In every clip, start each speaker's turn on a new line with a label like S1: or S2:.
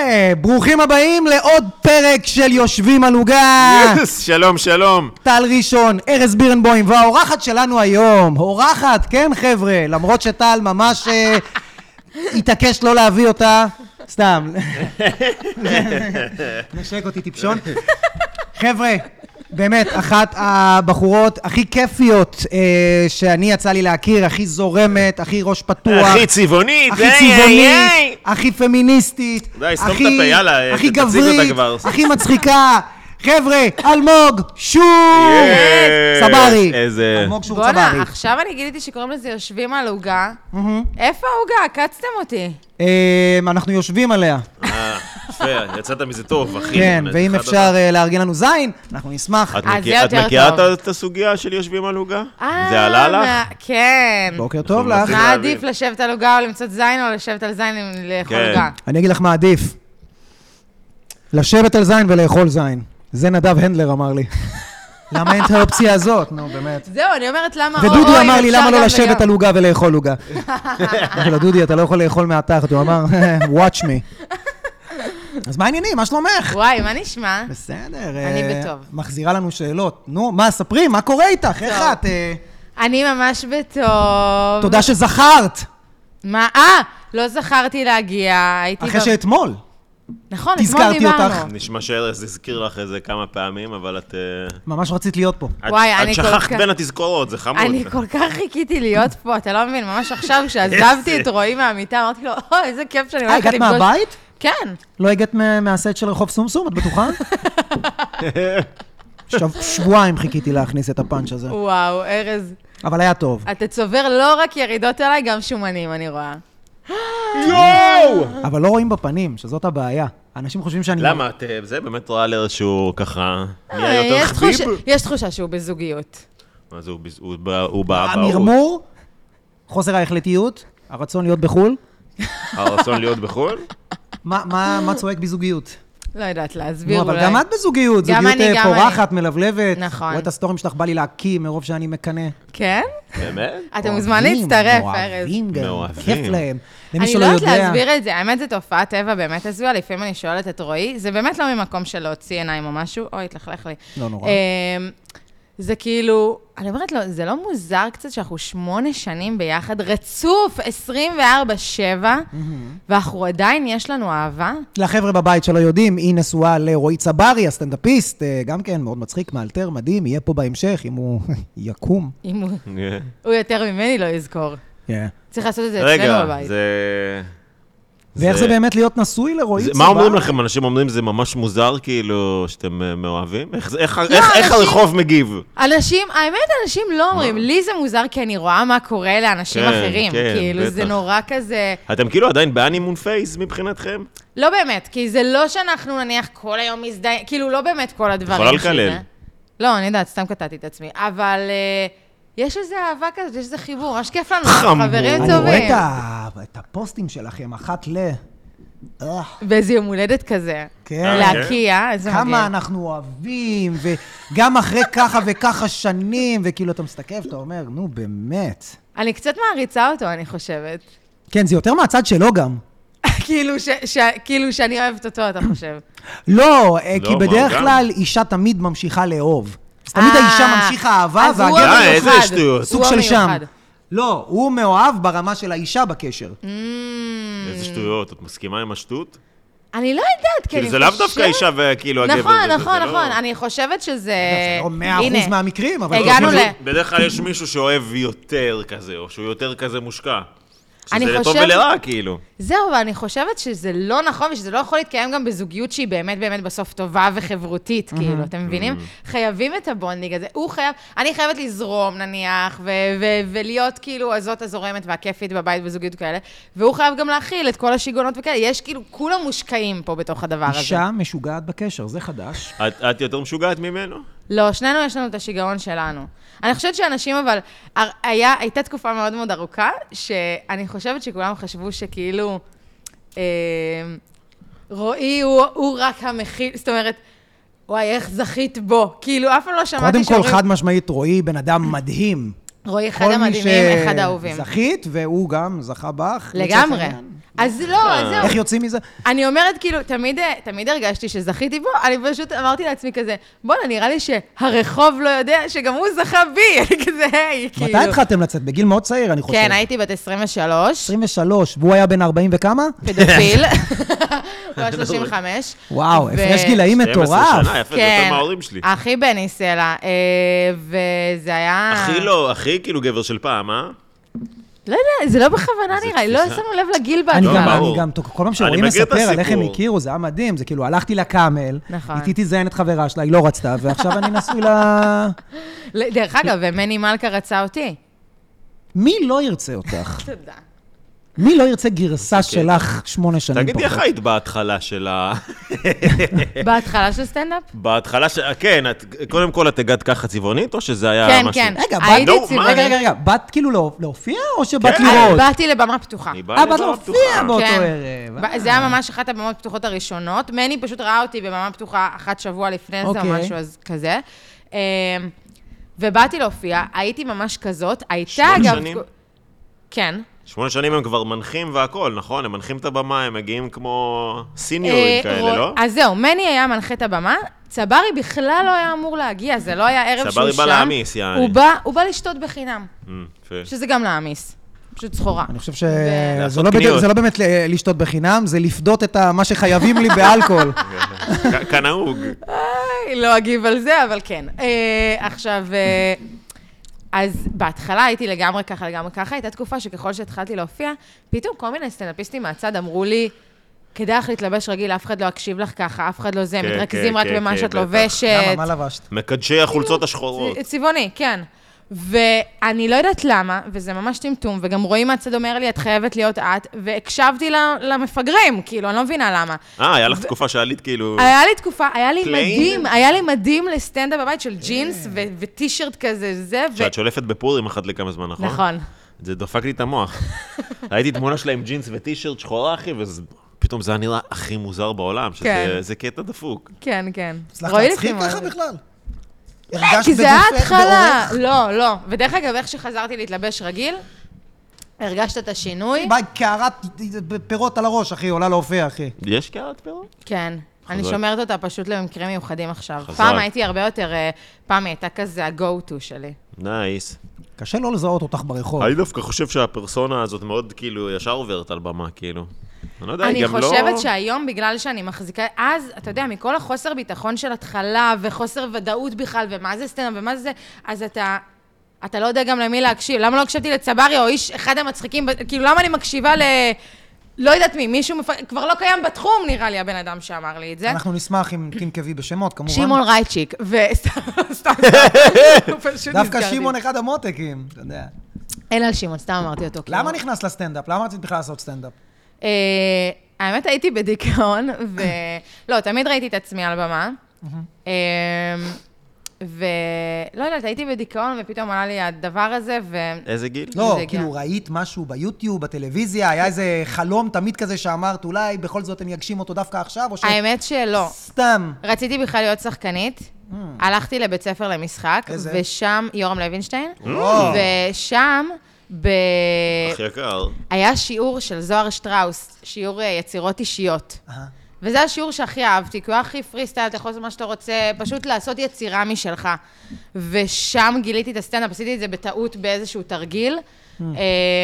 S1: וברוכים הבאים לעוד פרק של יושבים על עוגה.
S2: יס, שלום, שלום.
S1: טל ראשון, ארז בירנבוים, והאורחת שלנו היום, אורחת, כן חבר'ה, למרות שטל ממש אה, התעקש לא להביא אותה, סתם. נשק אותי טיפשון. חבר'ה, באמת, אחת הבחורות הכי כיפיות אה, שאני יצא לי להכיר, הכי זורמת, הכי ראש פתוח.
S2: הכי צבעונית,
S1: הכי
S2: איי, איי,
S1: צבעונית,
S2: איי.
S1: הכי פמיניסטית,
S2: די, סתום את
S1: הכי-
S2: הפה, יאללה,
S1: הכי
S2: תציג אותה
S1: גברית,
S2: כבר.
S1: הכי מצחיקה. חבר'ה, אלמוג שור! אה,
S2: יס.
S1: צברי.
S2: איזה-
S1: אלמוג שור צברי.
S3: בואנה, עכשיו אני גיליתי שקוראים לזה יושבים על עוגה. איפה העוגה? עקצתם אותי.
S1: אמ, אנחנו יושבים עליה.
S2: אה, יפה, יצאת מזה טוב, אחי.
S1: כן,
S2: באמת,
S1: ואם
S2: אחד
S1: אפשר אה, לארגן לנו זין, אנחנו נשמח.
S2: את
S3: אה,
S2: מכיר-
S3: זה
S2: את
S3: יותר
S2: מכירה
S3: טוב.
S2: את- את הסוגיה של יושבים על עוגה?
S3: אה,
S2: זה עלה לך?
S3: מה- כן.
S1: בוקר טוב
S2: אנחנו
S1: לך.
S2: מנסים-
S3: מה
S2: להבין.
S3: עדיף, לשבת על עוגה או למצוא זין, או לשבת על זין עם- לאכול
S2: כן.
S3: עוגה?
S1: אני אגיד לך מה עדיף. לשבת על זין ולאכול זין. זה נדב הנדלר אמר לי. למה אין את האופציה הזאת? נו, באמת.
S3: זהו, אני אומרת למה... או-
S1: ודודו
S3: או, אם
S1: אמר לי,
S3: אפשר
S1: למה לא
S3: גם
S1: לשבת
S3: וגם."
S1: על עוגה ולאכול עוגה? אמרתי לו, דודי, אתה לא יכול לאכול מהתחת. הוא אמר, "אה, watch me. אז מה העניינים? מה שלומך?
S3: וואי, מה נשמע?
S1: בסדר.
S3: אני
S1: אה,
S3: בטוב.
S1: מחזירה לנו שאלות. נו, מה, ספרי, מה קורה איתך? איך
S3: טוב.
S1: את? אה,
S3: אני ממש בטוב.
S1: תודה שזכרת,
S3: מה? אה, לא זכרתי להגיע, הייתי...
S1: אחרי
S3: ב-
S1: שאתמול.
S3: נכון, אתמול
S1: תזכרתי אותך.
S3: דיברנו.
S2: נשמע שארז הזכיר לך איזה כמה פעמים, אבל את... אה,
S1: ממש רצית להיות פה.
S2: את-
S3: וואי, אני
S2: את
S3: כל
S2: שכחת
S3: כך-
S2: בין התזכורות, זה חמוד.
S3: אני כל כך חיכיתי להיות פה, אתה לא מבין, ממש עכשיו כשעזבתי את רועי מהמיטה, אמרתי לו, אוי, איזה כיף שאני
S1: אה,
S3: הולכת
S1: הגעת
S3: לפגוש...
S1: מהבית?
S3: כן.
S1: לא הגעת מה- מהסט של רחוב סומסום, את בטוחה? שב- שבועיים חיכיתי להכניס את הפאנץ' הזה,
S3: וואו, ארז,
S1: אבל היה טוב.
S3: אתה צובר לא רק ירידות עליי, גם שומנים, אני רואה.
S2: יואו!
S3: אה.
S1: אבל לא רואים בפנים, שזאת הבעיה. אנשים חושבים שאני...
S2: למה? את, אה, זה באמת ראה לארז שהוא ככה...
S3: אה,
S2: נהיה
S3: יש
S2: יותר חביב?
S3: תחושה- יש תחושה שהוא בזוגיות.
S2: מה זה, הוא בז- הוא בא- הוא
S1: אה,
S2: באבהות.
S1: המרמור, חוסר ההחלטיות, הרצון להיות בחו"ל.
S2: הרצון להיות בחו"ל?
S1: מה- מה מה צועק בזוגיות?
S3: לא יודעת להסביר
S1: נו,
S3: אולי.
S1: אבל גם את בזוגיות,
S3: גם
S1: זוגיות
S3: אני,
S1: אה,
S3: גם
S1: פורחת, מלבלבת.
S3: נכון.
S1: רואה את הסטורים שלך, בא לי להקיא מרוב שאני מקנא.
S3: כן?
S2: באמת?
S3: אתה מוזמן
S1: אוהבים,
S3: להצטרף, ארז.
S1: מאוהבים גם,
S2: מאוהבים.
S1: כיף להם. למי
S3: אני
S1: שלא
S3: לא
S1: יודע...
S3: יודעת להסביר את זה, האמת זו תופעת טבע באמת הזויה, לפעמים אני שואלת את רועי, זה באמת לא ממקום של להוציא עיניים או משהו, אוי, התלכלך לי.
S1: לא נורא.
S3: אמ, זה כאילו, אני אומרת לו, זה לא מוזר קצת שאנחנו שמונה שנים ביחד, רצוף 24-7, ואנחנו עדיין, יש לנו אהבה?
S1: לחבר'ה בבית שלא יודעים, היא נשואה לרועי צברי, הסטנדאפיסט, אה, גם כן, מאוד מצחיק, מאלתר, מדהים, יהיה פה בהמשך, אם הוא יקום.
S3: אם הוא-
S2: אה.
S3: הוא יותר ממני לא יזכור.
S2: כן.
S3: צריך לעשות את זה אצלנו
S2: רגע,
S3: בבית.
S2: זה...
S1: ואיך זה באמת להיות נשוי לרועי
S2: זה-
S1: צברי?
S2: מה אומרים לכם? אנשים אומרים זה ממש מוזר, כאילו, שאתם אה, מאוהבים? איך זה- איך- איך- איך
S3: לא, אנשים-
S2: הרחוב מגיב?
S3: אנשים, האמת, אנשים לא אומרים, לי זה מוזר כי אני רואה מה קורה לאנשים
S2: כן,
S3: אחרים.
S2: כן,
S3: כאילו, זה
S2: בטח.
S3: נורא כזה...
S2: אתם כאילו עדיין בהנימון פייס מבחינתכם?
S3: לא באמת, כי זה לא שאנחנו נניח כל היום מזדהים, כאילו לא באמת כל הדברים.
S2: יכולה
S3: שזה.
S2: לקלל.
S3: לא, אני יודעת, סתם קטעתי את עצמי. אבל אה, יש איזו אהבה כזאת, יש איזה חיבור, ממש כיף לנו, אנחנו
S2: חמוד.
S3: חברים
S1: אני רואה את
S3: טובים.
S1: ה- את הפוסטים שלכם, אחת ל... אה,
S3: באיזה יום הולדת כזה.
S1: כן.
S3: להקיע, איזה
S1: כמה
S3: מגן.
S1: אנחנו אוהבים, וגם אחרי ככה וככה שנים, וכאילו, אתה מסתכל ואתה אומר, נו, באמת.
S3: אני קצת מעריצה אותו, אני חושבת.
S1: כן, זה יותר מהצד שלו גם.
S3: כאילו ש- ש- כאילו שאני אוהבת אותו, אתה חושב.
S1: לא, אה,
S2: לא,
S1: כי
S2: מה,
S1: בדרך
S2: גם?
S1: כלל אישה תמיד ממשיכה לאהוב. אז תמיד
S3: אה,
S1: האישה ממשיכה אהבה,
S3: אז הוא
S1: והגבר... לא
S2: די,
S3: המיוחד. אה,
S2: אה, איזה שטויות.
S1: סוג
S3: הוא
S1: של שם.
S3: המיוחד.
S1: לא, הוא מאוהב ברמה של האישה בקשר.
S3: Mm,
S2: איזה שטויות, את מסכימה עם השטות?
S3: אני לא יודעת, כי אני
S2: כאילו,
S3: חושבת...
S2: זה לאו דווקא אישה וכאילו הגבר.
S3: נכון,
S2: וזה, זה
S3: נכון,
S2: לא-
S3: נכון. אני חושבת שזה...
S1: זה לא מאה אחוז
S3: הנה.
S1: מהמקרים, אבל...
S3: הגענו ל-
S2: בדרך כלל יש מישהו שאוהב יותר כזה, או שהוא יותר כזה מושקע.
S3: אני
S2: שזה לטוב
S3: חושבת-
S2: ולרע, כאילו.
S3: זהו, אבל אני חושבת שזה לא נכון ושזה לא יכול להתקיים גם בזוגיות שהיא באמת באמת בסוף טובה וחברותית, כאילו, אתם מבינים? חייבים את הבונדינג הזה. הוא חייב, אני חייבת לזרום נניח, ו- ו- ולהיות כאילו הזאת הזורמת והכיפית בבית בזוגיות כאלה, והוא חייב גם להכיל את כל השיגעונות וכאלה. יש כאילו, כולם מושקעים פה בתוך הדבר הזה.
S1: אישה משוגעת בקשר, זה חדש.
S2: את- את יותר משוגעת ממנו?
S3: לא, שנינו יש לנו את השיגעון שלנו. אני חושבת שאנשים, אבל, הר- היה, הייתה תקופה מאוד מאוד ארוכה, שאני חושבת שכולם חשבו שכאילו, אה, רועי הוא, הוא רק המכיל, זאת אומרת, וואי, איך זכית בו. כאילו, אף פעם לא שמעתי
S1: קודם כל, חד משמעית, רועי בן אדם מדהים.
S3: רועי אחד
S1: כל מי
S3: המדהימים,
S1: ש-
S3: אחד האהובים.
S1: זכית, והוא גם זכה בך. לצורך
S3: לגמרי.
S1: העניין.
S3: אז לא, אז זהו.
S1: איך יוצאים מזה?
S3: אני אומרת, כאילו, תמיד, אה, תמיד הרגשתי שזכיתי בו, אני פשוט אמרתי לעצמי כזה, בואנה, נראה לי שהרחוב לא יודע שגם הוא זכה בי, אני כזה, היי, כאילו.
S1: מתי התחלתם לצאת? בגיל מאוד צעיר, אני חושב.
S3: כן, הייתי בת 23,
S1: 23, והוא היה בן 40 וכמה?
S3: פדופיל, הוא היה 35.
S1: וואו,
S3: ו-
S1: הפרש גילאים
S2: 12
S1: מטורף.
S2: שנה, יפה, זה
S3: כן.
S2: יותר מההורים שלי.
S3: אחי בני סלע, אה, וזה היה...
S2: הכי לא, הכי כאילו גבר של פעם, אה?
S3: לא יודע, זה לא בכוונה
S2: זה
S3: נראה לי, לא
S2: תפיסה.
S3: שמנו לב לגיל
S1: אני
S2: לא,
S1: גם,
S3: בהתחלה.
S2: ברור.
S1: אני גם, כל פעם
S2: אני
S1: שרוני
S2: מכיר את
S1: מספר על איך הם
S2: הסיפור.
S1: הכירו, זה היה מדהים. זה כאילו, הלכתי לקאמל,
S3: נכון.
S1: איתי תזיין את חברה שלה, היא לא רצתה, ועכשיו אני נשוי ל...
S3: לא, דרך אגב, ומני מלכה רצה אותי.
S1: מי לא ירצה אותך?
S3: תודה.
S1: מי לא ירצה גרסה שלך שמונה שנים
S2: תגידי, איך
S1: פחות?
S2: היית בהתחלה של ה...
S3: בהתחלה של סטנדאפ?
S2: בהתחלה של... כן, את- קודם כל את הגעת ככה צבעונית, או שזה היה
S3: כן,
S2: אה, משהו?
S3: כן.
S1: רגע,
S3: הייתי
S1: באת...
S3: צבעונית.
S1: רגע, רגע, רגע, באת כאילו לא- להופיע, או שבאת
S2: כן.
S1: לראות?
S3: אה, באתי לבמה פתוחה.
S2: אני בא לא
S1: אה, באת
S2: לזרוע
S1: להופיע
S2: פתוחה.
S1: באותו
S3: כן.
S1: ערב. אה.
S3: ב- זה היה ממש אחת הבמות הפתוחות הראשונות. מני פשוט ראה אותי בבמה פתוחה אחת שבוע לפני זה או
S1: אוקיי.
S3: משהו אז כזה. אמ, ובאתי להופיע, הייתי ממש כזאת, הייתה
S2: שמונה
S3: אגב...
S2: שנים?
S3: כן.
S2: שמונה שנים הם כבר מנחים והכול, נכון? הם מנחים את הבמה, הם מגיעים כמו סיניורים
S3: אה,
S2: כאלה,
S3: רוא-
S2: לא?
S3: אז זהו, מני היה מנחה את הבמה, צברי בכלל לא היה אמור להגיע, זה לא היה ערב שהוא שם.
S2: צברי בא להעמיס, יעני.
S3: הוא בא- הוא בא לשתות בחינם,
S2: אה, יפה.
S3: שזה גם להעמיס. פשוט סחורה.
S1: אני חושב
S2: לעשות
S1: שזה לא בדיוק-
S2: קניות.
S1: זה לא באמת ל- לשתות בחינם, זה לפדות את ה- מה שחייבים לי באלכוהול.
S2: כ- כנהוג.
S3: היי, לא אגיב על זה, אבל כן. אה, עכשיו, אה, אז בהתחלה הייתי לגמרי ככה, לגמרי ככה. הייתה תקופה שככל שהתחלתי להופיע, פתאום כל מיני סטנדאפיסטים מהצד אמרו לי, כדאי לך להתלבש רגיל, אף אחד לא יקשיב לך ככה, אף אחד לא זה,
S2: כן,
S3: מתרכזים
S2: כן,
S3: רק
S2: כן,
S3: במה
S2: כן,
S3: שאת
S2: בטח.
S3: לובשת.
S1: למה, מה לבשת?
S2: מקדשי החולצות השחורות.
S3: צ- צבעוני, כן. ואני לא יודעת למה, וזה ממש טמטום, וגם רועי מהצד אומר לי, את חייבת להיות את, והקשבתי ל- למפגרים, כאילו, אני לא מבינה למה.
S2: אה, היה לך תקופה שעלית כאילו...
S3: היה לי תקופה, היה לי
S2: פליין?
S3: מדהים, היה לי מדהים לסטנדאפ בבית של ג'ינס
S1: כן.
S3: ו- וטישרט כזה, זה, ו...
S2: שאת שולפת בפורים אחת לכמה זמן, נכון?
S3: נכון.
S2: זה דפק לי את המוח. ראיתי תמונה שלה עם ג'ינס וטישרט שחורה, אחי, ופתאום זה היה נראה הכי מוזר בעולם,
S3: כן.
S2: שזה זה קטע דפוק.
S3: כן, כן.
S1: הצלחת
S3: רועי
S1: להצחיק
S3: לפעמים
S1: ככה
S3: אומר לי. אה,
S1: בכלל? הרגשת
S3: כי זה
S1: בגופך
S3: ההתחלה.
S1: בעורך?
S3: לא, לא. ודרך אגב, איך שחזרתי להתלבש רגיל, הרגשת את השינוי.
S1: בא קערת פירות על הראש, אחי, עולה להופיע, אחי.
S2: יש קערת פירות?
S3: כן. אני
S2: חזק.
S3: שומרת אותה פשוט למקרים מיוחדים עכשיו.
S2: חזק.
S3: פעם הייתי הרבה יותר, אה, פעם היא הייתה כזה ה-go-to שלי.
S2: נייס.
S1: קשה לא לזהות אותך ברחוב.
S2: אני דווקא חושב שהפרסונה הזאת מאוד כאילו ישר עוברת על במה, כאילו. אני לא יודע, היא
S3: אני
S2: גם לא...
S3: חושבת שהיום, בגלל שאני מחזיקה, אז, אתה יודע, מכל החוסר ביטחון של התחלה, וחוסר ודאות בכלל, ומה זה סצנה, ומה זה, אז אתה... אתה לא יודע גם למי להקשיב. למה לא הקשבתי לצברי, או איש, אחד המצחיקים, ב- כאילו, למה אני מקשיבה ל... לא יודעת מי, מישהו מפ... כבר לא קיים בתחום, נראה לי, הבן אדם שאמר לי את זה.
S1: אנחנו נשמח אם תנקבי בשמות, כמובן.
S3: שמעון רייצ'יק, ו... סתם, סתם, הוא פשוט נזכרתי.
S1: דווקא שמעון אחד המותקים, אתה יודע.
S3: אין על שמעון, סתם אמרתי אותו. כאילו.
S1: למה נכנסת לסטנדאפ? למה רצית בכלל לעשות סטנדאפ?
S3: אה, האמת, הייתי בדיכאון, ו... לא, תמיד ראיתי את עצמי על במה. אה, ולא יודעת, הייתי בדיכאון, ופתאום עלה לי הדבר הזה, ו...
S2: איזה גיל?
S1: לא,
S3: זה הגיע.
S1: כאילו ראית משהו ביוטיוב, בטלוויזיה, היה איזה חלום תמיד כזה שאמרת, אולי בכל זאת הם יגשים אותו דווקא עכשיו, או ש...
S3: האמת לא. שלא.
S1: סתם.
S3: רציתי בכלל להיות שחקנית. הלכתי לבית ספר למשחק,
S1: איזה?
S3: ושם, יורם לוינשטיין,
S1: וואו.
S3: ושם, ב...
S2: הכי אה, יקר.
S3: היה שיעור של זוהר שטראוס, שיעור אה, יצירות אישיות.
S1: אהה.
S3: וזה השיעור שהכי אהבתי, כי הוא היה הכי פרי סטייל, אתה יכול לעשות מה שאתה רוצה, פשוט לעשות יצירה משלך. ושם גיליתי את הסטנדאפ, עשיתי את זה בטעות באיזשהו תרגיל
S2: Mm.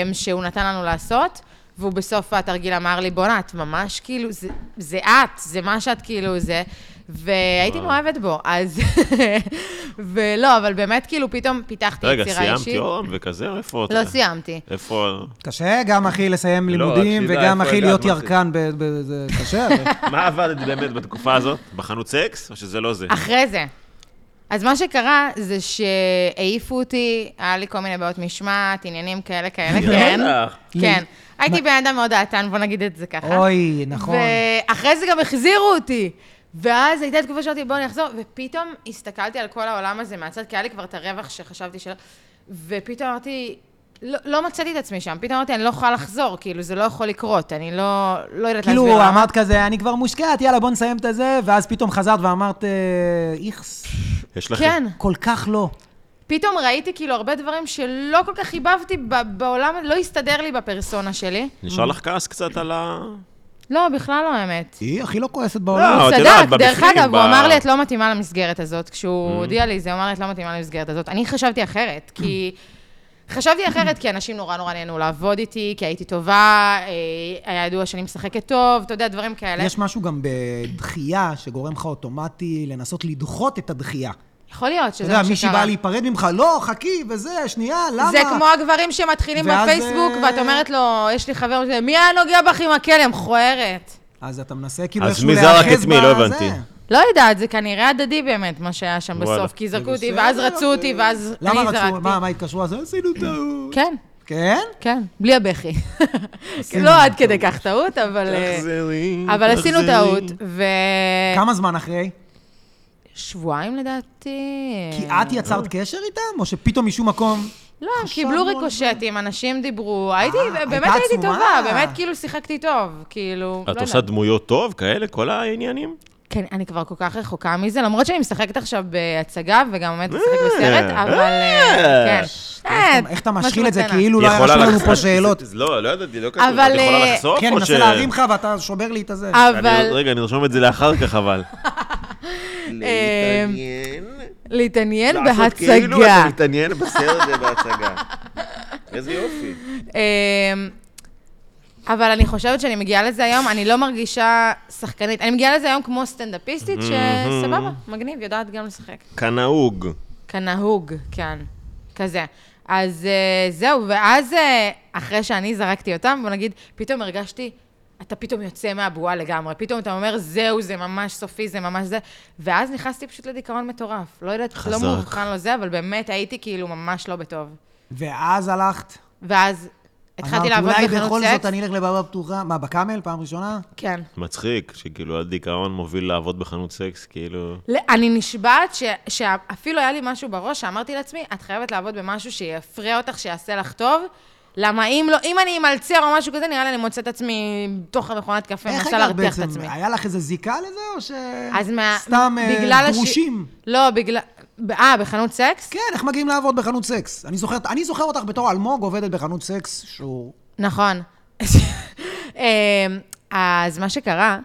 S3: אמ, שהוא נתן לנו לעשות, והוא בסוף התרגיל אמר לי, בואנה, את ממש כאילו, זה, זה את, זה מה שאת כאילו, זה... והייתי
S2: וואו.
S3: מאוהבת בו, אז... ולא, אבל באמת, כאילו, פתאום פיתחתי
S2: רגע,
S3: יצירה אישית.
S2: סיימתי אורם וכזה? איפה אתה?
S3: לא סיימתי.
S2: איפה...
S1: קשה גם, אחי, לסיים
S2: לא,
S1: לימודים,
S2: רק שתדע
S1: וגם,
S2: איפה
S1: אחי,
S2: הגעת,
S1: להיות
S2: מה זה?
S1: ירקן, ב- ב- זה קשה. אבל-
S2: מה עבדת באמת בתקופה הזאת? בחנות סקס? או שזה לא זה?
S3: אחרי זה. אז מה שקרה זה שהעיפו אותי, היה לי כל מיני בעיות משמעת, עניינים כאלה כאלה,
S1: לא
S3: כן.
S2: בטח.
S3: כן. הייתי בן אדם מאוד דעתן, בוא נגיד את זה ככה.
S1: אוי, נכון.
S3: ואחרי זה גם החזירו אותי. ואז הייתה תקופה שאמרתי, בואו אני אחזור, ופתאום הסתכלתי על כל העולם הזה מהצד, כי היה לי כבר את הרווח שחשבתי שלא, ופתאום אמרתי, לא, לא מצאתי את עצמי שם, פתאום אמרתי, אני לא יכולה לחזור, כאילו, זה לא יכול לקרות, אני לא, לא יודעת להסביר
S1: כאילו,
S3: למה.
S1: אמרת כזה, אני כבר מושקעת, יאללה, בוא נסיים את הזה, ואז פתאום חזרת ואמרת, אה, איכס,
S2: יש לכם...
S3: כן.
S1: כל כך לא.
S3: פתאום ראיתי כאילו הרבה דברים שלא כל כך חיבבתי ב- בעולם, לא הסתדר לי בפרסונה שלי.
S2: נשאר לך כעס קצת על ה...
S3: לא, בכלל לא האמת.
S1: היא הכי לא כועסת
S2: לא,
S1: בעולם.
S2: את
S3: צדק,
S2: יודעת,
S3: דרך
S2: בבפנים,
S3: אגב,
S2: ב-
S3: הוא אמר לי, את לא מתאימה למסגרת הזאת.
S1: Mm-hmm.
S3: כשהוא הודיע לי זה, הוא אמר לי, את לא מתאימה למסגרת הזאת. אני חשבתי אחרת, כי... חשבתי אחרת, כי אנשים נורא נורא נהנו לעבוד איתי, כי הייתי טובה, אה, היה ידוע שאני משחקת טוב, אתה יודע, דברים כאלה.
S1: יש משהו גם בדחייה שגורם לך אוטומטי לנסות לדחות את הדחייה.
S3: יכול להיות
S1: אתה
S3: שזה
S1: יודע,
S3: מה
S1: מישהי
S3: שקרה.
S1: באה להיפרד ממך, לא, חכי, וזה, שנייה, למה?
S3: זה כמו הגברים שמתחילים
S1: ואז,
S3: בפייסבוק,
S1: אה,
S3: ואת אומרת לו, יש לי חבר, ש- מי היה נוגע בך עם הכלם? מכוערת.
S1: אז אתה מנסה כאילו
S2: אז
S1: איכשהו
S2: מי זרק
S1: להיאחז
S2: את מי? לא
S1: בזה.
S2: הבנתי.
S3: לא יודעת, זה כנראה הדדי באמת, מה שהיה שם
S2: וואלה.
S3: בסוף, כי זרקו
S1: זה
S3: אותי,
S1: בסדר,
S3: ואז רצו אותי,
S1: אוקיי.
S3: ואז אני
S1: למה
S3: זרקתי.
S1: רצו? מה, מה התקשרו? אז עשינו טעות.
S3: כן.
S1: כן?
S3: כן, בלי הבכי.
S1: עשינו
S3: לא עד
S1: טעות.
S3: כדי כך טעות, אבל... אה,
S2: תחזרי,
S3: אבל עשינו
S2: תחזרי.
S3: טעות, ו... כן.
S1: כמה זמן אחרי?
S3: אה. שבועיים לדעתי.
S1: כי את יצרת קשר איתם? או שפתאום משום מקום...
S3: לא,
S1: חשבנו
S3: הם קיבלו
S1: על זה. אה,
S3: ריקושטים, אנשים דיברו, הייתי,
S1: הייתה
S3: באמת הייתי
S1: עצומה.
S3: טובה, באמת כאילו שיחקתי טוב, כאילו, לא
S2: את עושה
S3: יודעת.
S2: דמויות טוב, כאלה, כל העניינים?
S3: כן, אני כבר כל כך רחוקה מזה, למרות שאני משחקת עכשיו בהצגה, וגם עומדת לשחק
S2: אה,
S3: בסרט,
S2: אה.
S3: אבל אה, כן. אה,
S1: איך אתה משחיל את זה
S3: משהו בקטנה.
S1: כאילו לא היה
S2: יכולה
S1: רשום לנו
S2: לחשוף-
S1: פה שאלות?
S2: זה- זה- לא, לא ידעתי, לא כתוב.
S3: אבל,
S2: את יכולה
S3: אה,
S2: לחשוף
S1: כן, אני
S2: או
S1: מנסה להרים לך ואתה שובר לי את הזה.
S2: אני-
S3: אבל
S2: רגע, נרשום את זה לאחר כך, אבל.
S3: אה, להתעניין
S2: לעשות כאילו
S3: בהצגה.
S2: אתה מתעניין בסרט ובהצגה. איזה יופי.
S3: אמ, אבל אני חושבת שאני מגיעה לזה היום, אני לא מרגישה שחקנית. אני מגיעה לזה היום כמו סטנדאפיסטית, שסבבה, מגניב, יודעת גם לשחק.
S2: כנהוג.
S3: כנהוג, כן, כזה. אז אה, זהו, ואז אה, אחרי שאני זרקתי אותם, בוא נגיד, פתאום הרגשתי, אתה פתאום יוצא מהבועה לגמרי, פתאום אתה אומר, זהו, זה ממש סופי, זה ממש זה, ואז נכנסתי פשוט לדיכאון מטורף. לא יודעת,
S2: חזק.
S3: לא מאובחן לא זה, אבל באמת הייתי כאילו ממש לא בטוב.
S1: ואז הלכת.
S3: ואז התחלתי
S1: אמרת,
S3: לעבוד בחנות סקס.
S1: אולי בכל זאת אני אלך לבבא פתוחה. מה, בקאמל? פעם ראשונה?
S3: כן.
S2: מצחיק, שכאילו הדיכאון מוביל לעבוד בחנות סקס, כאילו...
S3: לא, אני נשבעת ש, שאפילו היה לי משהו בראש, שאמרתי לעצמי, את חייבת לעבוד במשהו שיפריע אותך, שיעשה לך טוב. למה אם לא, אם אני אמלצר או משהו כזה, נראה לי אני מוצאת עצמי בתוך המכונת קפה,
S1: איך
S3: מנסה
S1: הגעת
S3: להרתיח את
S1: בעצם?
S3: עצמי.
S1: היה לך איזה זיקה לזה, או ש...
S3: אז מה...
S1: סתם אה,
S3: בגלל הש-
S1: גרושים?
S3: לא, בגלל... אה, בחנות סקס?
S1: כן, איך מגיעים לעבוד בחנות סקס? אני זוכר, אני זוכר אותך בתור אלמוג עובדת בחנות סקס, שהוא...
S3: נכון. אמ, אז מה שקרה,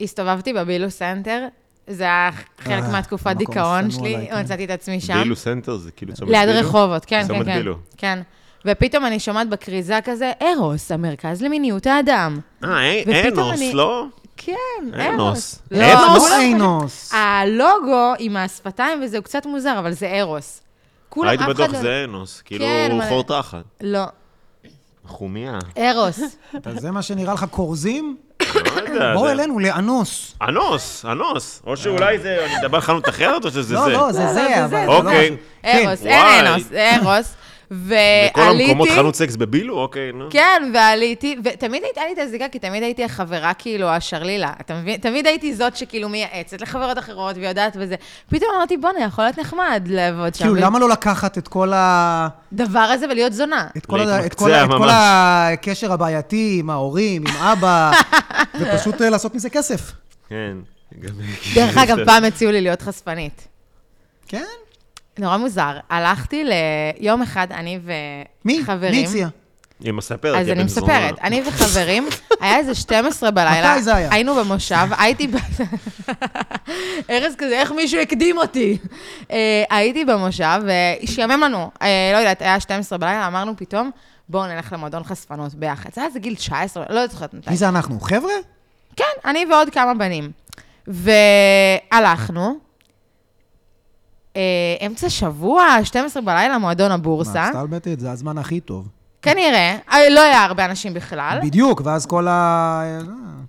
S3: הסתובבתי בבילו סנטר, זה היה חלק
S1: אה,
S3: מהתקופת
S1: המקום
S3: דיכאון
S1: השנוא
S3: שלי,
S1: עליי, כן.
S3: מצאתי את עצמי שם.
S2: בילו סנטר זה כאילו צומת בילו?
S3: ליד רחובות, כן, כן,
S2: צומת
S3: כן.
S2: בילו.
S3: כן. ופתאום אני שומעת בכריזה כזה, ארוס, המרכז למיניות האדם.
S2: אה, אין-
S3: ופתאום
S2: אין אוס,
S3: אני-
S2: לא?
S3: כן,
S2: ארוס.
S3: ארוס.
S2: ארוס? ארוס?
S1: לא אינוס.
S3: הלוגו עם השפתיים וזה, הוא קצת מוזר, אבל זה ארוס. כולם,
S2: הייתי
S3: אף אחד
S2: בטוח
S3: לא...
S2: זה אנוס, כאילו
S3: כן,
S2: הוא
S3: מלא.
S2: חור תחת.
S3: לא,
S2: חומיה.
S3: ארוס.
S1: אתה- זה מה שנראה לך כורזים?
S2: לא יודע,
S1: בוא
S2: זה-
S1: אלינו, לאנוס.
S2: אנוס, אנוס. או שאולי זה, אני מדבר על חנות אחרת או שזה זה?
S1: לא, לא, זה
S3: אה. לא,
S1: זה,
S3: זה
S1: אבל...
S3: זה.
S1: זה לא
S2: אוקיי.
S1: משהו. כן.
S3: ארוס,
S2: וואי.
S3: אין אנוס, זה ארוס.
S2: בכל המקומות
S3: ועליתי...
S2: חנות סקס בבילו? אוקיי, נו.
S3: אה, כן, ועליתי, ותמיד הייתה לי את הזיקה, כי תמיד הייתי החברה, כאילו, השרלילה. אתה מבין? תמיד הייתי זאת שכאילו מייעצת לחברות אחרות ויודעת וזה. פתאום אמרתי, בואנה, יכול להיות נחמד לעבוד שם.
S1: כאילו, למה לא לקחת את כל ה...
S3: הדבר הזה ולהיות זונה.
S1: את כל, ה... את, כל ה...
S2: להתמקצע
S1: את כל
S2: ממש.
S1: הקשר הבעייתי עם ההורים, עם אבא, ופשוט אה, לעשות מזה כסף.
S2: כן. גם-
S3: דרך אגב, פעם הציעו לי להיות חשפנית.
S1: כן?
S3: נורא מוזר. הלכתי ליום אחד, אני
S1: מי?
S3: וחברים.
S1: מי הציע?
S2: היא מספרת,
S3: אז
S2: היא
S3: אני
S2: בן זונה.
S3: מספרת, אני וחברים, היה איזה 12 בלילה.
S1: מתי זה היה?
S3: היינו במושב, הייתי ב... ארז כזה, איך מישהו הקדים אותי? אה, הייתי במושב, והשתעמם לנו, אה, לא יודעת, היה 12 בלילה, אמרנו פתאום, בואו נלך למועדון חשפנות ביחד. זה היה איזה גיל 19, לא זוכרת מתי.
S1: מי זה אנחנו? חבר'ה?
S3: כן, אני ועוד כמה בנים. והלכנו, אה, אמצע שבוע, 12 בלילה, מועדון
S1: מה,
S3: הבורסה.
S1: סטלבטת זה הזמן הכי טוב.
S3: כנראה, אה, לא היה הרבה אנשים בכלל.
S1: בדיוק, ואז כל ה... אה,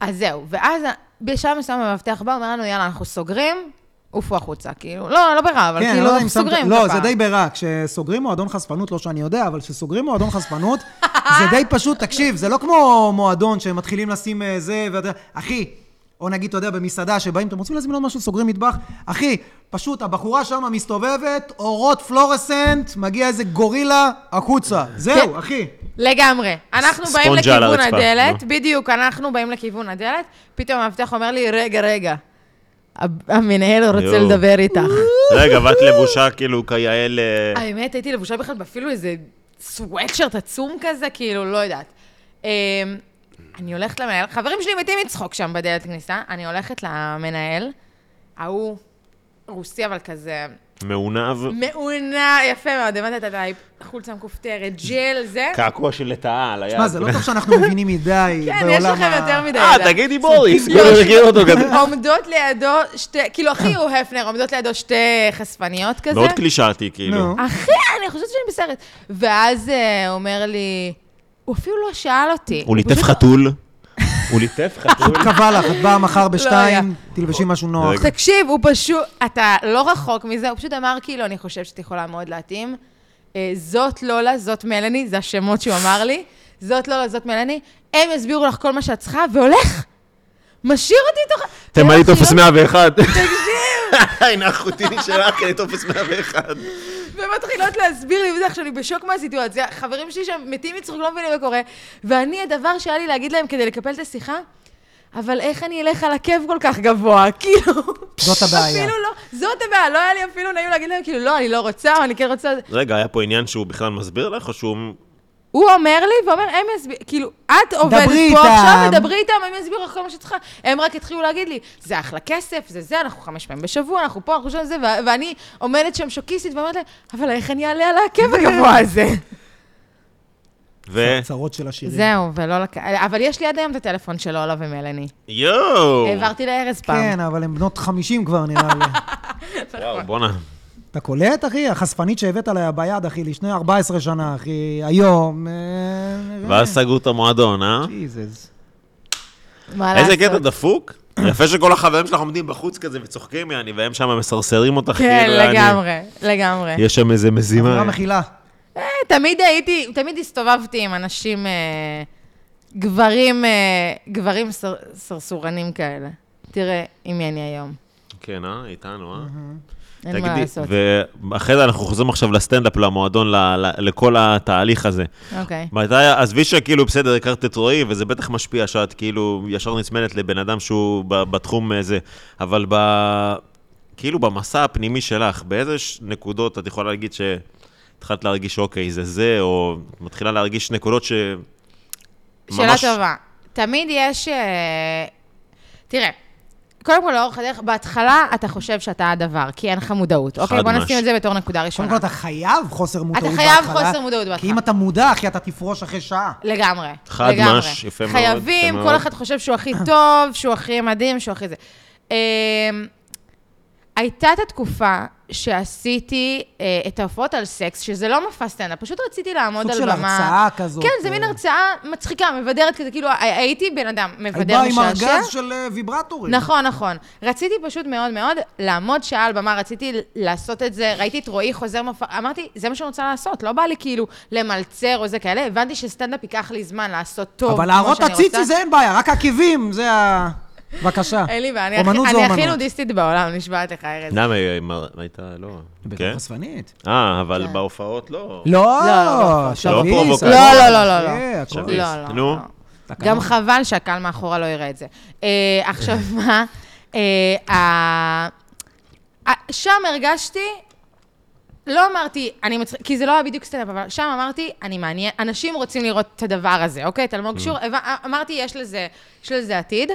S3: אז זהו, ואז אה, בשלב מסוים המאבטח בא, אומר לנו, יאללה, אנחנו סוגרים, עופו החוצה. כאילו, לא, לא ברע, אבל
S1: כן, לא
S3: כאילו,
S1: יודע
S3: אנחנו
S1: אם שמת...
S3: סוגרים.
S1: לא,
S3: כפה.
S1: זה די ברע. כשסוגרים מועדון חשפנות, לא שאני יודע, אבל כשסוגרים מועדון חשפנות, זה די פשוט, תקשיב, זה לא כמו מועדון שמתחילים לשים אה, זה, ואתה יודע, אחי, או נגיד, אתה יודע, במסעדה שבאים, אתם רוצים להזמין עוד משהו, סוגרים מטבח, אחי, פשוט הבחורה שם מסתובבת, אורות פלורסנט, מגיע איזה גורילה החוצה. זהו,
S3: כן.
S1: אחי.
S3: לגמרי. אנחנו באים
S2: ספונג'ה על
S3: לכיוון
S2: הרצפה,
S3: הדלת,
S2: נו.
S3: בדיוק, אנחנו באים לכיוון הדלת, פתאום המאבטח אומר לי, רגע, רגע. המנהל רוצה
S2: יואו.
S3: לדבר איתך.
S2: רגע, ואת לבושה כאילו כיעל... אה,
S1: כן.
S3: האמת, הייתי לבושה בכלל באפילו איזה סוואטשרט עצום כזה, כאילו, לא יודעת. אמ, אני הולכת למנהל, חברים שלי מתים מצחוק שם בדלת כניסה, אני הולכת למנהל, ההוא רוסי, אבל כזה
S2: מעונב.
S3: מעונה, יפה מאוד, הבנת את החולצה המכופתרת, ג'ל, זה.
S2: קעקוע של לטאה על היד.
S1: שמע, זה לא טוב שאנחנו מבינים מדי
S3: כן, יש
S1: בעולם
S3: לכם
S1: ה-
S3: יותר מדי.
S2: אה,
S3: ידע.
S2: תגידי בוריס,
S3: יואו.
S2: כאילו מכיר אותו כזה.
S3: עומדות לידו שתי, כאילו, אחי הוא הפנר, עומדות לידו שתי חשפניות כזה.
S2: מאוד קלישאתי, כאילו.
S1: נו.
S3: אחי, אני חושבת שאני בסרט. ואז אה, הוא אומר לי, הוא אפילו לא שאל אותי.
S2: הוא ליטף
S3: פשוט- אה,
S2: חתול. הוא ליטף חתול.
S3: לא,
S1: קבע לך, את באה מחר בשתיים,
S3: היה.
S1: תלבשי משהו נוח.
S2: רגע.
S3: תקשיב, הוא פשוט, אתה לא רחוק מזה, הוא פשוט אמר כאילו, אני חושב שאת יכולה מאוד להתאים. אה, זאת לולה, זאת מלני, זה השמות שהוא אמר לי. זאת לולה, זאת מלני. הם יסבירו לך כל מה שאת צריכה, והולך. משאיר אותי תוך...
S2: תמלאי
S3: כאילו,
S2: טופס
S3: לא-
S2: 101.
S3: אה,
S2: הנה אחותי שלך, אני טופס 101.
S3: ומתחילות להסביר לי וזה, עכשיו אני בשוק מהסיטואציה, חברים שלי שם מתים מצחוק, לא מבינים מה קורה, ואני, הדבר שהיה לי להגיד להם כדי לקפל את השיחה, אבל איך אני אלך על עקב כל כך גבוה? כאילו...
S1: זאת הבעיה.
S3: אפילו לא, זאת הבעיה, לא היה לי אפילו נעים להגיד להם, כאילו, לא, אני לא רוצה, או אני כן רוצה...
S2: רגע, היה פה עניין שהוא בכלל מסביר לך, או שהוא...
S3: אה, הוא אומר לי, ואומר, הם יסבירו, כאילו, את עובדת פה
S1: דברי
S3: עכשיו,
S1: איתם.
S3: ודברי איתם, הם יסבירו לך כל מה שצריכה. הם רק התחילו להגיד לי, זה אחלה כסף, זה זה, אנחנו חמש פעמים בשבוע, אנחנו פה, אנחנו שם זה, ו- ואני עומדת שם שוקיסטית ואומרת להם, אבל איך אני אעלה על העקב הגבוה הזה? אה,
S2: ו...
S1: צרות של השירים.
S3: זהו, ולא לק... אבל יש לי עד היום את הטלפון של אולה ומלני.
S2: יואו!
S3: העברתי לארז פעם.
S1: כן, אבל הן בנות 50 כבר, נראה לי.
S2: וואו, בואנה.
S1: אתה קולט, אחי? החשפנית שהבאת לה ביד, אחי, לפני 14 שנה, אחי, היום. אה,
S2: ואז סגרו את המועדון, אה?
S1: ג'יזוס.
S3: מה לעשות?
S2: איזה קטע דפוק. יפה שכל החברים שלך עומדים בחוץ כזה וצוחקים, יעני, והם שם מסרסרים אותך, כאילו,
S3: כן,
S2: יעני.
S3: לגמרי, לגמרי.
S2: יש שם איזה מזימה.
S1: לא מחילה.
S3: אה, תמיד הייתי, תמיד הסתובבתי עם אנשים, אה, גברים, אה, גברים סר, סרסורנים כאלה. תראה עם מי אני היום.
S2: כן, אה? איתנו, אה?
S3: אין מה
S2: תגידי,
S3: לעשות.
S2: ואחרי זה אנחנו חוזרים עכשיו לסטנדאפ, למועדון, ל- ל- לכל התהליך הזה.
S3: אוקיי.
S2: מתי, עזבי שכאילו, בסדר, הכרת את רועי, וזה בטח משפיע שאת כאילו ישר נצמדת לבן אדם שהוא ב- בתחום אה, זה, אבל ב... כאילו במסע הפנימי שלך, באיזה ש- נקודות את יכולה להגיד שהתחלת להרגיש אוקיי, זה זה, או את מתחילה להרגיש נקודות ש...
S3: שאלה
S2: ממש-
S3: טובה. תמיד יש... אה, תראה, קודם כל לאורך הדרך, בהתחלה אתה חושב שאתה הדבר, כי אין לך מודעות. אוקיי, בוא
S2: מש.
S3: נשים את זה בתור נקודה ראשונה.
S1: קודם כל, אתה חייב חוסר מודעות בהתחלה.
S3: חייב חוסר מודעות
S1: כי
S3: בהתחלה.
S1: אם אתה מודע, אחי, אתה תפרוש אחרי שעה.
S3: לגמרי.
S2: חד
S3: לגמרי.
S2: מש, יפה מאוד, יפה
S3: חייבים,
S2: מאוד.
S3: כל אחד חושב שהוא הכי טוב, שהוא הכי מדהים, שהוא הכי זה. אמ, הייתה את התקופה שעשיתי אה, את ההופעות על סקס, שזה לא מופע סטנדאפ, פשוט רציתי לעמוד
S1: סוג
S3: על
S1: של
S3: במה.
S1: הרצאה כזאת.
S3: כן, זה מין
S1: אה,
S3: הרצאה מצחיקה, מבדרת כזה, כאילו, הי- הייתי בן אדם
S1: היית
S3: מבדר
S1: באה עם
S3: משעשע.
S1: ארגז של אה, ויברטורים.
S3: נכון, נכון. רציתי פשוט מאוד מאוד לעמוד שעה על במה, רציתי לעשות את זה, ראיתי את רועי חוזר מופע, אמרתי, זה מה שאני רוצה לעשות, לא בא לי כאילו למלצר או זה כאלה, הבנתי שסטנדאפ ייקח לי זמן לעשות טוב.
S1: אבל
S3: כמו
S1: להראות את
S3: שאני
S1: הציצי
S3: רוצה.
S1: זה אין בעיה, רק עקבים, זה ה... בבקשה.
S3: אין לי בעיה, אני
S1: אומנות
S3: הכי-
S1: זו
S3: אני הכי
S1: אומנות.
S3: נודיסטית בעולם, נשבעת לך, ארז.
S2: למה היא- היא- הייתה, לא...
S1: בטח
S2: כן?
S1: חשפנית.
S2: אה, אבל
S3: כן.
S2: בהופעות לא.
S1: לא,
S3: לא, לא,
S1: שביס.
S2: פרובוקציה.
S1: הכל.
S3: לא, לא, לא, לא, לא.
S1: אה, הכל.
S2: שביס.
S3: לא, לא.
S2: נו.
S3: לא. גם חבל שהקהל מאחורה לא יראה את זה. אה, עכשיו, מה? אה, ה- ה- שם הרגשתי, לא אמרתי, אני מצ... כי זה לא היה בדיוק סטנדאפ, אבל שם אמרתי, אני מעניין, אנשים רוצים לראות את הדבר הזה, אוקיי? את אלמוג שור, הבא- אמרתי, יש לזה, יש לזה עתיד,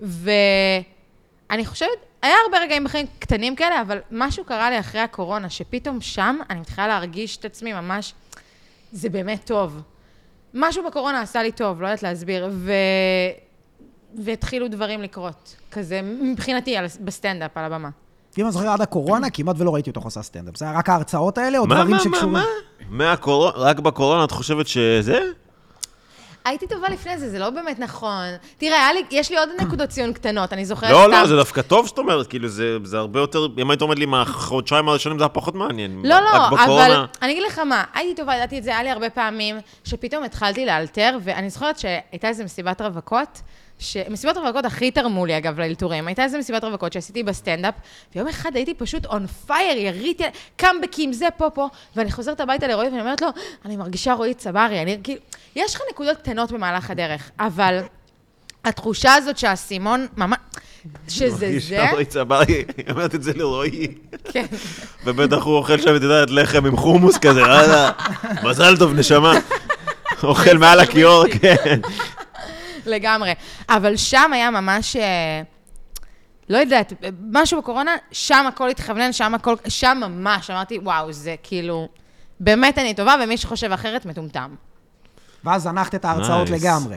S3: ואני חושבת, היה הרבה רגעים בחיים קטנים כאלה, אבל משהו קרה לי אחרי הקורונה, שפתאום שם אני מתחילה להרגיש את עצמי ממש, זה באמת טוב. משהו בקורונה עשה לי טוב, לא יודעת להסביר, ו... והתחילו דברים לקרות, כזה, מבחינתי, על... בסטנדאפ, על הבמה.
S1: אם אני זוכר, עד הקורונה כמעט ולא ראיתי אותך עושה סטנדאפ. זה היה רק ההרצאות האלה, או
S2: כן. מה,
S1: לא, דברים
S2: מה, מה,
S1: שקשורים...
S2: מה? מהקורונה, רק בקורונה את חושבת שזה?
S3: הייתי טובה לפני זה, זה לא באמת נכון. תראה, היה לי, יש לי עוד נקודות ציון קטנות, אני זוכרת
S2: לא,
S3: סתם-
S2: לא, זה דווקא טוב שאת אומרת, כאילו, זה זה הרבה יותר, אם היית אומרת לי מהחודשיים הראשונים זה היה פחות מעניין.
S3: לא,
S2: רק
S3: לא, אבל
S2: בקורונה.
S3: אני אגיד לך מה, הייתי טובה, ידעתי את זה, היה לי הרבה פעמים, שפתאום התחלתי לאלתר, ואני זוכרת שהייתה איזו מסיבת רווקות, ש... מסיבת רווקות הכי תרמו לי, אגב, לאלתורים. הייתה איזו מסיבת רווקות שעשיתי בסטנדאפ, ויום אחד הייתי פשוט און פייר, יריתי, קאמבקים, זה פה, פה, ואני חוזרת הביתה לרועי ואני אומרת לו, אני מרגישה רועי צברי, אני כאילו... יש לך נקודות קטנות במהלך הדרך, אבל התחושה הזאת שהאסימון ממש... שזה זה,
S2: מרגישה רועי צברי, אוקיי, לא, היא אומרת את זה לרועי.
S3: כן.
S2: ובטח הוא אוכל שם, את יודעת, לחם עם חומוס כזה, יאללה, מזל טוב, נשמה. אוכל מעל הכיור, כן.
S3: לגמרי. אבל שם היה ממש... אה, לא יודעת, אה, משהו בקורונה, שם הכל התכוונן, שם הכל... שם ממש, אמרתי, וואו, זה כאילו... באמת אני טובה, ומי שחושב אחרת, מטומטם.
S1: ואז זנחת את ההרצאות
S2: Nice.
S1: לגמרי.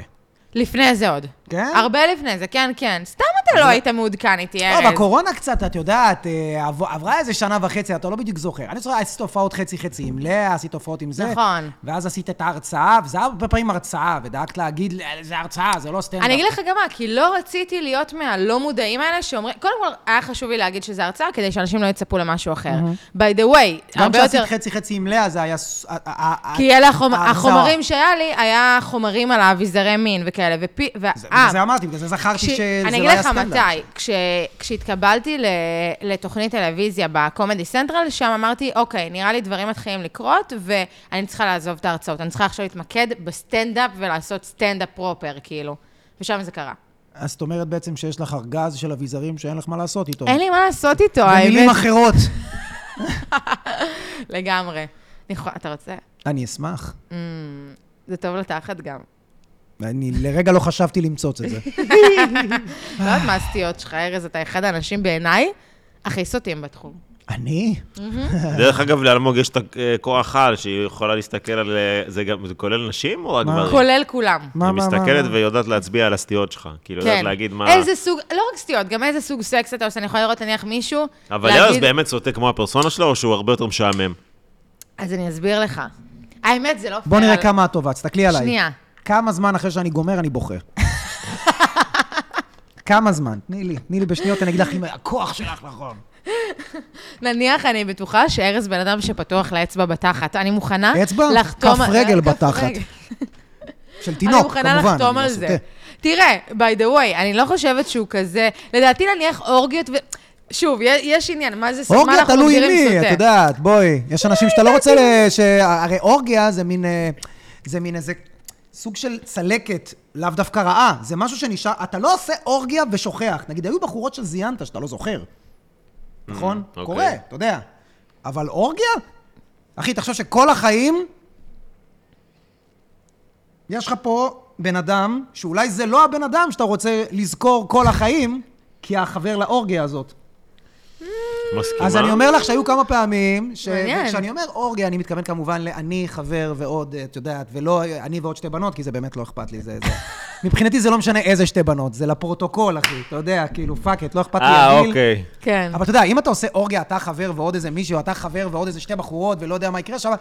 S3: לפני זה עוד.
S1: כן?
S3: הרבה לפני זה, כן, כן. סתם אתה לא היית מעודכן איתי,
S1: לא,
S3: ארז.
S1: בקורונה קצת, את יודעת, אה, עב- עברה איזה שנה וחצי, אתה לא בדיוק זוכר. אני זוכר, עשית הופעות חצי-חצי עם לאה, עשית הופעות עם זה.
S3: נכון.
S1: ואז עשית את ההרצאה, וזה היה הרבה פעמים הרצאה, ודאגת להגיד, "אה, זה הרצאה, זה לא סטנדאפ.
S3: אני אגיד לך גם מה, כי לא רציתי להיות מהלא מודעים האלה שאומרים... קודם כל, היה חשוב לי להגיד שזה הרצאה, כדי שאנשים לא יצפו למשהו אחר. by the way,
S1: גם
S3: הרבה
S1: כשעשית
S3: יותר...
S1: חצי-חצי עם לאה, זה היה... ס- ה- ה- ה-
S3: כי אלה החומ...
S1: ההרצאה.
S3: החומרים שהיה לי, היה חומרים על האביזרי מין וכאלה, ופי... ו...
S1: זה-
S3: אה,
S1: בגלל זה אמרתי, בגלל זה זכרתי
S3: כש-
S1: שזה
S3: אני
S1: לא
S3: אגיד
S1: היה
S3: לך
S1: סטנדאפ.
S3: מתי, כש... כשהתקבלתי ל... לתוכנית טלוויזיה בקומדי סנטרל, שם אמרתי, אוקיי, נראה לי דברים מתחילים לקרות, ואני צריכה לעזוב את ההרצאות, אני צריכה עכשיו להתמקד בסטנדאפ ולעשות סטנדאפ פרופר, כאילו. ושם זה קרה.
S1: אז זאת אומרת בעצם שיש לך ארגז של אביזרים שאין לך מה לעשות איתו.
S3: אין לי מה לעשות איתו,
S1: במילים
S3: האמת.
S1: אחרות.
S3: לגמרי. אני יכולה- אתה רוצה?
S1: אני אשמח.
S3: Mm, זה טוב לתחת גם.
S1: אני לרגע לא חשבתי למצוץ את זה.
S3: לא יודעת מה הסטיות שלך, ארז, אתה אחד האנשים בעיניי הכי סוטים בתחום.
S1: אני?
S2: דרך אגב, לאלמוג יש את הכוח על, שהיא יכולה להסתכל על... אה, זה גם, זה כולל נשים או רק
S1: מה?
S2: גברים?
S3: כולל כולם.
S1: מה, מה,
S2: היא
S1: מה,
S2: מסתכלת
S1: מה?
S2: ויודעת להצביע על הסטיות שלך. כאילו, יודעת
S3: כן.
S2: להגיד מה...
S3: איזה סוג, לא רק סטיות, גם איזה סוג סקס אתה עושה. אני יכולה לראות נניח מישהו,
S2: אבל ארז באמת סוטה כמו הפרסונה שלו, או שהוא הרבה יותר משעמם?
S3: אז אני אסביר לך. האמת, זה לא פייר.
S1: בוא נראה
S3: על-
S1: כמה את טובה, תסתכלי עליי.
S3: שנייה.
S1: כמה זמן אחרי שאני גומר אני בוכה. כמה זמן? תני לי, תני לי בשניות, אני אגיד לך אם הכוח שלך נכון.
S3: נניח, אני בטוחה שארז בן אדם שפתוח לאצבע בתחת. אני מוכנה
S1: אצבע?
S3: לחתום... אה,
S1: כף רגל
S3: כף
S1: בתחת.
S3: רגל.
S1: של תינוק, כמובן.
S3: אני מוכנה לחתום
S1: לא
S3: על זה.
S1: סוטה.
S3: תראה, by the way, אני לא חושבת שהוא כזה... לדעתי נניח אורגיות ו... שוב, יש- יש עניין, מה זה סוטה?
S1: אורגיה תלוי עם מי, את יודעת, בואי. יש אנשים שאתה לא רוצה ל... ש- הרי אורגיה זה מין... אה, זה מין איזה סוג של צלקת, לאו דווקא רעה. זה משהו שנשאר... אתה לא עושה אורגיה ושוכח. נגיד, היו בחורות שזיינת שאתה לא זוכר. נכון?
S2: אוקיי.
S1: קורה, אתה יודע. אבל אורגיה? אחי, תחשוב שכל החיים... יש לך פה בן אדם, שאולי זה לא הבן אדם שאתה רוצה לזכור כל החיים, כי החבר לאורגיה הזאת.
S2: מסכימה?
S1: אז אני אומר לך שהיו כמה פעמים, ש-
S3: מעניין.
S1: וכשאני אומר אורגיה, אני מתכוון כמובן לאני, חבר ועוד, אה, את יודעת, ולא אני ועוד שתי בנות, כי זה באמת לא אכפת לי, זה... זה. מבחינתי זה לא משנה איזה שתי בנות, זה לפרוטוקול, אחי, אתה יודע, כאילו, פאק את, לא אכפת לי
S2: אה,
S1: הגיל.
S2: אוקיי.
S3: כן.
S1: אבל אתה יודע, אם אתה עושה אורגיה, אתה חבר ועוד איזה מישהו, אתה חבר ועוד איזה שתי בחורות, ולא יודע מה יקרה שם,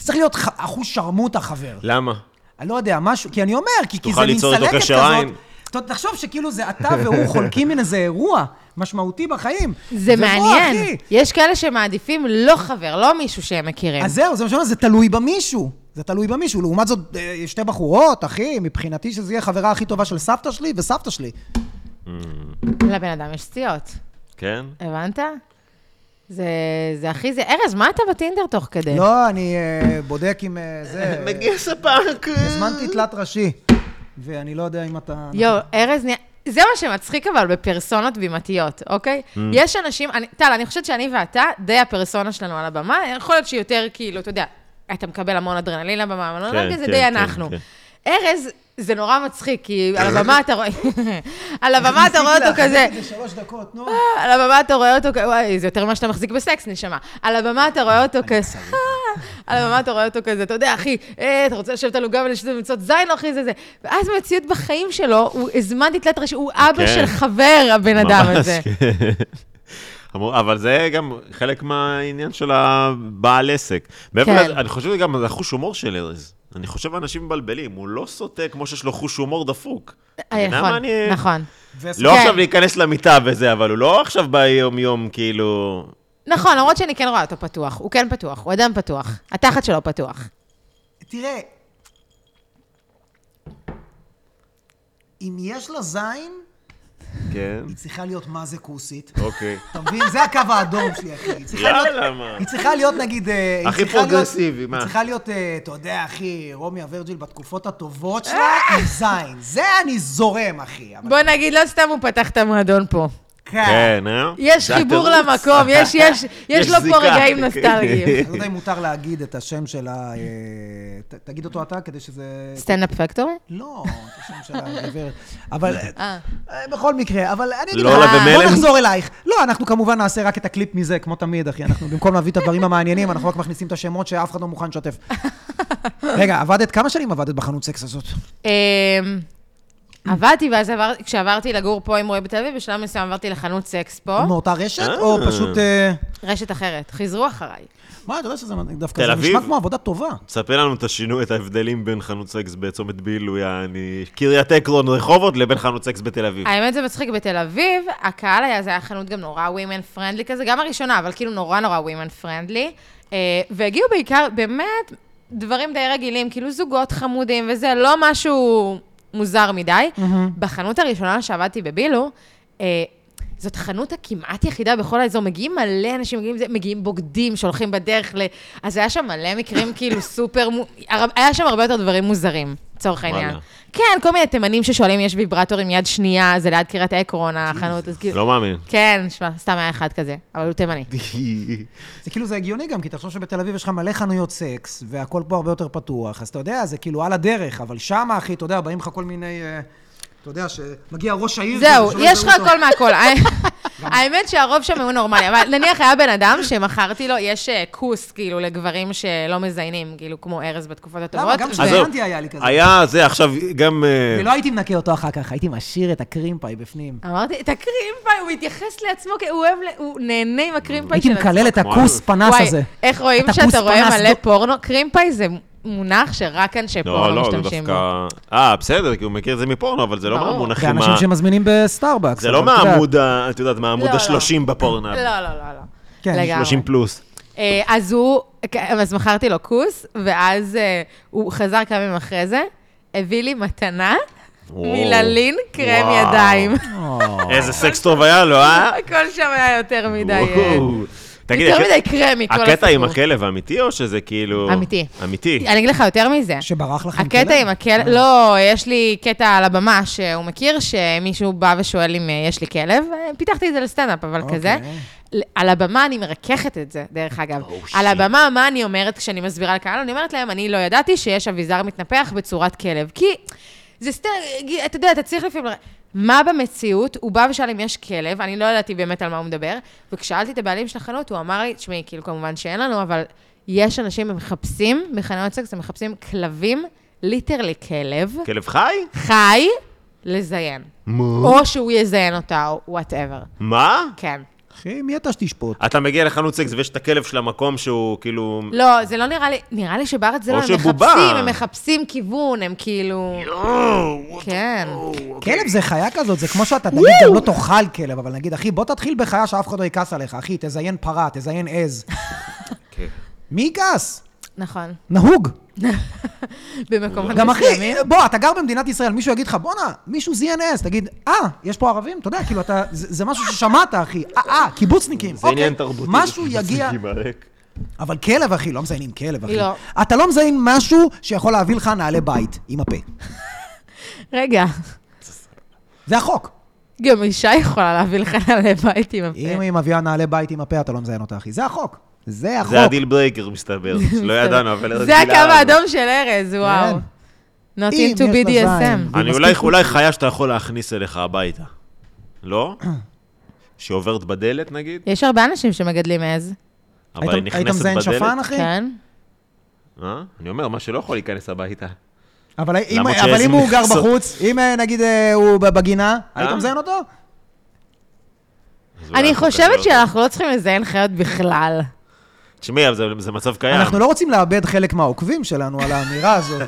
S1: זה צריך להיות ח- אחוז שרמוטה חבר.
S2: למה?
S1: אני לא יודע, משהו, כי אני אומר, כי, כי
S2: שתוכל
S1: זה מין
S2: ליצור איתו
S1: צלקת
S2: קשר
S1: כזאת.
S2: עין.
S1: אתה תחשוב שכאילו זה אתה והוא חולקים מין איזה אירוע משמעותי בחיים.
S3: זה
S1: ובוא,
S3: מעניין.
S1: אחי,
S3: יש כאלה שמעדיפים לא חבר, לא מישהו שהם מכירים.
S1: אז זהו, זה מה שאני אומר, זה תלוי במישהו. זה תלוי במישהו. לעומת זאת, אה, שתי בחורות, אחי, מבחינתי שזה יהיה החברה הכי טובה של סבתא שלי וסבתא שלי.
S3: כן. לבן אדם יש סטיות,
S2: כן?
S3: הבנת? זה, זה הכי זה. ארז, מה אתה בטינדר תוך כדי?
S1: לא, אני אה, בודק עם אה, זה...
S2: מגיע ספק.
S1: הזמנתי תלת ראשי, ואני לא יודע אם אתה...
S3: יואו, ארז נהיה... זה מה שמצחיק אבל בפרסונות בימתיות, אוקיי? Mm. יש אנשים, אני- טל, אני חושבת שאני ואתה, די הפרסונה שלנו על הבמה, יכול להיות שיותר כאילו, אתה יודע, אתה מקבל המון אדרנלין על הבמה, אבל
S2: כן,
S3: כן, זה
S2: כן,
S3: די
S2: כן,
S3: אנחנו.
S2: כן.
S3: ארז, זה נורא מצחיק, כי על הבמה אתה רואה, על הבמה אתה רואה אותו
S1: ניסיתי
S3: כזה,
S1: להחזיק
S3: לא.
S1: לא, את זה שלוש דקות, נו.
S3: "אה, על הבמה אתה רואה אותו, כ- וואי, זה יותר ממה שאתה מחזיק בסקס, נשמה. על הבמה אתה רואה אותו כזה, על הבמה אתה רואה אותו כזה, אתה יודע, אחי, אה, אתה רוצה לשבת על עוגה ולמצוא זין, לא, אחי, זה זה. ואז במציאות בחיים שלו, הוא הזמנתי תלת ראשי, הוא אבא
S2: כן.
S3: של חבר, הבן אדם הזה.
S2: אמרו, אבל זה גם חלק מהעניין של הבעל עסק. מעבר
S3: כן.
S2: לזה, אני חושב שזה גם זה החוש הומור של ארז. אני חושב אנשים מבלבלים, הוא לא סוטה כמו שיש לו חוש הומור דפוק. אתה
S3: אה,
S2: יודע מה
S3: נכון,
S2: אני-
S3: נכון.
S1: וסבתא.
S2: לא
S3: כן.
S2: עכשיו להיכנס למיטה וזה, אבל הוא לא עכשיו ביום-יום, כאילו...
S3: נכון, למרות שאני כן רואה אותו פתוח, הוא כן פתוח, הוא אדם פתוח. התחת שלו פתוח.
S1: תראה, אם יש לה זין,
S2: כן,
S1: היא צריכה להיות מה זה כוסית.
S2: אוקיי.
S1: אתה מבין? זה הקו האדום שלי, אחי. היא צריכה להיות...
S2: יאללה, מה?
S1: היא צריכה להיות, נגיד... אה, היא
S2: הכי
S1: צריכה להיות-
S2: פרוגרסיבי, מה?
S1: היא צריכה להיות, אה, אתה יודע, אחי, רומי אברג'יל בתקופות הטובות שלה, עם זין. זה אני זורם, אחי. אבל
S3: אה! בוא נגיד, לא סתם הוא פתח את המועדון פה.
S1: כן.
S2: כן, אה?
S3: יש
S2: זה
S3: חיבור
S2: התירוץ.
S3: למקום, יש- יש- יש לו
S2: זיקה.
S3: פה רגעים נוסטלגיים.
S1: אני לא יודע אם מותר להגיד את השם שלה, אה, ת- תגיד אותו אתה, כדי שזה...
S3: סטנדאפ פקטורי?
S1: לא, את השם של הגברת. אבל
S3: אה.
S1: אה, בכל מקרה, אבל אני אגיד לך,
S2: לא
S3: אה,
S1: בוא
S2: למלם.
S1: נחזור אלייך. לא, אנחנו כמובן נעשה רק את הקליפ מזה, כמו תמיד, אחי. אנחנו במקום להביא את הדברים המעניינים, אנחנו רק מכניסים את השמות שאף אחד לא מוכן לשתף. רגע, עבדת, כמה שנים עבדת בחנות סקס הזאת?
S3: אמ, עבדתי, ואז עבר- כשעברתי לגור פה עם רועי בתל אביב, בשלב מסוים עברתי לחנות סקס פה,
S1: מאותה רשת,
S2: אה.
S1: או פשוט... אה,
S3: רשת אחרת. חזרו אחריי.
S1: מה, אתה יודע שזה דווקא,
S2: תל
S1: זה נשמע
S2: אביב?
S1: כמו עבודה טובה.
S2: תספר לנו את השינוי, את ההבדלים בין חנות סקס בצומת בילו, יעני, קריית עקרון רחובות, לבין חנות סקס בתל אביב.
S3: האמת זה מצחיק, בתל אביב, הקהל היה, זה היה חנות גם נורא ווימן פרנדלי כזה, גם הראשונה, אבל כאילו נורא נורא ווימן פרנדלי. והגיעו בעיקר, באמת, דברים די רגילים, כאילו זוגות חמודים וזה, לא משהו מוזר מדי.
S1: Mm.
S3: בחנות הראשונה שעבדתי בבילו, אה, זאת חנות הכמעט יחידה בכל האזור, מגיעים מלא אנשים, מגיעים, זה, מגיעים בוגדים שהולכים בדרך ל... אז היה שם מלא מקרים כאילו סופר, מו- הר- היה שם הרבה יותר דברים מוזרים, לצורך העניין.
S2: וואלה.
S3: כן, כל מיני תימנים ששואלים אם יש ויברטור עם יד שנייה, זה ליד קריית עקרון, החנות, אז כאילו...
S2: לא מאמין.
S3: כן, שמע, סתם היה אחד כזה, אבל הוא תימני.
S1: זה כאילו, זה הגיוני גם, כי תחשוב שבתל אביב יש לך מלא חנויות סקס, והכל פה הרבה יותר פתוח, אז אתה יודע, זה כאילו על הדרך, אבל שמה, אחי, אתה יודע, באים לך כל מיני... אה, אתה יודע, שמגיע ראש העיר...
S3: זהו,
S1: כזה, שואל
S3: יש לך
S1: אותו.
S3: הכל מהכל. האמת שהרוב שם הוא נורמלי, אבל נניח היה בן אדם שמכרתי לו, יש אה, כוס, כאילו, לגברים שלא מזיינים, כאילו, כמו ארז בתקופות הטובות.
S1: למה? גם
S3: ו-
S1: כשזה- באירלנדיה היה לי כזה.
S2: היה זה, עכשיו גם... אה,
S3: לא
S1: ולא הייתי מנקה אותו אחר כך, הייתי משאיר את הקרימפאי בפנים.
S3: אמרתי, את הקרימפאי, הוא מתייחס לעצמו, כי הוא אוהב, ל- הוא נהנה עם הקרימפאי
S1: הייתי
S3: של עצמו.
S1: מקלל את הכוס פנס
S3: אה, וואי,
S1: הזה.
S3: איך רואים
S1: אתה כוס
S3: שאתה רואה
S1: פנס
S3: מלא
S1: דו-
S3: פורנו? קרימפאי זה מונח שרק אנשי
S2: לא,
S3: פורנו
S2: לא, זה
S3: משתמשים בו.
S2: דווקא... אה, בסדר, כי הוא מכיר את זה מפורנו, אבל זה לא
S3: ברור.
S1: זה
S2: מהמונחים
S1: אנשים
S2: ה...
S1: שמזמינים בסטארבקס.
S2: זה לא
S1: אבל אתה יודע,
S2: מהעמוד ה... את יודעת, מהעמוד
S3: לא, לא.
S2: ה-30 בפורנאב.
S3: לא, לא, לא, לא.
S1: כן,
S3: לגמרי.
S2: 30 פלוס.
S3: אה, אז הוא, אז מכרתי לו כוס, ואז אה, הוא חזר כמה ימים אחרי זה, הביא לי מתנה
S2: וואו.
S3: מללין קרם
S2: וואו.
S3: ידיים.
S1: או,
S2: איזה סקס טוב היה לו, אה?
S3: הכל שם היה יותר אה. מדי, אה,
S2: וואו. תגיד,
S3: יותר
S2: הקט-
S3: מדי קרמי, כל הסיפור.
S2: הקטע עם הכלב אמיתי, או שזה כאילו...
S3: אמיתי.
S2: אמיתי.
S3: אני אגיד לך יותר מזה.
S1: שברח לכם
S3: הקטע עם הכלב, לא, יש לי קטע על הבמה שהוא מכיר, שמישהו בא ושואל אם אה, יש לי כלב, אה, פיתחתי את זה לסטנדאפ, אבל
S1: אוקיי.
S3: כזה. ל- על הבמה אני מרככת את זה, דרך אגב.
S2: Oh,
S3: על
S2: shit.
S3: הבמה, מה אני אומרת כשאני מסבירה לקהל? אני אומרת להם, אני לא ידעתי שיש אביזר מתנפח בצורת כלב. כי זה סתם, אתה יודע, אתה צריך לפעמים... ל- מה במציאות? הוא בא ושאל אם יש כלב, אני לא ידעתי באמת על מה הוא מדבר, וכשאלתי את הבעלים של החנות, הוא אמר לי, תשמעי, כאילו, כמובן שאין לנו, אבל יש אנשים שמחפשים, בחנויות סקס, הם מחפשים כלבים, ליטרלי כלב,
S2: כלב חי?
S3: חי, לזיין.
S2: מה?
S3: או שהוא יזיין אותה, או וואטאבר.
S2: מה?
S3: כן.
S1: אחי, מי אתה שתשפוט?
S2: אתה מגיע לחנות סקס ויש את הכלב של המקום שהוא כאילו...
S3: לא, זה לא נראה לי, נראה לי שבארץ זה
S2: או
S3: לא, הם
S2: שבובה.
S3: מחפשים, הם מחפשים כיוון, הם כאילו... כן.
S1: כלב זה חיה כזאת, זה כמו שאתה נגיד גם לא תאכל כלב, אבל נגיד, אחי, בוא תתחיל בחיה שאף אחד לא יכעס עליך, אחי, תזיין פרה, תזיין עז.
S2: כן.
S1: מי יכעס?
S3: נכון.
S1: נהוג.
S3: במקומות
S1: גם אחי,
S3: מסוימים.
S1: בוא, אתה גר במדינת ישראל, מישהו יגיד לך, בואנה, מישהו זיין עז, תגיד, אה, יש פה ערבים? אתה יודע, כאילו, אתה, זה זה משהו ששמעת, אחי, אה, אה, קיבוצניקים.
S2: זה עניין
S1: אוקיי,
S2: תרבותי.
S1: משהו יגיע,
S2: זה ייבדק.
S1: אבל כלב, אחי, לא מזיינים כלב, אחי.
S3: לא.
S1: אתה לא מזיין משהו שיכול להביא לך נעלי בית, עם הפה.
S3: רגע,
S1: זה החוק.
S3: גם אישה יכולה להביא לך נעלי בית עם הפה.
S1: אם היא מביאה נעלי בית עם הפה, אתה לא מזיין אותה, אחי. זה החוק. זה החוק.
S2: זה הדיל ברייקר מסתבר, שלא ידענו, אבל... ארז
S3: זה הקו
S2: לא, גילה-
S3: האדום של ארז, וואו. Not
S1: כן. אם
S3: into
S1: יש לה זין.
S3: BDSM.
S1: והיא
S2: אני
S1: מספיק
S2: אולי,
S1: כוסית.
S2: אולי חיה שאתה יכול להכניס אליך הביתה. לא? שעוברת בדלת נגיד,
S3: יש הרבה אנשים שמגדלים עז.
S2: אבל
S1: היית-
S2: היא נכנסת
S1: היית
S2: בדלת.
S1: מזיין שפן, אחי?
S3: כן?
S2: אה? אני אומר, מה שלא יכול להיכנס הביתה.
S1: אבל אם-
S2: למרות
S1: אבל
S2: שעז
S1: אם הוא גר
S2: נכנסות.
S1: בחוץ, אם אה, נגיד אה, הוא ב- בגינה, היית
S2: אה?
S1: מזיין אותו?
S2: אז אולי
S3: אני
S2: החוק הזה
S3: חושבת
S2: לא-
S3: שאנחנו לא צריכים לזיין חיות בכלל.
S2: תשמעי, אבל זה, זה מצב קיים.
S1: אנחנו לא רוצים לאבד חלק מהעוקבים שלנו על האמירה הזאת.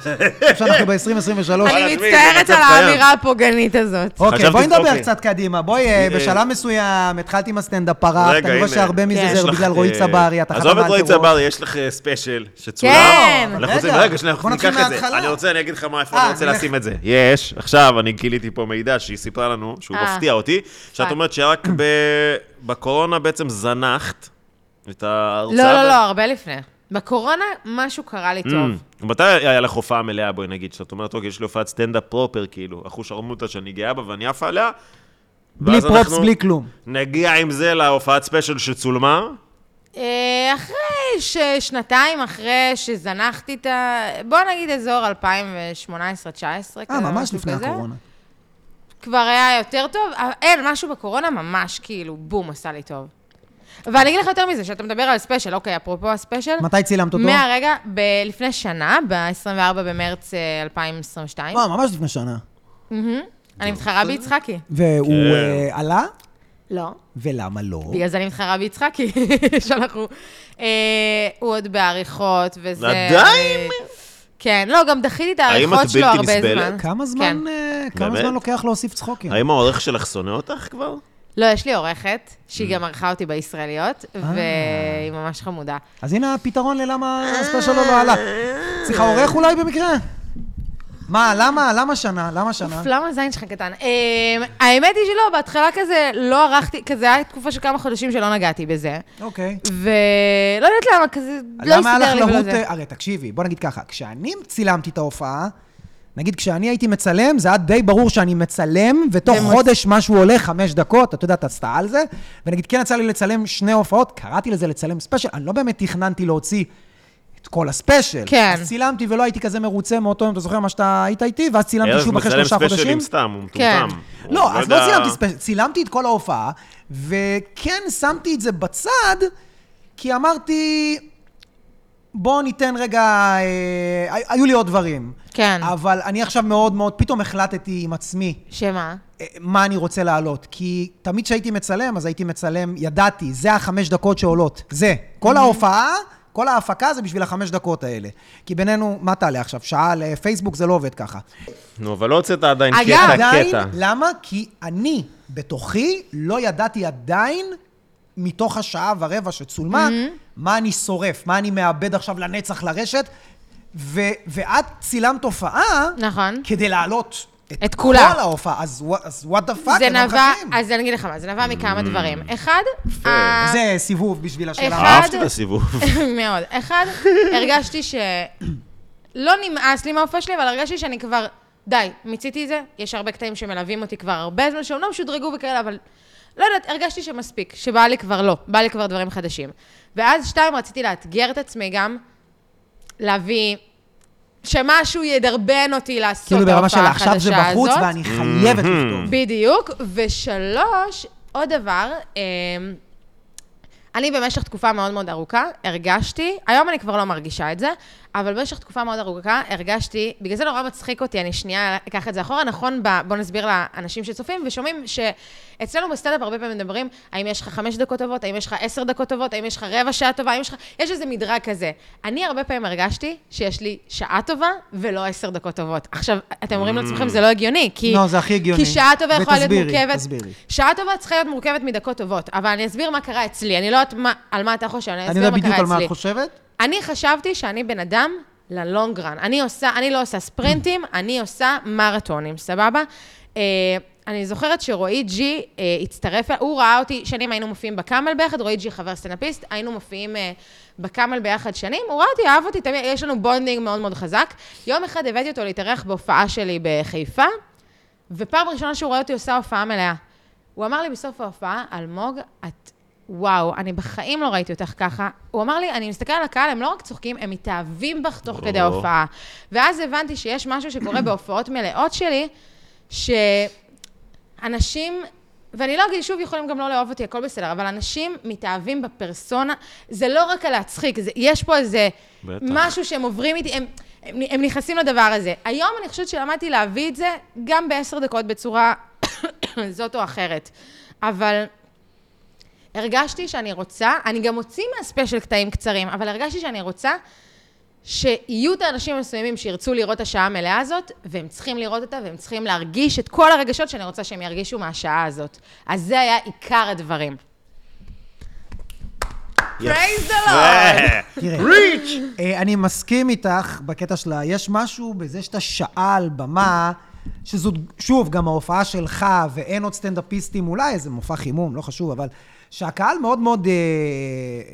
S1: עכשיו שאנחנו ב-2023.
S2: וואלה, תשמעי,
S3: אני מצטערת
S2: זה
S3: על
S2: מצב קיים.
S3: האמירה הפוגענית הזאת.
S1: אוקיי, בואי
S2: חשבתי-
S1: נדבר
S2: אוקיי.
S1: קצת קדימה. בואי, אה,
S2: אה,
S1: בשלב מסוים התחלתי עם הסטנדאפ פרחת,
S2: רגע,
S1: אני רואה
S2: הנה.
S1: שהרבה מזה
S3: כן.
S1: זה
S2: יש לך,
S1: בגלל רועי
S2: אה,
S1: צברי, אתה
S2: עזוב את
S1: חתמה על
S2: רועי
S1: טרור.
S2: צברי, יש לך אה, ספיישל שצולם.
S3: כן,
S2: אנחנו רוצים,
S1: רגע,
S2: רגע, שנייה,
S1: בוא
S2: אנחנו
S1: נתחיל
S2: ניקח את זה.
S1: מההתחלה.
S2: אני רוצה, אני אגיד לך מה, איפה
S1: אה,
S2: אני רוצה
S1: נלך.
S2: לשים את זה. יש, עכשיו אני גיליתי פה מידע שהיא סיפרה לנו, שהוא
S3: אה.
S2: מפתיע אותי, שאת
S3: פאק.
S2: אומרת שרק ב- בקורונה בעצם זנחת את ההרצאה.
S3: לא, לא,
S2: הזאת.
S3: לא, הרבה לפני. בקורונה משהו קרה לי טוב.
S2: אוקיי. Mm. מתי היה לך הופעה מלאה, בואי נגיד, שאת אומרת, אוקיי, יש לי הופעת סטנדאפ פרופר, כאילו, אחושרמוטה שאני גאה בה ואני עפה עליה.
S1: בלי
S2: ואז
S1: פרופס,
S2: אנחנו
S1: בלי כלום.
S2: נגיע עם זה להופעת ספיישל שצולמה.
S3: אה, אחרי ש- שנתיים אחרי שזנחתי את ה... בוא נגיד אזור 2018-2019.
S1: אה, ממש לפני הקורונה.
S3: כבר היה יותר טוב, אבל אין, משהו בקורונה ממש כאילו, בום, עשה לי טוב. ואני אגיד לך יותר מזה, שאתה מדבר על ספיישל, אוקיי, אפרופו הספיישל.
S1: מתי צילמת אותו?
S3: מהרגע, ב- לפני שנה, ב-24 במרץ אה, 2022.
S1: מה, לא, ממש לפני שנה.
S3: אני מתחרה ביצחקי.
S1: והוא
S2: כן.
S1: אה, עלה?
S3: לא.
S1: ולמה לא?
S3: בגלל זה אני מתחרה ביצחקי, שאנחנו... אה, הוא עוד בעריכות, וזה...
S2: עדיין?
S3: אה, כן, לא, גם דחיתי את
S2: האם את
S3: העריכות שלו
S2: בלתי
S3: הרבה
S2: נסבלת?
S3: זמן.
S1: כמה
S3: כן.
S1: זמן אה, כמה
S2: באמת?
S1: זמן לוקח להוסיף צחוקים?
S2: האם העורך שלך שונא אותך כבר?
S3: לא, יש לי עורכת,
S2: Mm.
S3: שהיא גם ערכה אותי בישראליות,
S1: אה.
S3: והיא ממש חמודה.
S1: אז הנה הפתרון ללמה הספיישל לא לא עלה. צריכה עורך אולי במקרה? מה, למה? למה שנה? למה שנה?
S3: אוף, למה הזין שלך קטן? אמ, האמת היא שלא, בהתחלה כזה לא ערכתי, כזה היה תקופה של כמה חודשים שלא נגעתי בזה.
S1: אוקיי.
S3: ולא יודעת למה, כזה לא
S1: למה היה
S3: הסתדר
S1: לך
S3: לי ולא
S1: להוט...
S3: זה.
S1: הרי תקשיבי, בוא נגיד ככה, כשאני צילמתי את ההופעה, נגיד כשאני הייתי מצלם, זה היה די ברור שאני מצלם, ותוך
S3: ומוצ-
S1: חודש משהו עולה, חמש דקות, אתה יודע, אתה עשתה על זה, ונגיד כן יצא לי לצלם שני הופעות, קראתי לזה לצלם ספיישל, אני לא באמת תכננתי להוציא את כל הספיישל.
S3: כן.
S1: אז צילמתי ולא הייתי כזה מרוצה מאותו יום, אתה זוכר מה שאתה היית איתי? ואז צילמתי
S2: ארז
S1: שוב אחרי
S2: מצלם
S1: שלושה
S2: ספיישלים
S1: חודשים.
S2: סתם, הוא
S3: כן.
S2: מטומטם. הוא
S1: לא, אז לא
S2: יודע-
S1: צילמתי ספיישל, צילמתי את כל ההופעה, וכן שמתי את זה בצד, כי אמרתי, בואו ניתן רגע, אה, היו לי עוד דברים.
S3: כן.
S1: אבל אני עכשיו מאוד מאוד, פתאום החלטתי עם עצמי
S3: שמה?
S1: אה, מה אני רוצה להעלות. כי תמיד כשהייתי מצלם, אז הייתי מצלם, ידעתי, זה החמש דקות שעולות. זה. כל ההופעה, כל ההפקה זה בשביל החמש דקות האלה. כי בינינו, מה תעלה עכשיו? שעה לפייסבוק זה לא עובד ככה.
S2: נו, אבל לא הוצאת עדיין
S3: אגב,
S2: קטע,
S1: עדיין,
S2: קטע.
S1: למה? כי אני, בתוכי, לא ידעתי עדיין, מתוך השעה ורבע שצולמה,
S3: Mm-hmm.
S1: מה אני שורף, מה אני מאבד עכשיו לנצח לרשת, ו- ואת צילמת הופעה,
S3: נכון.
S1: כדי להעלות
S3: את כולה.
S1: כל ההופעה, אז ווא- אז what the fuck,
S3: זה
S1: הם
S3: נבע,
S1: ממשיכים.
S3: אז אני אגיד לך מה, זה נבע מכמה דברים. אחד,
S2: Mm. יפה.
S3: ה-
S1: זה סיבוב בשביל השאלה.
S3: אחד-
S2: אהבתי את הסיבוב.
S3: מאוד. אחד, הרגשתי ש... לא נמאס לי מההופעה שלי, אבל הרגשתי שאני כבר... די, מיציתי את זה. יש הרבה קטעים שמלווים אותי כבר הרבה זמן, שאומנם שודרגו וכאלה, אבל... לא יודעת, הרגשתי שמספיק, שבא לי כבר לא, בא לי כבר דברים חדשים. ואז שתיים, רציתי לאתגר את עצמי גם, להביא... שמשהו ידרבן אותי לעשות
S1: כאילו ברמה של
S3: ההופעה
S1: עכשיו זה
S3: החדשה
S1: בחוץ
S3: הזאת."
S1: ואני חייבת לכתוב.
S3: בדיוק. ושלוש, עוד דבר, אמ, אני במשך תקופה מאוד מאוד ארוכה הרגשתי, היום אני כבר לא מרגישה את זה, אבל במשך תקופה מאוד ארוכה הרגשתי, בגלל זה נורא מצחיק אותי, אני שנייה אקח את זה אחורה, נכון, ב, בוא נסביר לאנשים שצופים ושומעים שאצלנו בסטנדאפ הרבה פעמים מדברים, האם יש לך חמש דקות טובות, האם יש לך עשר דקות טובות, האם יש לך רבע שעה טובה, האם יש לך, יש איזה מדרג כזה. אני הרבה פעמים הרגשתי שיש לי שעה טובה ולא עשר דקות טובות. עכשיו, אתם אומרים לעצמכם, זה לא הגיוני, כי...
S1: Mm. לא, זה הכי הגיוני.
S3: כי שעה טובה יכולה להיות
S1: ותסבירי,
S3: מורכבת...
S1: תסבירי.
S3: שעה טובה צריכה להיות מורכבת מדקות טובות, אבל אני אסביר מה קרה אצלי. אני לא יודעת מה- על מה אתה חושב, אני
S1: אני לא
S3: אסביר
S1: יודע
S3: מה
S1: בדיוק
S3: קרה
S1: על מה
S3: אצלי.
S1: את חושבת.
S3: אני חשבתי שאני בן אדם ללונג רן. אני עושה, אני לא עושה ספרינטים, אני עושה מרתונים, סבבה? אה, אני זוכרת שרועי ג'י אה, הצטרף, הוא ראה אותי, שנים היינו מופיעים בקאמל ביחד, רועי ג'י חבר סטנאפיסט, היינו מופיעים אה, בקאמל ביחד שנים, הוא ראה אותי, אהב אותי, תמיד, יש לנו בונדינג מאוד מאוד חזק. יום אחד הבאתי אותו להתארח בהופעה שלי בחיפה, ופעם ראשונה שהוא רואה אותי עושה הופעה מלאה. הוא אמר לי בסוף ההופעה, אלמוג, את... וואו, אני בחיים לא ראיתי אותך ככה. הוא אמר לי, אני מסתכל על הקהל, הם לא רק צוחקים, הם מתאהבים בך תוך כדי
S2: או.
S3: ההופעה. ואז הבנתי שיש משהו שקורה בהופעות מלאות שלי, שאנשים, ואני לא אגיד, שוב, יכולים גם לא לאהוב אותי, הכל בסדר, אבל אנשים מתאהבים בפרסונה, זה לא רק על להצחיק, זה, יש פה איזה
S2: בטח.
S3: משהו שהם עוברים איתי, הם, הם, הם נכנסים לדבר הזה. היום אני חושבת שלמדתי להביא את זה גם בעשר דקות בצורה זאת או אחרת, אבל הרגשתי שאני רוצה, אני גם אוציא מהספיישל קטעים קצרים, אבל הרגשתי שאני רוצה שיהיו את האנשים המסוימים שירצו לראות את השעה המלאה הזאת, והם צריכים לראות אותה, והם צריכים להרגיש את כל הרגשות שאני רוצה שהם ירגישו מהשעה הזאת. אז זה היה עיקר הדברים. Praise the Lord.
S1: תראה, אה, אני מסכים איתך בקטע שלה, יש משהו בזה שאתה שעה על במה, שזו, שוב, גם ההופעה שלך, ואין עוד סטנדאפיסטים, אולי איזה מופע חימום, לא חשוב, אבל שהקהל מאוד מאוד אה,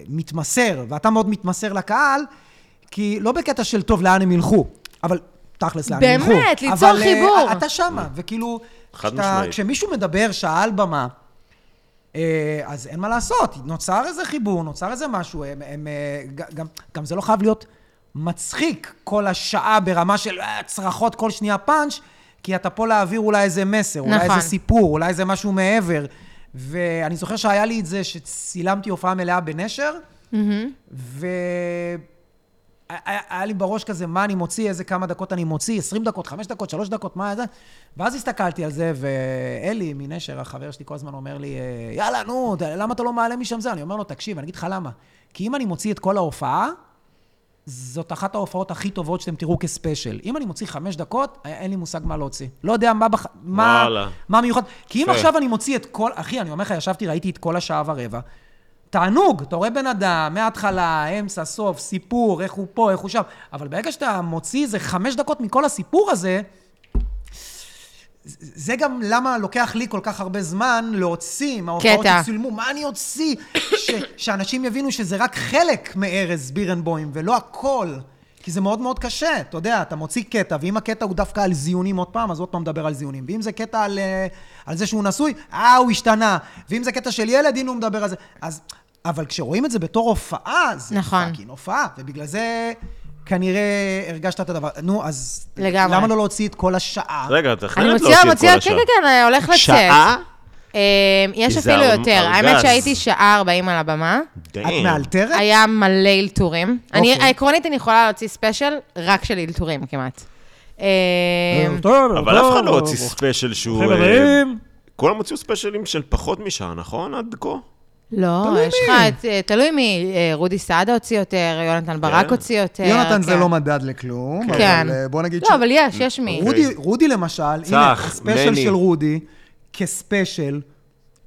S1: מתמסר, ואתה מאוד מתמסר לקהל, כי לא בקטע של טוב, לאן הם ילכו, אבל תכלס, לאן הם
S3: באמת,
S1: ילכו.
S3: ליצור
S1: אבל, אה,
S3: חיבור.
S1: אתה שמה, וכאילו,
S2: חד
S1: כשאתה-
S2: משמעית.
S1: כשמישהו מדבר שעה על במה, אה, אז אין מה לעשות, נוצר איזה חיבור, נוצר איזה משהו, הם, הם, אה, ג- גם, גם זה לא חייב להיות מצחיק כל השעה ברמה של אה, צרחות כל שנייה פאנץ', כי אתה פה להעביר אולי איזה מסר, אולי
S3: נכון.
S1: איזה סיפור, אולי איזה משהו מעבר. ואני זוכר שהיה לי את זה שצילמתי הופעה מלאה בנשר, ו... היה היה לי בראש כזה, מה אני מוציא, איזה כמה דקות אני מוציא, 20 דקות, 5 דקות, 3 דקות, מה זה? ואז הסתכלתי על זה, ואלי מנשר, החבר שלי, כל הזמן אומר לי, אה, יאללה, נו, ת- למה אתה לא מעלה משם זה? אני אומר לו, תקשיב, אני אגיד לך למה. כי אם אני מוציא את כל ההופעה, זאת אחת ההופעות הכי טובות שאתם תראו כספיישל. אם אני מוציא חמש דקות, אה, אין לי מושג מה להוציא. לא יודע מה, בח... מה,
S2: וואלה.
S1: מה מיוחד. כי אם
S2: יפה.
S1: עכשיו אני מוציא את כל... אחי, אני אומר לך, ישבתי, ראיתי את כל השעה ורבע. תענוג, אתה רואה בן אדם, מההתחלה, אמצע, סוף, סיפור, איך הוא פה, איך הוא שם. אבל ברגע שאתה מוציא איזה חמש דקות מכל הסיפור הזה, זה גם למה לוקח לי כל כך הרבה זמן להוציא מההופעות
S3: קטע.
S1: שצולמו, מה אני אוציא? ש, שאנשים יבינו שזה רק חלק מארז בירנבוים, ולא הכל. כי זה מאוד מאוד קשה, אתה יודע, אתה מוציא קטע, ואם הקטע הוא דווקא על זיונים עוד פעם, אז עוד פעם מדבר על זיונים. ואם זה קטע על, אה, על זה שהוא נשוי, אה, הוא השתנה. ואם זה קטע של ילד, הנה הוא מדבר על זה. אז, אבל כשרואים את זה בתור הופעה, זה
S3: נכון.
S1: פאקינג הופעה, ובגלל זה כנראה הרגשת את הדבר. נו, אז
S3: לגמרי.
S1: למה לא להוציא את כל השעה?
S2: רגע, אתה חייב
S3: אני
S2: להוציא את כל אה?
S3: מוציאה,
S2: השעה.
S3: מוציאה, כן, כן, כן, הולך לצאת.
S2: שעה?
S3: אמ, יש
S2: כי זה
S3: אפילו
S2: הר-
S3: יותר. האמת
S2: ארגז.
S3: שהייתי שעה 40 על הבמה.
S1: את
S2: Damn.
S1: מאלתרת?
S3: היה מלא אלתורים. אני,
S1: אוקיי.
S3: עקרונית, אני יכולה להוציא ספיישל רק של אלתורים כמעט. אמ,
S1: אה,
S2: אבל אף אחד לא הוציא ספיישל שהוא...
S1: ברוכים
S2: אה,
S1: הבאים.
S2: כולם הוציאו ספיישלים של פחות משעה, נכון? עד כה?
S3: לא,
S1: תלוי
S3: יש
S1: מי.
S3: לך את... אה, תלוי מי. אה, רודי סעדה הוציא יותר, יונתן ברק הוציא יותר.
S1: כן. יונתן זה
S3: כן.
S1: לא מדד לכלום,
S3: כן.
S1: אבל אה, בוא נגיד ש...
S3: לא, אבל יש, יש מי.
S2: רודי-
S1: רודי, רודי למשל, הנה,
S2: אוקיי. צח,
S1: הספיישל
S2: מני.
S1: של רודי, כספיישל,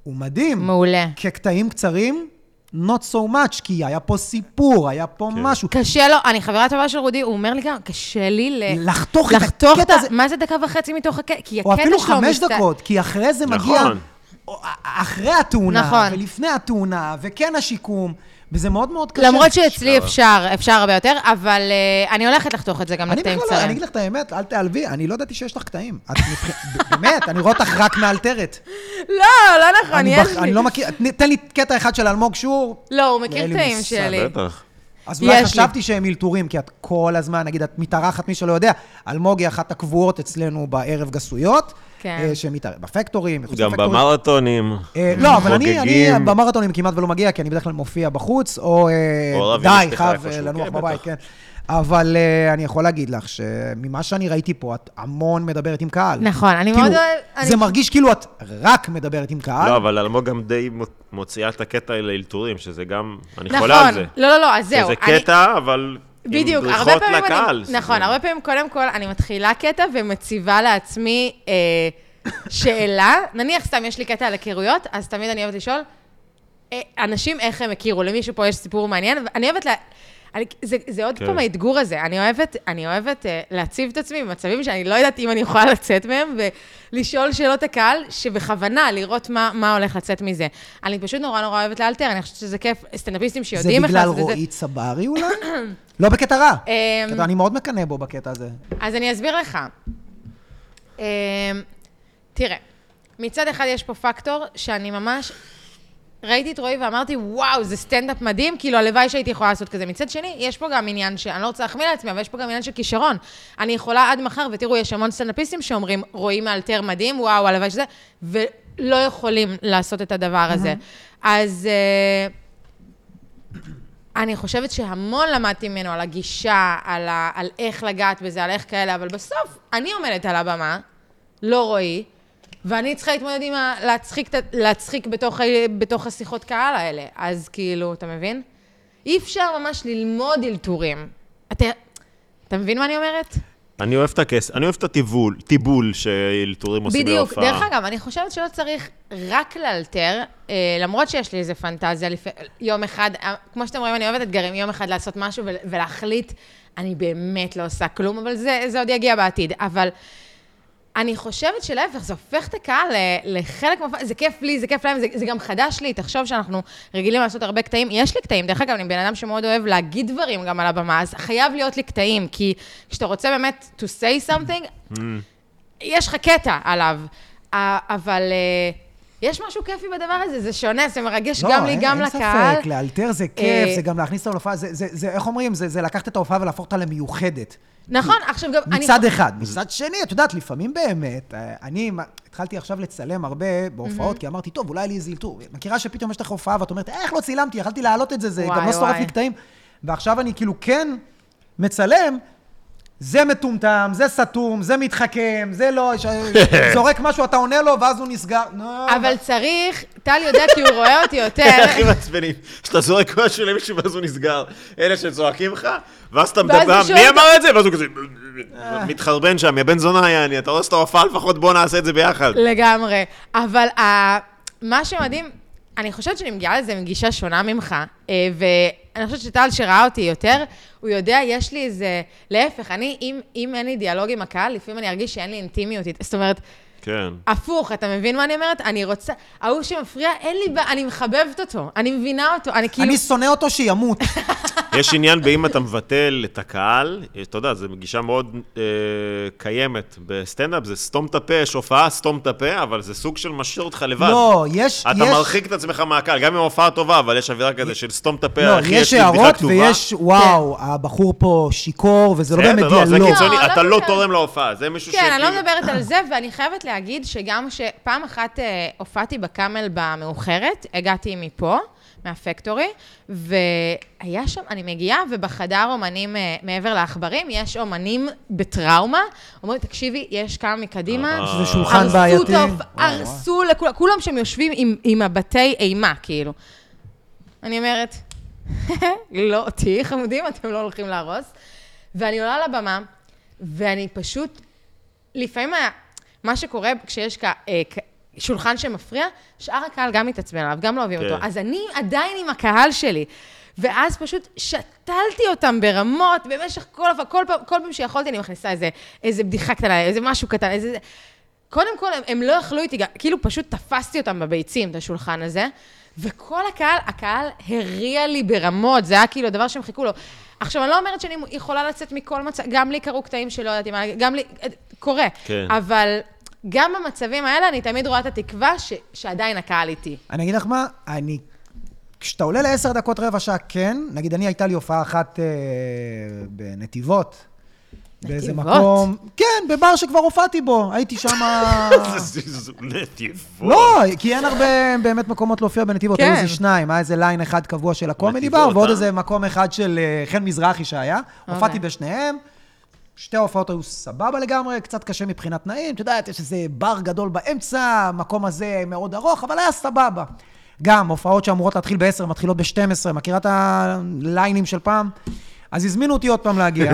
S1: הוא מדהים.
S3: מעולה.
S1: כקטעים קצרים, not so much, כי היה פה סיפור, היה פה
S2: כן.
S1: משהו.
S3: קשה לו, אני חברה טובה של רודי, הוא אומר לי גם, קשה לי ל...
S1: לחתוך את
S3: כן. לחתוך את
S1: הקטע
S3: ה...
S1: הזה,
S3: מה זה דקה וחצי מתוך הקטע? כי הקטע
S1: או
S3: שלו...
S1: אפילו חמש
S3: מסת-
S1: דקות, כי אחרי זה מגיע...
S2: נכון.
S1: או- אחרי התאונה,
S3: נכון.
S1: ולפני התאונה, וכן השיקום, וזה מאוד מאוד קשה.
S3: למרות שאצלי אפשר, אפשר הרבה יותר, אבל אה, אני הולכת לחתוך את זה גם
S1: אני
S3: לקטעים
S1: בכלל, לא- אני
S3: קצרים.
S1: אגיד לך את האמת, אל תעלבי, אני לא ידעתי שיש לך קטעים. את מבח- באמת, אני רואה אותך רק מאלתרת.
S3: לא, לא נכון,
S1: אני
S3: יש
S1: בח-
S3: לי.
S1: אני לא מכיר, תני- תן לי קטע אחד של אלמוג שור.
S3: לא, הוא מכיר
S1: אין לי
S3: קטעים
S1: מושג.
S3: שלי.
S2: בטח.
S1: אז אולי
S3: יש
S1: חשבתי שהם אלתורים, כי את כל הזמן, נגיד, את מתארחת, מי שלא יודע, אלמוג היא אחת הקבועות אצלנו בערב גסויות.
S3: כן.
S1: אה, שמתארחת בפקטורים, מחוץ
S2: גם
S1: לפקטורים.
S2: במרתונים.
S1: אה, לא, אבל אני, אני
S2: חוגגים.
S1: במרתונים כמעט ולא מגיע, כי אני בדרך כלל מופיע בחוץ, או אה,
S2: או רב עם
S1: די,
S2: אשתך
S1: חייב אה,
S2: איפשהו,
S1: לנוח
S2: כן,
S1: בבית,
S2: בטח.
S1: כן. אבל אה, אני יכול להגיד לך שממה שאני ראיתי פה, את המון מדברת עם קהל.
S3: נכון, אני
S1: כאילו,
S3: מאוד אוהב...
S1: זה
S3: אני-
S1: מרגיש כאילו את רק מדברת עם קהל.
S2: לא, אבל אלמוג גם די מ- מוציאה את הקטע אל האלתורים, שזה גם... אני
S3: נכון.
S2: חולה על זה.
S3: לא, לא, לא, אז זהו.
S2: שזה
S3: אני-
S2: קטע, אבל... עם
S3: בדיוק, הרבה
S2: בריחות
S3: פעמים
S2: לקהל.
S3: אני... נכון, הרבה פעמים, קודם כל, אני מתחילה קטע ומציבה לעצמי אה, שאלה. נניח, סתם, יש לי קטע על היכרויות, אז תמיד אני אוהבת לשאול, אה, אנשים, איך הם הכירו? למישהו פה יש סיפור מעניין? ואני אוהבת ל... אני, זה, זה עוד
S2: כן.
S3: פעם האתגור הזה, אני אוהבת, אני אוהבת אה, להציב את עצמי במצבים שאני לא יודעת אם אני יכולה לצאת מהם, ולשאול שאלות הקהל, שבכוונה לראות מה, מה הולך לצאת מזה. אני פשוט נורא נורא אוהבת לאלתר, אני חושבת שזה כיף, סטנדאפיסטים
S1: זה
S3: שיודעים איך
S1: בגלל
S3: לעשות את זה.
S1: רועי צברי אולי? לא בקטע רע.
S3: אמ,
S1: קטע- אני מאוד מקנא בו בקטע הזה.
S3: אז אני אסביר לך. אמ, תראה, מצד אחד יש פה פקטור שאני ממש... ראיתי את רועי ואמרתי, וואו, זה סטנדאפ מדהים, כאילו הלוואי שהייתי יכולה לעשות כזה. מצד שני, יש פה גם עניין של, אני לא רוצה להחמיא לעצמי, אבל יש פה גם עניין של כישרון. אני יכולה עד מחר, ותראו, יש המון סטנדאפיסטים שאומרים, רועי מאלתר מדהים, וואו, הלוואי שזה, ולא יכולים לעשות את הדבר הזה. אז... אה, אני חושבת שהמון למדתי ממנו על הגישה, על, ה, על איך לגעת בזה, על איך כאלה, אבל בסוף אני עומדת על הבמה, לא רועי, ואני צריכה להתמודד עם ה... להצחיק, את ה- להצחיק בתוך, ה- בתוך השיחות קהל האלה. אז כאילו, אתה מבין? אי אפשר ממש ללמוד אלתורים. אתה... אתה מבין מה אני אומרת?
S2: אני אוהב את הכס, אני אוהב את הטיבול, טיבול שאלתורים עושים
S3: בדיוק.
S2: בהופעה.
S3: דרך אגב, אני חושבת שלא צריך רק לאלתר, אה, למרות שיש לי איזה פנטזיה לפ... יום אחד, אה, כמו שאתם רואים, אני אוהבת אתגרים, יום אחד לעשות משהו ול- ולהחליט, אני באמת לא עושה כלום, אבל זה, זה עוד יגיע בעתיד. אבל אני חושבת שלהפך, זה הופך את הקהל ל- לחלק מהופעה, זה כיף לי, זה כיף להם, זה, זה גם חדש לי, תחשוב שאנחנו רגילים לעשות הרבה קטעים, יש לי קטעים, דרך אגב, אני בן אדם שמאוד אוהב להגיד דברים גם על הבמה, אז חייב להיות לי קטעים, כי כשאתה רוצה באמת to say something, יש לך קטע עליו, אה, אבל אה, יש משהו כיפי בדבר הזה, זה שונה, זה מרגש גם לי, גם לקהל.
S1: לא, אין ספק, לאלתר זה
S3: אה,
S1: כיף, זה גם להכניס אותה להופעה, זה- זה, זה- איך אומרים, זה זה לקחת את ההופעה ולהפוך אותה למיוחדת.
S3: נכון, עכשיו גם... אני-
S1: מצד אחד. מצד שני, את יודעת, לפעמים באמת, אה, אני מה- התחלתי עכשיו לצלם הרבה בהופעות, כי אמרתי, טוב, אולי היה לי איזה אלתור. מכירה שפתאום יש לך הופעה ואת אומרת, איך לא צילמתי, יכלתי להעלות את זה, זה
S3: וואי,
S1: גם לא שורף
S3: וואי.
S1: לי קטעים. ועכשיו אני כאילו כן מצלם. זה מטומטם, זה סתום, זה מתחכם, זה לא... ש- זורק משהו, אתה עונה לו, ואז הוא נסגר. לא, נו,
S3: אבל צריך, טל יודע כי הוא רואה אותי יותר.
S2: הכי מעצבנים, שאתה זורק משהו למישהו ואז הוא נסגר. אלה שצועקים לך, ואז אתה
S3: ואז
S2: מדבר,
S3: הוא שואל אה.
S2: מי
S3: אותו-
S2: אמר את זה? ואז הוא כזה, מתחרבן שם, יא בן זונה היה אני, אתה הורס את ההופעה לפחות, בוא נעשה את זה ביחד.
S3: לגמרי. אבל ה... מה שמדהים, אני חושבת שאני מגיעה לזה עם גישה שונה ממך, אה, ואני חושבת שטל שראה אותי יותר, הוא יודע, יש לי איזה... להפך, אני, אם, אם אין לי דיאלוג עם הקהל, לפעמים אני ארגיש שאין לי אינטימיות. איתו. זאת אומרת,
S2: כן.
S3: הפוך, אתה מבין מה אני אומרת? אני רוצה... ההוא שמפריע, אין לי בעיה, אני מחבבת אותו, אני מבינה אותו, אני כאילו...
S1: אני שונא אותו שימות.
S2: יש עניין באם אתה מבטל את הקהל, אתה יודע, זו גישה מאוד אה, קיימת בסטנדאפ, זה סתום את הפה, יש הופעה, סתום את הפה, אבל זה סוג של משאיר אותך לבד.
S1: לא, יש...
S2: אתה
S1: יש-
S2: מרחיק את עצמך מהקהל, גם אם ההופעה טובה, אבל יש אווירה כזה של סתום את הפה,
S1: לא,
S2: אחי,
S1: יש
S2: לי בדיחה
S1: הערות
S2: כתובה.
S1: ויש,
S3: כן.
S1: וואו, הבחור פה שיכור, וזה לא
S2: בסדר,
S1: באמת
S2: לא, זה
S1: דיאלוג.
S2: קיצוני,
S3: לא,
S2: אתה
S3: לא
S2: לא
S3: מדברת.
S2: תורם להופעה, זה מישהו
S3: כן, אני לא
S2: שכאילו-
S3: מדברת על זה, ואני חייבת להגיד שגם שפעם אחת אה, הופעתי בקאמל במאוחרת, הגעתי מפה, מהפקטורי, והיה שם, אני מגיעה, ובחדר אומנים אה, מעבר לעכברים, יש אומנים בטראומה, אומרים, תקשיבי, יש כמה מקדימה.
S2: אה,
S1: שזה שולחן
S3: הרסו
S1: בעייתי.
S3: את ההופ-
S1: וואו, וואו.
S3: הרסו לכולם, כולם שם יושבים עם- עם הבתי אימה, כאילו. אני אומרת, לא אותי, חמודים, אתם לא הולכים להרוס. ואני עולה לבמה, ואני פשוט, לפעמים ה- מה שקורה כשיש כ- אה, כ- שולחן שמפריע, שאר הקהל גם מתעצבן עליו, גם לא אוהבים
S2: כן.
S3: אותו. אז אני עדיין עם הקהל שלי. ואז פשוט שתלתי אותם ברמות במשך כל הפעם, כל פעם, כל פעם שיכולתי אני מכניסה איזה, איזה בדיחה קטנה, איזה משהו קטן, איזה... זה. קודם כל, הם, הם לא יכלו איתי, גם- כאילו פשוט תפסתי אותם בביצים, את השולחן הזה, וכל הקהל, הקהל הריע לי ברמות, זה היה כאילו הדבר שהם חיכו לו. עכשיו, אני לא אומרת שאני יכולה לצאת מכל מצב, גם לי קרו קטעים שלא ידעתי מה, גם לי, אה, קורה.
S2: כן.
S3: אבל גם במצבים האלה, אני תמיד רואה את התקווה ש, שעדיין הקהל איתי.
S1: אני אגיד לך מה, אני... כשאתה עולה לעשר דקות, רבע שעה, כן. נגיד, אני הייתה לי הופעה אחת אה, בנתיבות. באיזה
S3: נתיבות?
S1: מקום... כן, בבר שכבר הופעתי בו. הייתי שמה...
S2: זה- זה- זה- נטיפות.
S1: לא, כי אין הרבה באמת מקומות להופיע בנתיבות,
S3: כן.
S1: היו איזה שניים, היה איזה ליין אחד קבוע של הקומדי
S2: נתיבות,
S1: בר, ועוד
S2: אה?
S1: איזה מקום אחד של אה, חן מזרחי שהיה. הופעתי בשניהם, שתי ההופעות היו סבבה לגמרי, קצת קשה מבחינת תנאים, את יודעת, יש איזה בר גדול באמצע, המקום הזה מאוד ארוך, אבל היה סבבה. גם, הופעות שאמורות להתחיל ב-10, מתחילות ב-12, מכירה את הליינים של פעם? אז הזמינו אותי עוד פעם להגיע.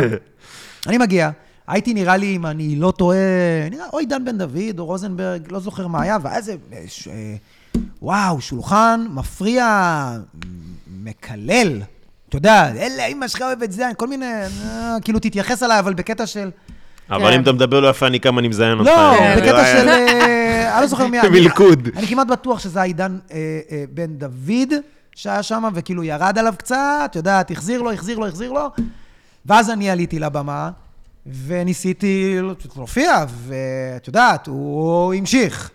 S1: אני מגיע, הייתי נראה לי, אם אני לא טועה, נראה או עידן בן דוד או רוזנברג, לא זוכר מה היה, ואז זה, אה, ש... אה, וואו, שולחן מפריע, מ- מקלל. אתה יודע, אלה, אמא שלך אוהבת זה, כל מיני, אה, כאילו, תתייחס אליי, אבל בקטע של...
S3: כן.
S2: אבל אם אתה מדבר לא יפה, אני כמה אני מזיין אותך.
S1: לא,
S2: אה,
S1: בקטע
S2: אה,
S1: של... אה, אני לא זוכר מי היה.
S2: מלכוד.
S1: אני כמעט בטוח שזה היה עידן אה, אה, בן דוד שהיה שם, וכאילו ירד עליו קצת, את יודעת, החזיר לו, החזיר לו, החזיר לו. ואז אני עליתי לבמה, וניסיתי להופיע, ואת יודעת, הוא המשיך.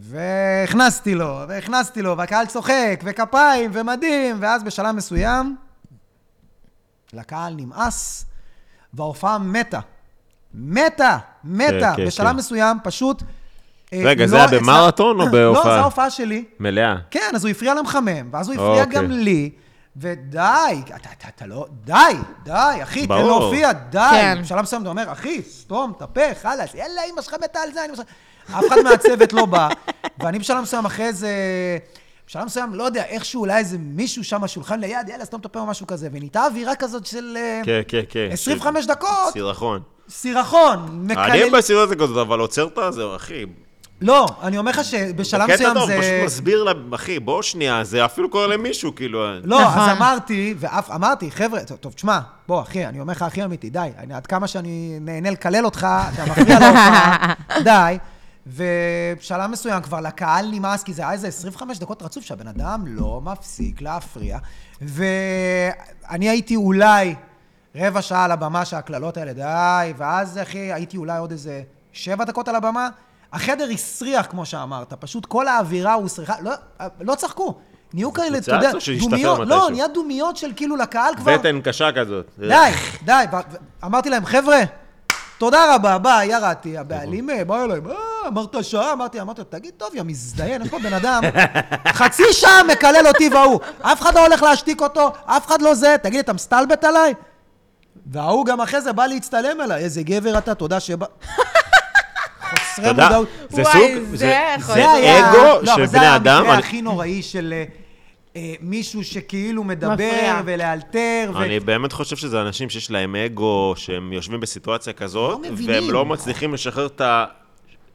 S1: והכנסתי לו, והכנסתי לו, והקהל צוחק, וכפיים, ומדהים, ואז בשלב מסוים, לקהל נמאס, וההופעה מתה. מתה, מתה.
S2: כן,
S1: בשלב
S2: כן.
S1: מסוים פשוט... אה,
S2: רגע, זה
S1: לא
S2: היה
S1: הצלח-
S2: במרתון או
S1: לא,
S2: בהופעה?
S1: זו ההופעה שלי.
S2: מלאה.
S1: כן, אז הוא הפריע למחמם, ואז הוא הפריע
S2: אוקיי.
S1: גם לי, ודי, אתה, אתה, אתה לא, די, די, אחי, תן
S2: ברור.
S1: להופיע, די.
S3: כן.
S1: בשלב מסוים אתה אומר, אחי, סתום, תפה, חלאס, יאללה, אמא שלך מתה על זה, אני... מש-" אף אחד מהצוות לא בא, ואני בשלב מסוים אחרי איזה... בשלב מסוים, לא יודע, איכשהו אולי איזה מישהו שם, השולחן ליד, יאללה, סתום את הפה או משהו כזה, ונהייתה אווירה כזאת של... אה,
S2: כן, כן, כן.
S1: 25 דקות,
S2: סירחון.
S1: סירחון,
S2: אני
S1: מקלל...
S2: בסירות הזאת, אבל עוצר את הזה, אחי.
S1: לא, אני אומר לך שבשלב מסוים
S2: טוב,
S1: זה...
S2: פשוט מסביר לה, אחי, בוא שנייה, זה אפילו קורה למישהו, כאילו...
S1: לא,
S3: נכון.
S1: אז אמרתי, ואף אמרתי, חבר'ה, טוב, טוב, תשמע, בוא, אחי, אני אומר לך, הכי אמיתי, די. אני, עד כמה שאני נהנה לקלל אותך, אתה מפריע להופעה, די. ובשלב מסוים כבר לקהל נמאס, כי זה היה איזה 25 דקות רצוף שהבן אדם לא מפסיק להפריע. ואני הייתי אולי רבע שעה על הבמה שהקללות האלה, די, ואז, אחי, הייתי אולי עוד איזה שבע דקות על הבמה. החדר הסריח, כמו שאמרת, פשוט כל האווירה הוסריחה, לא, לא צחקו. נהיו כאלה, אתה יודע,
S2: צריך שישתחרר
S1: דומיות, לא,
S2: מתישהו.
S1: נהיה דומיות של כאילו לקהל כבר.
S2: בטן קשה כזאת.
S1: די, די. ב- ו- אמרתי להם, חבר'ה, תודה רבה, ביי, ירדתי. הבעלים אה, בא אליי, אה, אמרת שעה? אמרתי, אמרתי לו, תגיד, טוב, יא מזדיין, יש פה בן אדם, חצי שעה מקלל אותי וההוא. אף אחד לא הולך להשתיק אותו, אף אחד לא זה. תגיד, אתה מסתלבט עליי? וההוא גם אחרי זה בא להצטלם אליי, איזה גבר אתה, תודה שבא... חסרי
S2: תודה.
S1: מודעות.
S2: זה
S3: וואי,
S2: סוג,
S3: זה
S2: זה
S3: יכול
S2: זה
S3: להיות.
S2: אגו
S1: לא, אבל
S2: של
S1: זה
S2: בני
S1: היה
S2: אדם.
S1: המקרה
S2: אני-
S1: הכי נוראי של אה, אה, מישהו שכאילו מדבר
S3: מפריע.
S1: ולאלתר. ו-
S2: אני באמת חושב שזה אנשים שיש להם אגו, שהם יושבים בסיטואציה כזאת,
S1: לא מבינים.
S2: והם לא מצליחים לשחרר את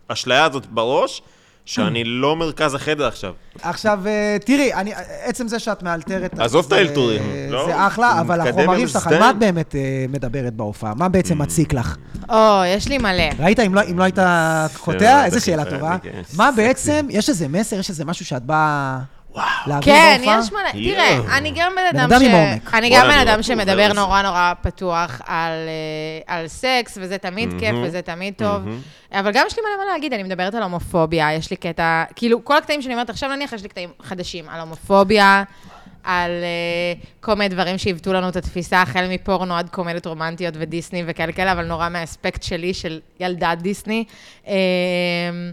S2: האשליה הזאת בראש, שאני לא מרכז החדר עכשיו.
S1: עכשיו, אה, תראי, אני, עצם זה שאת מאלתרת...
S2: עזוב את
S1: זה-
S2: האלתורים, לא?
S1: זה אחלה,
S2: הוא
S1: אבל
S2: מתקדם
S1: החומרים
S2: עם
S1: שלך, על
S2: סטנד. Mm.
S1: מה את באמת אה, מדברת בהופעה? מה בעצם מציק לך?
S3: או, יש לי מלא.
S1: ראית אם לא, אם לא היית
S2: בסדר,
S1: קוטע? איזה שאלה
S2: בטח,
S1: טובה.
S2: כן,
S1: מה
S2: סקסי.
S1: בעצם, יש איזה מסר, יש איזה משהו שאת באה להעביר
S3: כן,
S1: בהופעה?
S3: יש מלא.
S2: יואו.
S3: תראה, אני גם בן
S1: בן
S3: אדם
S1: אדם
S3: ש...
S1: עם עומק.
S3: אני גם
S2: וואלה,
S3: בן
S2: אני
S3: אדם
S2: בטוח, זה לא
S3: שמדבר
S2: זה.
S3: נורא נורא פתוח על, אה, על סקס, וזה תמיד כיף וזה תמיד טוב. אבל גם יש לי מלא מה להגיד, אני מדברת על הומופוביה, יש לי קטע... כאילו, כל הקטעים שאני אומרת עכשיו, נניח, יש לי קטעים חדשים על הומופוביה. על uh, כל מיני דברים שעיוותו לנו את התפיסה, החל מפורנו עד קומדיות רומנטיות ודיסני וכאלה כאלה, אבל נורא מהאספקט שלי, של ילדת דיסני. אמ, אה,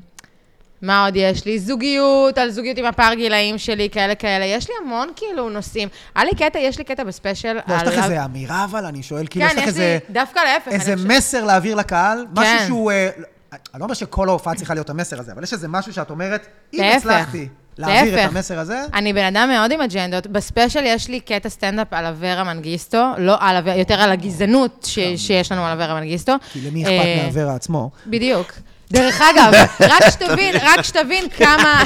S3: מה עוד יש לי? זוגיות, על זוגיות עם הפער גילאים שלי, כאלה כאלה. יש לי המון כאילו נושאים. היה לי קטע, יש לי קטע בספיישל
S1: לא, יש לך
S3: על-
S1: איזה אמירה, אבל אני שואל, כאילו,
S3: כן,
S1: יש לך
S3: יש
S1: איזה...
S3: לי, דווקא להפך. אני
S1: איזה
S3: חושבת-
S1: מסר להעביר לקהל? משהו
S3: כן.
S1: שהוא... אה, אני לא אומר שכל ההופעה צריכה להיות המסר הזה, אבל יש איזה משהו שאת אומרת, אם
S3: להפך.
S1: הצלחתי להעביר את
S3: להפך.
S1: המסר הזה,
S3: אני בן אדם מאוד עם אג'נדות. בספיישל יש לי קטע סטנדאפ על אברה מנגיסטו, לא על, אב- יותר על הגזענות ש- שיש לנו על אברה מנגיסטו.
S1: כן. כי למי
S3: אה,
S1: אכפת מאברה עצמו?
S3: בדיוק. דרך אגב, רק שתבין, רק שתבין כמה,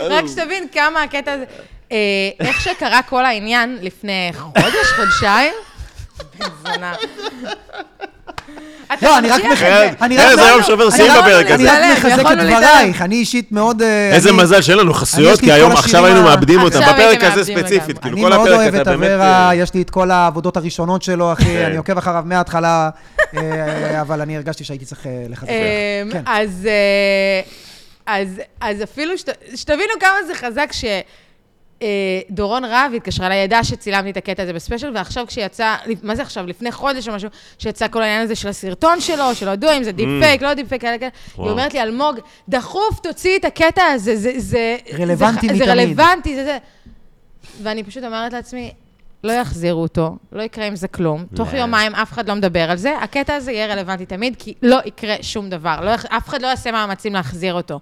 S3: רק שתבין כמה הקטע הזה, אה, איך שקרה כל העניין לפני חודש, חודשיים, בן זונה. אתה
S1: לא, אני רק
S3: ממשיך את
S1: מחזק.
S3: זה.
S2: אני
S1: רק- לא,
S2: אה, זה היום שובר
S1: אני
S2: שיאים
S1: רק-
S2: בפרק
S1: אני
S2: הזה.
S1: רק
S3: יכולנו
S1: מחזק את
S3: להתעלם.
S1: דברייך, אני אישית מאוד... אה,
S2: איזה
S1: אני-
S2: מזל שאין לנו
S1: אני
S2: חסויות,
S1: יש לי
S2: כי
S1: את
S2: היום
S1: כל
S2: עכשיו
S1: השירים
S2: היינו
S1: ה-
S2: מאבדים אותם.
S3: עכשיו
S2: בפרק
S3: הייתם
S2: הזה
S3: מאבדים
S2: ספציפית,
S3: לגמרי.
S2: כאילו
S1: אני
S2: כל
S1: מאוד
S2: הפרק
S1: אוהב את
S2: אתה באמת...
S1: אברה,
S2: אה,
S1: יש לי את כל העבודות הראשונות שלו, אחי,
S2: כן.
S1: אני עוקב אחריו מההתחלה, אה, אבל אני הרגשתי שהייתי צריך אה, לחזק אותך.
S3: אמ,
S1: כן.
S3: אז, אה, אז, אז אפילו שת- שתבינו כמה זה חזק ש... אה, דורון רהב התקשרה אליי, ידעה שצילמתי את הקטע הזה בספיישל, ועכשיו כשיצא, מה זה עכשיו, לפני חודש או משהו, שיצא כל העניין הזה של הסרטון שלו, שלא ידעו
S1: Mm.
S3: אם זה דיפ פייק, לא דיפ פייק, כאלה כאלה, היא
S2: וואו.
S3: אומרת לי, אלמוג, דחוף, תוציאי את הקטע הזה, זה... זה
S1: רלוונטי
S3: זה, ח-
S1: מתמיד."
S3: זה רלוונטי, זה זה. ואני פשוט אומרת לעצמי, לא יחזירו אותו, לא יקרה עם זה כלום. תוך
S2: לא.
S3: יומיים אף אחד לא מדבר על זה. הקטע הזה יהיה רלוונטי תמיד, כי לא יקרה שום דבר. לא, יח- אף אחד לא יעשה מאמצים להחזיר אותו.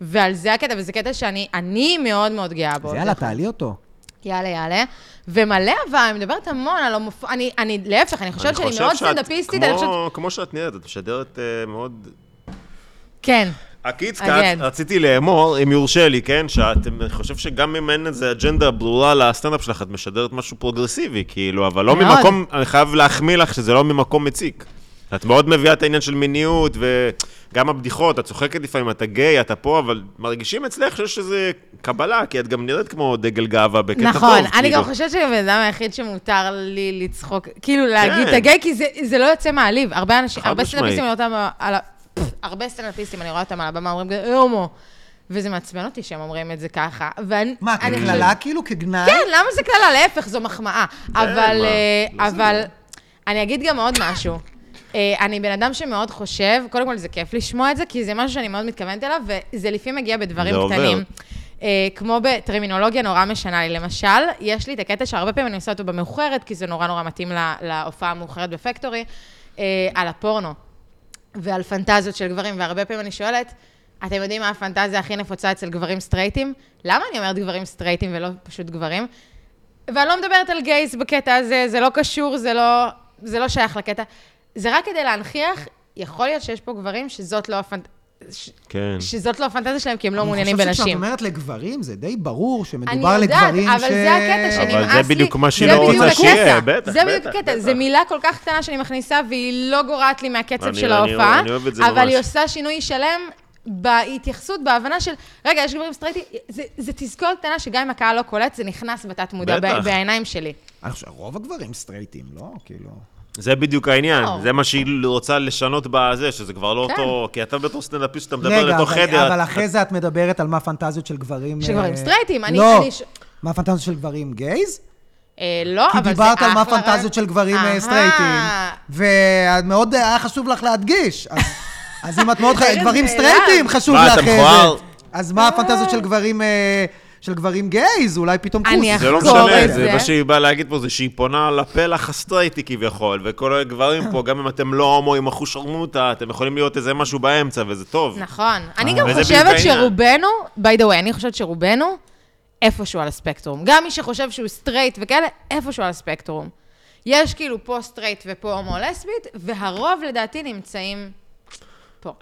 S3: ועל זה הקטע, וזה קטע שאני אני מאוד מאוד גאה בו.
S1: אז יאללה, תעלי אותו.
S3: יאללה, יאללה. ומלא אבל, אני מדברת המון על הומופ... אני, אני, להפך, אני חושבת שאני
S2: שאת-
S3: מאוד סטנדאפיסטית,
S2: כמו-
S3: אני חושבת...
S2: כמו שאת נראית, את משדרת אה, מאוד...
S3: כן.
S2: הקיץ
S3: אז
S2: קאט,
S3: אין.
S2: רציתי לאמור, אם יורשה לי, כן, שאת, אני חושב שגם אם אין איזה אג'נדה ברורה לסטנדאפ שלך, את משדרת משהו פרוגרסיבי, כאילו, אבל לא
S3: מאוד.
S2: ממקום, אני חייב להחמיא לך שזה לא ממקום מציק. את מאוד מביאה את העניין של מיניות, וגם הבדיחות, את צוחקת לפעמים, אתה גיי, אתה פה, אבל מרגישים אצלך שיש איזה קבלה, כי את גם נראית כמו דגל גאווה בקטע טוב.
S3: נכון, אני
S2: כאילו.
S3: גם חושבת שאני הבן אדם היחיד שמותר לי לצחוק, כאילו להגיד
S2: כן.
S3: את הגיי, כי זה- זה לא יוצא מעליב. הרבה אנשים,
S2: חד
S3: הרבה
S2: משמעית.
S3: סטנדאפיסטים, אני רואה אותם על ה... פפ, הרבה סטנדאפיסטים, אני רואה אותם על הבמה, אומרים, "אה, הומו. וזה מעצבן אותי שהם אומרים את זה ככה. ואני-
S1: מה,
S3: אני חושבת-
S1: כקללה כאילו? כגנאי?
S3: כן, למה זה קללה? להפך, זו מחמאה. אבל,
S2: כן, מה?
S3: אה,
S2: לא
S3: אבל
S2: סגור.
S3: אני אגיד גם עוד משהו. אה, אני בן אדם שמאוד חושב, קודם כל זה כיף לשמוע את זה, כי זה משהו שאני מאוד מתכוונת אליו, וזה לפעמים מגיע בדברים
S2: זה עובר.
S3: קטנים. אה, כמו בטרמינולוגיה נורא משנה לי. למשל, יש לי את הקטע שהרבה פעמים אני עושה אותו במאוחרת, כי זה נורא נורא מתאים לה- להופעה המאוחרת בפקטורי, אה, על הפורנו. ועל פנטזיות של גברים, והרבה פעמים אני שואלת, אתם יודעים מה הפנטזיה הכי נפוצה אצל גברים סטרייטים? למה אני אומרת גברים סטרייטים ולא פשוט גברים? ואני לא מדברת על גייס בקטע הזה, זה לא קשור, זה לא, זה לא שייך לקטע. זה רק כדי להנכיח, יכול להיות שיש פה גברים שזאת לא הפנט... ש...
S2: כן.
S3: שזאת לא הפנטזיה שלהם, כי הם לא מעוניינים
S1: אני חושב שכשאת
S3: בנשים.
S1: אומרת לגברים, זה די ברור
S3: אני
S1: שמדובר
S3: יודעת,
S1: לגברים ש...
S3: אבל זה הקטע שנמאס לי.
S2: אבל זה בדיוק מה שהיא
S3: זה
S2: לא
S3: בדיוק
S2: רוצה שיהיה,
S3: הקטע.
S2: בטח,
S3: זה בדיוק
S2: בטח,
S3: הקטע,
S2: בטח.
S3: זו מילה כל כך קטנה שאני מכניסה, והיא לא גורעת לי מהקצב
S2: אני-
S3: של
S2: אני-
S3: ההופעה,
S2: אני אוהב את זה
S3: אבל
S2: ממש.
S3: היא עושה שינוי שלם בהתייחסות, בהבנה של, רגע, יש גברים סטרייטים, זה- זה תזכורת קטנה שגם אם הקהל לא קולט, זה נכנס בתת מודע
S2: בטח.
S3: בעיניים שלי.
S1: אני חושב, רוב הגברים סטרייטים, לא? כאילו...
S2: זה בדיוק העניין,
S3: לא.
S2: זה מה שהיא רוצה לשנות בזה, שזה כבר לא
S3: כן.
S2: אותו... כי אתה בתור סטנדאפיסט, אתה מדבר
S1: רגע,
S2: לתוך
S1: אבל-
S2: חדר.
S1: אבל אחרי זה את מדברת על מה הפנטזיות של גברים...
S3: של גברים
S1: אה,
S3: סטרייטים, אני-
S1: לא,
S3: אני ש-
S1: מה הפנטזיות של גברים גייז?
S3: אה, לא,
S1: כי
S3: אבל זה
S1: דיברת על מה
S3: אחלה
S1: הפנטזיות
S3: רעיון.
S1: של גברים אה,
S3: אהה.
S1: סטרייטים, ומאוד היה חשוב לך להדגיש. אז- אז אם את מאוד... ח-
S3: ארז
S1: גברים
S3: נעלב.
S1: סטרייטים חשוב
S2: מה,
S1: לך
S2: אתה
S1: אה, זה.
S2: מכוער?
S1: אז מה הפנטזיות של גברים... אה, של גברים גייז, אולי פתאום כוס.
S3: אני
S2: זה לא
S3: לחקור
S2: משנה,
S3: את
S2: זה
S3: זה.
S2: מה שהיא באה להגיד פה, זה שהיא פונה לפלח הסטרייטי כביכול, וכל הגברים פה, גם אם אתם לא הומואים אחושרמוטה, אתם יכולים להיות איזה משהו באמצע, וזה טוב.
S3: נכון. אני גם
S2: וזה
S3: חושבת
S2: בדיוק העניין.
S3: שרובנו, by the way, אני חושבת שרובנו איפשהו על הספקטרום. גם מי שחושב שהוא סטרייט וכאלה, איפשהו על הספקטרום. יש כאילו פה סטרייט ופה הומו לסבית, והרוב לדעתי נמצאים פה,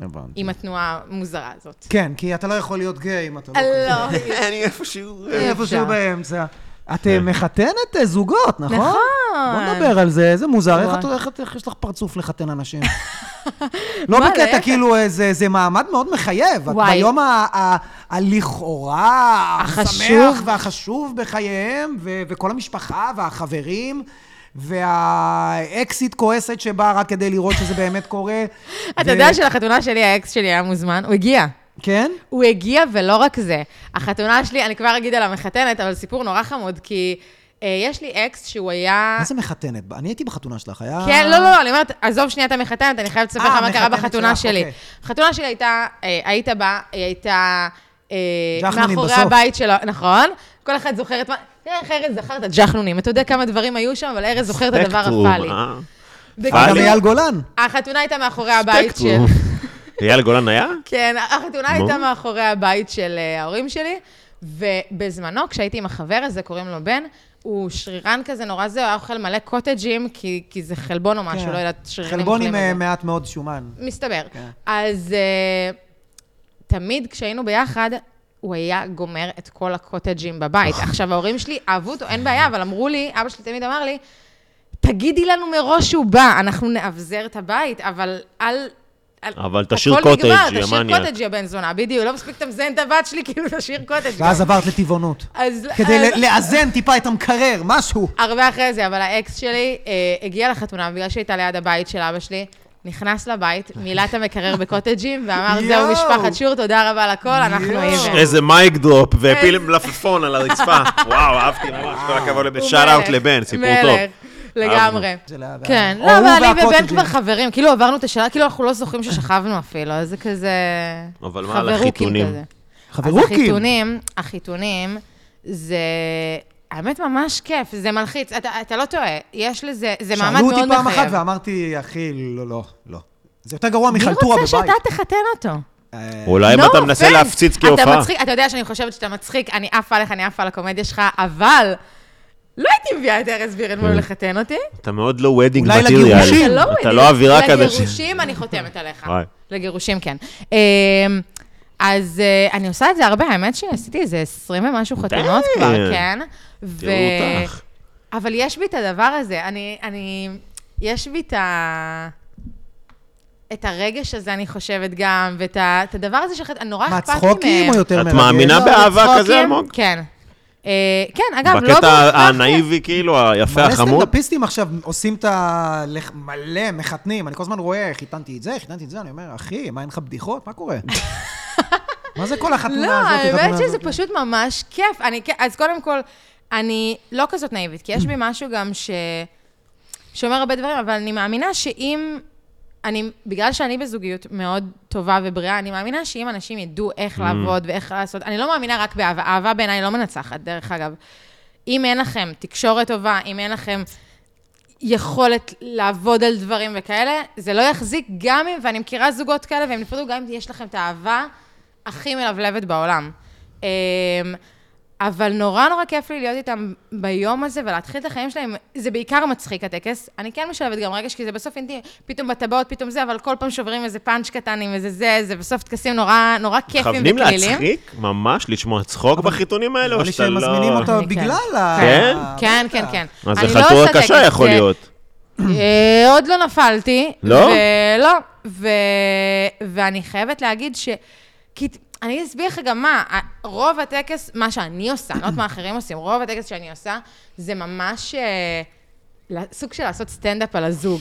S1: הבנתי.
S3: עם התנועה המוזרה הזאת.
S1: כן, כי אתה לא יכול להיות גיי אם אתה לא...
S3: אה, לא.
S2: אני איפשהו...
S1: כזה. איפשהו באמצע. את אה, מחתנת אה, זוגות, נכון?
S3: נכון.
S1: בוא נדבר על זה, זה מוזר, איך
S3: וואי.
S1: את- איך את- איך יש לך פרצוף לחתן אנשים? לא
S3: מה,
S1: בקטע
S3: להפך.
S1: כאילו, אה, זה זה מעמד מאוד מחייב. את
S3: וואי.
S1: ביום ה- ה- הלכאורה,
S3: החשוב.
S1: השמח והחשוב בחייהם, ו- וכל המשפחה והחברים. והאקסיט כועסת שבאה רק כדי לראות שזה באמת קורה.
S3: אתה
S1: ו-
S3: יודע שלחתונה שלי, האקס שלי היה מוזמן, הוא הגיע.
S1: כן?
S3: הוא הגיע, ולא רק זה. החתונה שלי, אני כבר אגיד על המחתנת, אבל סיפור נורא חמוד, כי אה, יש לי אקס שהוא היה...
S1: מה זה מחתנת? אני הייתי בחתונה שלך, היה...
S3: כן, לא, לא, לא, אני אומרת, עזוב שנייה את המחתנת, אני חייבת לספר
S1: אה,
S3: לך מה קרה
S1: המחתנת
S3: בחתונה
S1: שלך,
S3: שלי.
S1: אוקיי.
S3: החתונה שלי הייתה, אה, היית בה, היא הייתה אה,
S1: ג'חנונים
S3: מאחורי
S1: בסוף.
S3: הבית שלו, נכון? כל אחד זוכר את מה... תראה איך ארז זכר את הג'חנונים, אתה יודע כמה דברים היו שם, אבל ארז זוכר את
S2: אה,
S3: הדבר הפאלי.
S1: גם
S2: פאלי?
S1: אייל גולן.
S3: החתונה הייתה מאחורי הבית של...
S2: ספקטרום. אייל גולן היה?
S3: כן, החתונה
S2: נו.
S3: הייתה מאחורי הבית של אה, ההורים שלי, ובזמנו, כשהייתי עם החבר הזה, קוראים לו בן, הוא שרירן כזה נורא זה, הוא היה אוכל מלא קוטג'ים, כי, כי זה חלבון או משהו,
S1: כן.
S3: לא יודעת, שרירנים
S1: חלבון עם
S3: אוכלים את זה.
S1: אה, מעט מאוד שומן.
S3: מסתבר.
S1: כן.
S3: אז אה, תמיד כשהיינו ביחד, הוא היה גומר את כל הקוטג'ים בבית. עכשיו, ההורים שלי אהבו אותו, אין בעיה, אבל אמרו לי, אבא שלי תמיד אמר לי, תגידי לנו מראש שהוא בא, אנחנו נאבזר את הבית, אבל אל... אל-
S2: אבל תשאיר
S3: הכל
S2: קוטג',
S3: נגמר,
S2: יא
S3: תשאיר
S2: מניאק.
S3: קוטג' יא בן זונה, בדיוק, לא מספיק אתה מזיין את הבת שלי, כאילו תשאיר קוטג'.
S1: ואז עברת לטבעונות.
S3: אז-
S1: כדי
S3: אז-
S1: ל- לאזן טיפה את המקרר, משהו.
S3: הרבה אחרי זה, אבל האקס שלי אה, הגיע לחתונה, בגלל שהייתה ליד הבית של אבא שלי, נכנס לבית, מילא את המקרר בקוטג'ים, ואמר, זהו
S1: יואו.
S3: משפחת שור, תודה רבה על הכל, אנחנו
S1: יואו.
S3: איבן.
S2: איזה מייק דרופ, והפיל
S3: איזה-
S2: מלפפון על הרצפה. וואו, אהבתי ממש, כל הכבוד לבן. שאט אאוט לבן, סיפור טוב.
S3: מלך, לגמרי.
S1: זה לא היה בעיה.
S3: כן,
S1: או
S3: לא,
S1: הוא
S3: אבל אני
S1: והקוטג'ים.
S3: ובן כבר חברים, כאילו עברנו את השאלה, כאילו אנחנו לא זוכרים ששכבנו אפילו, אז זה כזה...
S2: אבל מה על
S3: חברוקים
S2: החיתונים?
S3: כזה. אז
S1: חברוקים.
S3: החיתונים, החיתונים, זה... האמת, ממש כיף, זה מלחיץ, אתה, אתה לא טועה, יש לזה, זה מעמד מאוד
S1: שאלו
S3: מחייב.
S1: אותי פעם אחת ואמרתי, אחי, לא, לא, לא. זה יותר גרוע מחלטורה
S3: מי רוצה
S1: בבית.
S3: שאתה תחתן אותו?
S1: אה,
S2: אולי אם
S3: No
S2: אתה מנסה
S3: offense.
S2: להפציץ
S3: אתה
S2: כהופעה.
S3: מצחיק, אתה יודע שאני חושבת שאתה מצחיק, אני עפה עליך, אני עפה על הקומדיה שלך, אבל לא הייתי מביאה את ארז בירנבוים לחתן אותי.
S2: אתה מאוד לא וודינג
S1: אולי
S2: מטריאל.
S1: לגירושים.
S3: אתה לא
S2: כן. אתה
S3: מבין.
S2: לא אווירה כזה. ש-
S3: לגירושים אני חותמת עליך.
S2: וואי.
S3: לגירושים, כן. אמ, אז אה, אני עושה את זה הרבה, האמת שעשיתי איזה 20 ומשהו חתונות
S2: די.
S3: כבר, כן. ו-
S2: תראו אותך.
S3: אבל יש בי את הדבר הזה, אני, אני, יש בי את ה... את הרגש הזה, אני חושבת גם, ואת ה- את הדבר הזה שלך, נורא
S1: מה,
S3: אכפת לי מהם.
S1: צחוקים או יותר
S2: את
S1: מרגש?
S2: מאמינה
S3: לא,
S2: באהבה
S3: בצחוקים,
S2: כזה, אלמוג?
S3: כן. אה, כן, אגב, לא...
S2: בקטע
S3: בהכרח-
S2: הנאיבי, כאילו, היפה,
S1: מלא
S2: החמוד.
S1: סטנדאפיסטים עכשיו עושים את ה... לח- מלא, מחתנים. אני כל הזמן רואה, חיתנתי את זה, חיתנתי את זה, אני אומר, אחי, מה, אין לך בדיחות? מה קורה? מה זה כל החתונה
S3: לא,
S1: הזאת? החתונה
S3: האמת שזה
S1: הזאת?
S3: פשוט ממש כיף. אני, כ- אז קודם כל, אני לא כזאת נאיבית, כי יש בי משהו גם ש... שאומר הרבה דברים, אבל אני מאמינה שאם... אני, בגלל שאני בזוגיות מאוד טובה ובריאה, אני מאמינה שאם אנשים ידעו
S1: Mm.
S3: איך לעבוד ואיך לעשות, אני לא מאמינה רק באהבה, אהבה בעיניי לא מנצחת, דרך אגב. אם אין לכם תקשורת טובה, אם אין לכם יכולת לעבוד על דברים וכאלה, זה לא יחזיק גם אם, ואני מכירה זוגות כאלה והם נפרדו, גם אם יש לכם את האהבה הכי מלבלבת בעולם. אמ, אבל נורא נורא כיף לי להיות איתם ביום הזה ולהתחיל את החיים שלהם. זה בעיקר מצחיק הטקס. אני כן משלבת גם רגש, כי זה בסוף אינטימי, פתאום בטבעות, פתאום זה, אבל כל פעם שוברים איזה פאנץ' קטן עם איזה זה, זה בסוף טקסים נורא, נורא כיפים וקלילים.
S2: מכוונים להצחיק? ממש? לשמוע צחוק בחיתונים האלה?
S1: נראה
S2: או
S1: לי
S2: שאתה
S1: שהם
S2: לא...
S1: מזמינים אותה
S3: אני כן.
S1: בגלל ה...
S2: כן?
S3: כן, כן, כן.
S2: אז
S3: אני
S2: זה
S3: לא
S2: חתורה
S3: עושה
S2: קשה
S3: טקס,
S2: יכול
S3: זה-
S2: להיות.
S3: אה, עוד לא נפלתי.
S2: לא?
S3: ו- לא. ו... ואני חייבת להגיד ש... כי... אני אסביר לך גם מה, ה- רוב הטקס, מה שאני עושה, אני לא יודעת מה אחרים עושים, רוב הטקס שאני עושה, זה ממש אה, לה- סוג של לעשות סטנדאפ על הזוג.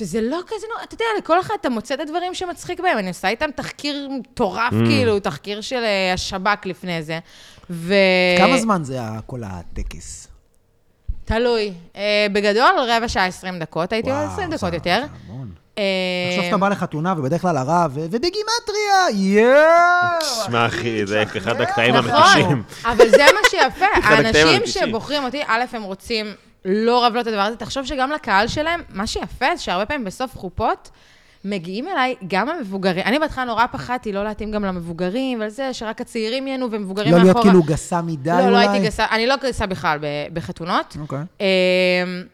S3: וזה לא כזה נורא, אתה יודע, לכל אחד אתה מוצא את הדברים שמצחיק בהם. אני עושה איתם תחקיר מטורף, כאילו, תחקיר של אה, השב"כ לפני זה. ו...
S1: כמה זמן זה ה- כל הטקס?
S3: תלוי. אה, בגדול, רבע שעה, 20 דקות, הייתי
S1: וואו,
S3: אומרת 20 כן, דקות
S1: זה-
S3: יותר.
S1: זה המון.
S3: אה,
S1: עכשיו אתה בא לחתונה, ובדרך כלל הרב, ו- ובגימטריה, יואו!
S2: שמע, אחי, זה אחד הקטעים
S3: נכון,
S2: המתישים.
S3: אבל זה מה שיפה.
S2: הקטעים
S3: האנשים
S2: המתישים.
S3: שבוחרים אותי, א', הם רוצים לא רב לא את הדבר הזה. תחשוב שגם לקהל שלהם, מה שיפה זה שהרבה פעמים בסוף חופות... מגיעים אליי גם המבוגרים. אני בהתחלה נורא פחדתי לא להתאים גם למבוגרים, ועל זה שרק הצעירים ייהנו ומבוגרים
S1: לא
S3: מאחורה.
S1: להיות כאילו גסה מדי אולי?
S3: לא, לא הייתי גסה, אני לא גסה בכלל ב- בחתונות.
S1: אוקיי.
S3: אמ,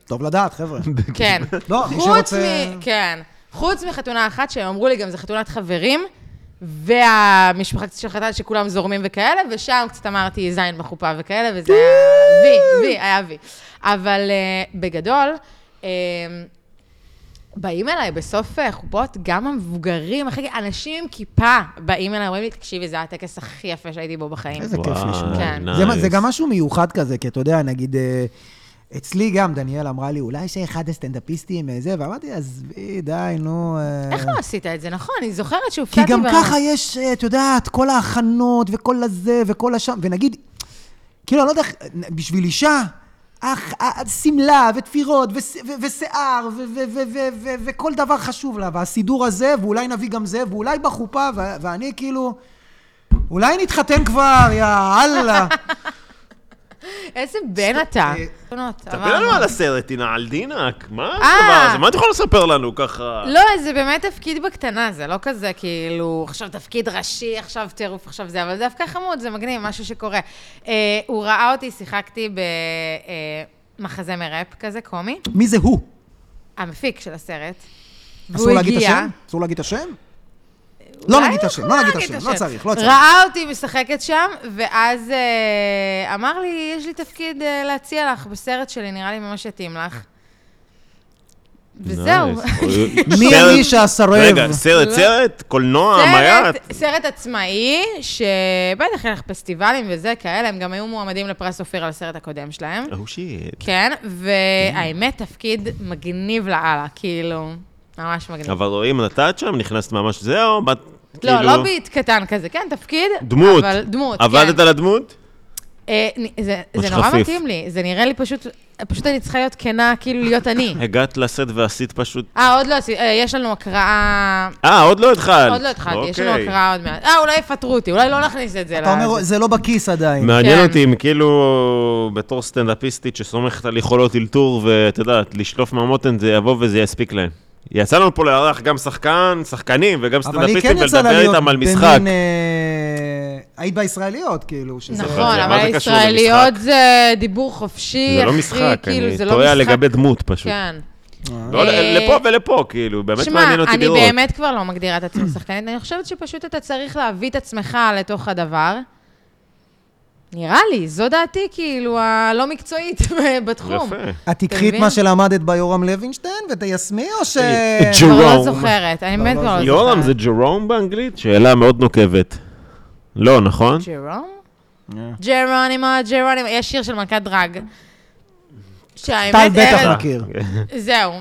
S1: טוב לדעת, חבר'ה.
S3: כן.
S1: לא, מי
S3: חוץ
S1: שרוצה-
S3: מ... כן. חוץ מחתונה אחת, שהם אמרו לי גם, זה חתונת חברים, והמשפחה קצת של חתן שכולם זורמים וכאלה, ושם קצת אמרתי זין בחופה וכאלה, וזה היה
S2: כן.
S3: וי, וי, היה וי. אבל אה, בגדול, אה, באים אליי בסוף אה, חופות, גם המבוגרים, אחרי אנשים עם כיפה באים אליי, אומרים לי, תקשיבי, זה הטקס הכי יפה שהייתי בו בחיים.
S1: איזה כיף
S2: וואי,
S1: לשמוע.
S3: כן.
S1: זה מה-
S2: nice.
S1: זה גם משהו מיוחד כזה, כי אתה יודע, נגיד, אה, אצלי גם, דניאל אמרה לי, אולי שאחד הסטנדאפיסטים אה, זה, ואמרתי, עזבי, די, נו... אה."
S3: איך לא עשית את זה, נכון? אני זוכרת
S1: כי
S3: שהופתעתי
S1: גם
S3: ב-
S1: ככה יש, אה, את יודעת, כל ההכנות וכל הזה וכל השם, ונגיד, כאילו, אני לא יודע, איך- בשביל אישה, אך, אה, שמלה ותפירות וש- ו- ושיער ו- ו- ו- ו- ו- וכל דבר חשוב לה, והסידור הזה, ואולי נביא גם זה, ואולי בחופה, ו- ואני כאילו, אולי נתחתן כבר, יא אללה.
S3: איזה בן אתה.
S1: אה,
S2: ספר לנו על הסרט, הנה, על דינק. מה הדבר
S3: אה.
S2: הזה? מה את יכולה לספר לנו ככה?
S3: לא, זה באמת תפקיד בקטנה, זה לא כזה כאילו, עכשיו תפקיד ראשי, עכשיו טירוף, עכשיו זה, אבל זה דווקא חמוד, זה מגניב, משהו שקורה. אה, הוא ראה אותי, שיחקתי במחזמר ראפ כזה, קומי,
S1: מי זה הוא?
S3: המפיק של הסרט.
S1: אסור להגיד את השם? אסור להגיד את השם? לא
S3: אולי
S1: נגיד את השם,
S3: אנחנו
S1: לא נגיד את השם, לא צריך, לא צריך.
S3: ראה אותי משחקת שם, ואז אה, אמר לי, יש לי תפקיד אה, להציע לך בסרט שלי, נראה לי ממש יתאים לך. וזהו.
S2: Nice. אוי,
S1: מי
S2: סרט-
S1: האיש הסרב?
S2: רגע, סרט,
S3: לא.
S2: סרט, קולנוע,
S3: סרט,
S2: מייט.
S3: סרט עצמאי, שבטח ילך פסטיבלים וזה כאלה, הם גם היו מועמדים לפרס אופיר על הסרט הקודם שלהם.
S2: או שיט.
S3: כן, והאמת, תפקיד מגניב לאללה, כאילו, ממש מגניב.
S2: אבל רואים, נתת שם, נכנסת ממש זהו, באת כאילו...
S3: לא, לא ביט קטן כזה, כן, תפקיד.
S2: דמות.
S3: אבל דמות,
S2: עבדת
S3: כן.
S2: על הדמות?
S3: אה, נ- זה- זה
S2: ממש
S3: נורא
S2: חפיף.
S3: מתאים לי, זה נראה לי פשוט, פשוט אני צריכה להיות כנה, כאילו להיות אני.
S2: הגעת לסט ועשית פשוט...
S3: אה, עוד לא, עשי- אה, יש לנו הקראה,
S2: אה, עוד לא התחלת.
S3: עוד לא התחלתי, יש לנו
S2: אוקיי.
S3: הקראה עוד מעט. אה, אולי יפטרו אותי, אולי לא נכניס את זה.
S1: אתה אומר,
S3: לזה.
S1: זה לא בכיס עדיין.
S2: מעניין
S3: כן.
S2: אותי אם כאילו בתור סטנדאפיסטית שסומכת על יכולות אלתור ואת יודעת, לשלוף מהמותן זה יבוא וזה יספיק להם. יצא לנו פה לארח גם שחקן, שחקנים וגם
S1: אבל היא
S2: סטנדאפיסטים
S1: כן יצאה לה
S2: ולדבר
S1: להיות
S2: איתם על משחק.
S1: במין... אה, היית בישראליות, כאילו, שזה...
S2: אבל
S3: נכון,
S2: זה-
S3: אבל
S2: מה זה קשור למשחק?
S3: הישראליות זה דיבור חופשי,
S2: זה לא
S3: אחי,
S2: משחק,
S3: כאילו,
S2: אני
S3: זה לא משחק.
S2: טועה לגבי דמות פשוט.
S3: כן.
S2: לא,
S3: אה,
S2: לפה ולפה, כאילו, באמת
S3: שמע,
S2: מעניין אותי
S3: אני
S2: לראות.
S3: באמת כבר לא מגדירה את עצמי שחקנית, אני חושבת שפשוט אתה צריך להביא את עצמך לתוך הדבר. נראה לי, זו דעתי, כאילו, הלא מקצועית בתחום.
S2: יפה.
S1: את תקחי את
S3: מבין?
S1: מה שלמדת ביורם לוינשטיין ותיישמי, או ש...
S2: אה, ג'ו-
S3: כבר לא
S2: ג'רום.
S3: זוכרת, אני
S1: לא,
S3: באמת
S1: לא,
S3: כבר לא זוכרת.
S2: יורם זה ג'רום באנגלית? שאלה מאוד נוקבת. לא, נכון?
S3: ג'רום?
S1: אה.
S3: ג'רונימו, ג'רונימו, יש שיר של מלכת דרג.
S1: טל
S3: שהאמת,
S1: בטח
S3: ארז-
S1: מכיר.
S3: זהו.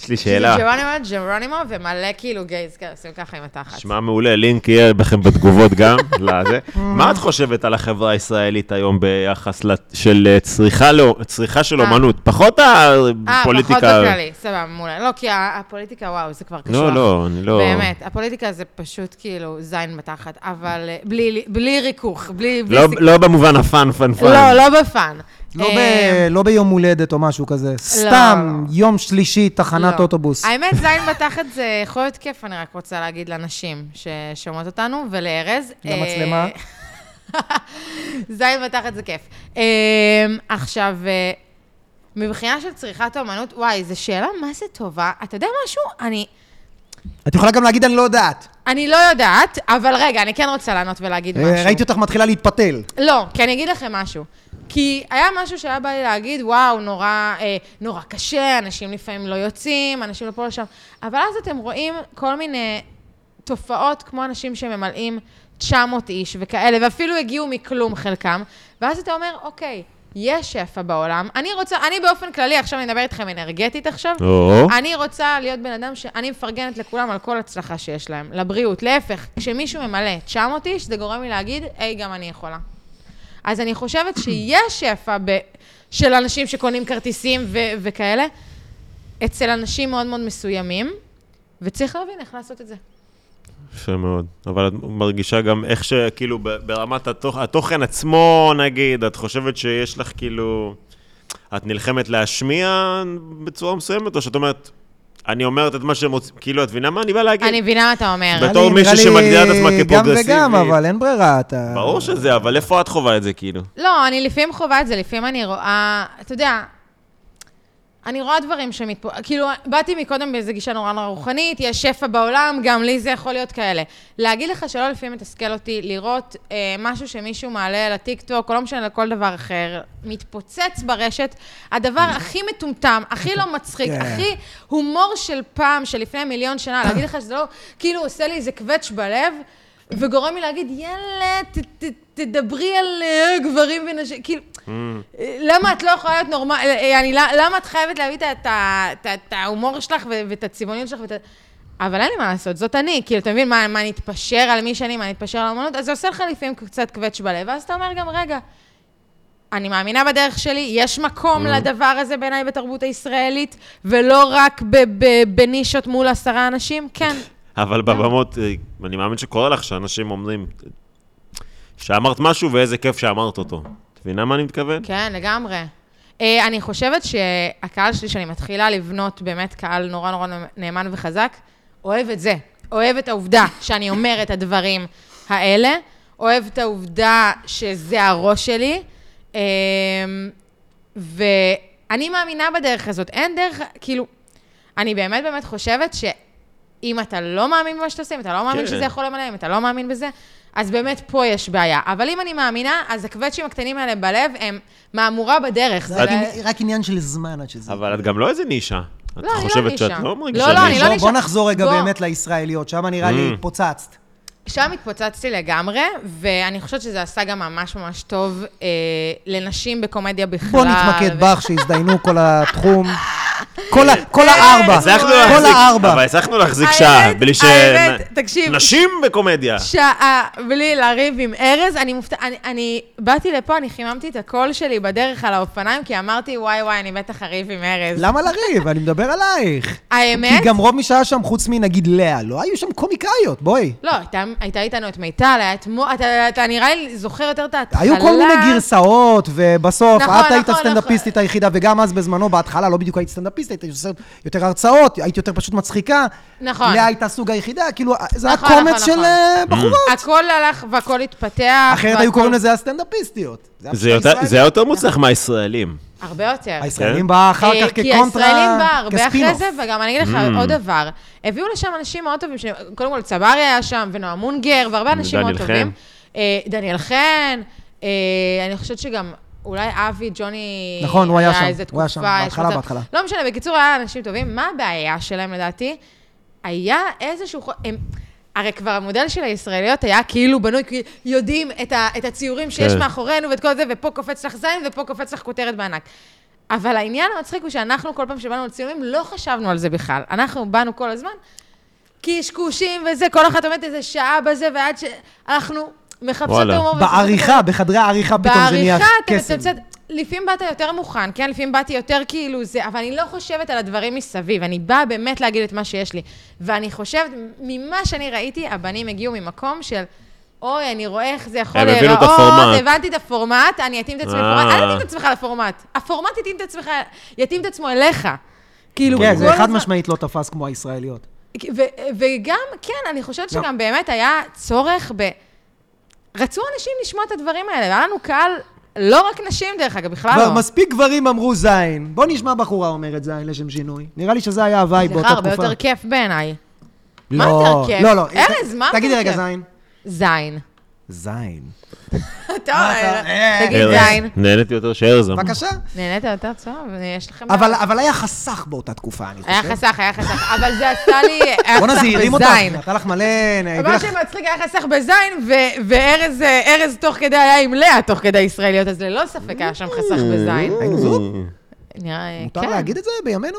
S2: יש לי שאלה.
S3: ג'רונימו, ג'רונימו, ומלא כאילו גייז כאלה, עושים ככה עם התחת.
S2: שמע מעולה, לינק יהיה בכם בתגובות גם. לזה. מה את חושבת על החברה הישראלית היום ביחס לת- של אה, צריכה לא- צריכה של
S3: אה.
S2: אומנות? פחות
S3: אה,
S2: הפוליטיקה.
S3: פחות בכללי, סבבה, מעולה. לא, כי ה- הפוליטיקה, וואו, זה כבר קשור.
S2: לא, לא, אני לא...
S3: באמת, הפוליטיקה זה פשוט כאילו זין בתחת, אבל אה, בלי בלי ריכוך, בלי... בלי
S2: לא-
S3: סיכוך.
S2: לא במובן הפאן פאן פאן.
S3: לא, לא בפאן.
S1: לא
S3: אה,
S1: ב- לא ביום הולדת או משהו כזה. סתם יום שלישי, תחנת
S3: לא.
S1: אוטובוס.
S3: האמת, זין בתחת זה יכול להיות כיף, אני רק רוצה להגיד לנשים ששומעות אותנו, ולארז. אה,
S1: למצלמה.
S3: זין בתחת זה כיף. אה, עכשיו, אה, מבחינה של צריכת אומנות, וואי, זו שאלה מה זה טובה. אתה יודע משהו? אני...
S1: את יכולה גם להגיד, אני לא יודעת.
S3: אני לא יודעת, אבל רגע, אני כן רוצה לענות ולהגיד
S1: אה,
S3: משהו.
S1: ראיתי אותך מתחילה להתפתל.
S3: לא, כי אני אגיד לכם משהו. כי היה משהו שהיה בא לי להגיד, וואו, נורא, אה, נורא קשה, אנשים לפעמים לא יוצאים, אנשים לא פה לשם, אבל אז אתם רואים כל מיני תופעות כמו אנשים שממלאים 900 איש וכאלה, ואפילו הגיעו מכלום חלקם, ואז אתה אומר, אוקיי, יש שפע בעולם, אני רוצה, אני באופן כללי, עכשיו אני אדבר איתכם אנרגטית עכשיו,
S2: או.
S3: אני רוצה להיות בן אדם שאני מפרגנת לכולם על כל הצלחה שיש להם, לבריאות. להפך, כשמישהו ממלא 900 איש, זה גורם לי להגיד, היי, גם אני יכולה. אז אני חושבת שיש שפע ב... של אנשים שקונים כרטיסים ו- וכאלה, אצל אנשים מאוד מאוד מסוימים, וצריך להבין איך לעשות את זה.
S2: יפה מאוד. אבל את מרגישה גם איך שכאילו ב- ברמת התוכ... התוכן עצמו, נגיד, את חושבת שיש לך כאילו... את נלחמת להשמיע בצורה מסוימת, או שאת אומרת, אני אומרת את מה שהם רוצים, כאילו, את מבינה מה אני בא להגיד?
S3: אני מבינה מה אתה אומר.
S2: בתור
S1: נראה לי-
S2: מישהי
S1: נראה לי
S2: שמגדירה את עצמה כפרוגרסיבית.
S1: גם וגם, אבל אין ברירה, אתה...
S3: אה.
S2: ברור שזה, אבל איפה את חווה את זה, כאילו?
S3: לא, אני לפעמים חווה את זה, לפעמים אני רואה, אתה יודע, אני רואה דברים שמתפו... כאילו, באתי מקודם באיזו גישה נורא נורא רוחנית, יש שפע בעולם, גם לי זה יכול להיות כאלה. להגיד לך שלא לפעמים מתסכל אותי לראות אה, משהו שמישהו מעלה לטיקטוק, או לא משנה, לכל דבר אחר, מתפוצץ ברשת, הדבר הכי מטומטם, הכי לא מצחיק,
S1: כן.
S3: הכי הומור של פעם, שלפני מיליון שנה, להגיד לך שזה לא, כאילו עושה לי איזה קווץ' בלב, וגורם לי להגיד, יאללה, ת- ת- תדברי על אה, גברים ונשים, כאילו... למה את לא יכולה להיות נורמלית, אני, לא- למה את חייבת להביא את ה- את ה- את ה- את ההומור שלך ו- ואת הצבעוניות שלך ואת ה... אבל אין לי מה לעשות, זאת אני. כאילו, אתה מבין, מה, מה נתפשר על מי שאני, מה נתפשר על האומנות? אז זה עושה לך לפעמים קצת קווץ' בלב, ואז אתה אומר גם, רגע, אני מאמינה בדרך שלי, יש מקום לדבר הזה בעיניי בתרבות הישראלית, ולא רק ב- ב- בנישות מול עשרה אנשים, כן.
S2: אבל בבמות, אה, אני מאמין שקורה לך שאנשים אומרים שאמרת משהו ואיזה כיף שאמרת אותו. את מבינה מה אני מתכוון?
S3: כן, לגמרי. אה, אני חושבת שהקהל שלי, שאני מתחילה לבנות באמת קהל נורא נורא נאמן וחזק, אוהב את זה. אוהב את העובדה שאני אומר את הדברים האלה, אוהב את העובדה שזה הראש שלי, אה, ואני מאמינה בדרך הזאת. אין דרך, כאילו, אני באמת באמת חושבת ש... אם אתה לא מאמין במה שאתה עושה, אם אתה לא מאמין
S2: כן.
S3: שזה יכול למלא, אם אתה לא מאמין בזה, אז באמת פה יש בעיה. אבל אם אני מאמינה, אז הקווצ'ים הקטנים האלה בלב הם מהמורה בדרך.
S1: זה
S3: זה
S1: רק
S3: לא-
S1: עני- רק עניין של זמן עד שזה...
S2: אבל את גם לא איזה נישה. את
S3: לא, אני לא
S2: חושבת שאת
S3: נישה.
S2: לא
S3: לא,
S2: מרגישה
S3: לא, אני
S2: נישה.
S1: בוא-
S3: לא
S1: בוא
S3: נשאר-
S1: נחזור רגע
S3: בוא.
S1: באמת לישראליות, שם נראה לי
S2: Mm.
S1: התפוצצת.
S3: שם התפוצצתי לגמרי, ואני חושבת שזה עשה גם ממש ממש טוב אה, לנשים בקומדיה בכלל.
S1: בוא נתמקד
S3: ו-
S1: בך, שהזדיינו כל התחום. כל ה- כל
S3: אה,
S1: הארבע.
S2: הצלחנו
S3: כל
S2: להחזיק-
S1: הארבע.
S2: אבל הצלחנו להחזיק
S3: האמת,
S2: שעה, בלי ש...
S3: האמת, תקשיב.
S2: נשים בקומדיה.
S3: שעה בלי לריב עם ארז, אני מופתעת, אני, אני באתי לפה, אני חיממתי את הקול שלי בדרך על האופניים, כי אמרתי, וואי וואי, אני בטח אריב עם ארז.
S1: למה לריב? אני מדבר עלייך.
S3: האמת?
S1: כי גם רוב מי שהיה שם, חוץ מנגיד לאה, לא היו שם קומיקאיות, בואי.
S3: לא, הייתה, הייתה איתנו את מיטל, היה את מו... אתה, אתה נראה לי זוכר יותר את ההתחלה.
S1: היו כל מיני גרסאות, ובסוף,
S3: נכון,
S1: את היית
S3: נכון,
S1: הסטנדאפיסטית היחידה, וגם אז בזמנו, בהתחלה, לא בדיוק היית סטנדאפיסטית, היית עושה יותר הרצאות, היית יותר פשוט מצחיקה.
S3: נכון.
S1: לאה הייתה הסוג היחידה, כאילו, זה היה
S3: נכון, נכון,
S1: קומץ של
S3: נכון.
S1: אה, בחורות.
S3: הכל הלך והכל התפתח.
S1: אחרת
S3: והכל-
S1: היו קוראים לזה הסטנדאפיסטיות. היה
S2: זה
S1: פשוט
S2: יותר-
S1: הישראלים.
S2: זה היה יותר מוצלח מהישראלים.
S3: הרבה יותר.
S1: הישראלים בא אחר
S3: כן. אה,
S1: כך
S3: כי
S1: כקונטרה,
S3: הישראלים בא הרבה אחרי
S1: כספינוף.
S3: זה, וגם אני אגיד לך
S2: Mm.
S3: עוד דבר. הביאו לשם אנשים מאוד טובים, ש- קודם כל צברי היה שם, ונועה מונגר, והרבה אנשים
S2: ודניאל חן.
S3: מאוד טובים. אה, דניאל חן, אה, אני חושבת שגם... אולי אבי, ג'וני...
S1: נכון, הוא היה שם,
S3: איזה
S1: הוא היה שם,
S3: תקופה, יש
S1: בהתחלה,
S3: מצב-
S1: בהתחלה.
S3: לא משנה, בקיצור, היה אנשים טובים. מה הבעיה שלהם לדעתי? היה איזשהו... חו- הם... הרי כבר המודל של הישראליות היה כאילו בנוי, כי יודעים את, ה, את הציורים שיש
S2: כן.
S3: מאחורינו ואת כל זה, ופה קופץ לך זין ופה קופץ לך כותרת בענק. אבל העניין המצחיק הוא שאנחנו, כל פעם שבאנו לצילומים, לא חשבנו על זה בכלל. אנחנו באנו כל הזמן, קשקושים וזה, כל אחת עומדת איזה שעה בזה, ועד שאנחנו מחפשות את
S2: וואלה.
S3: ההומור. ומחפשות את
S1: בעריכה, בחדרי העריכה פתאום זה נהיה
S3: בעריכה אתה
S1: קסם.
S3: מצמצם. לפעמים באת יותר מוכן, כן? לפעמים באתי יותר כאילו זה, אבל אני לא חושבת על הדברים מסביב, אני באה באמת להגיד את מה שיש לי. ואני חושבת, ממה שאני ראיתי, הבנים הגיעו ממקום של, אוי, אני רואה איך זה יכול
S2: הם הבינו את
S3: להיראות,
S2: הפורמט.
S3: הבנתי את הפורמט, אני אתאים את עצמי
S2: אה.
S3: לפורמט, אל תתאים את עצמך לפורמט. הפורמט יתאים את עצמך, יתאים את עצמו אליך. כאילו,
S1: כן, זה
S3: כל
S1: חד
S3: הזמן-
S1: משמעית לא תפס כמו הישראליות.
S3: ו- וגם, כן, אני חושבת
S1: לא.
S3: שגם באמת היה צורך ב... רצו אנשים לשמוע את הדברים האלה, והיה לנו קהל, לא רק נשים דרך אגב, בכלל
S1: כבר
S3: לא.
S1: מספיק גברים אמרו זין. בוא נשמע בחורה אומרת זין לשם שינוי. נראה לי שזה היה הווייב באותה
S3: סליחה,
S1: תקופה.
S3: הרבה יותר כיף בעיניי. מה
S1: לא,
S3: יותר כיף?
S1: לא, לא.
S3: ארז, מה
S1: תגידי
S3: יותר
S1: רגע
S3: כיף?
S1: זין.
S3: זין.
S1: זין.
S3: טוב,
S1: אה,
S3: תגיד
S2: ארז,
S3: זין.
S2: נהניתי יותר שארז אמר.
S1: בבקשה.
S3: נהנית יותר טוב? יש לכם...
S1: אבל אבל היה חסך באותה תקופה, אני חושב.
S3: היה חסך, היה חסך, אבל זה עשה לי... היה
S1: בואנה,
S3: חסך
S1: זה הרים אותך.
S3: בזין.
S1: נתן לך מלא... הביא
S3: מה
S1: לך-
S3: שמצחיק היה חסך בזין, ו- וארז אה, ארז תוך כדי היה עם לאה תוך כדי ישראליות, אז ללא ספק היה שם חסך בזין.
S1: היינו זוג?
S3: נראה,
S1: אה, מותר
S3: כן,
S1: להגיד את זה בימינו?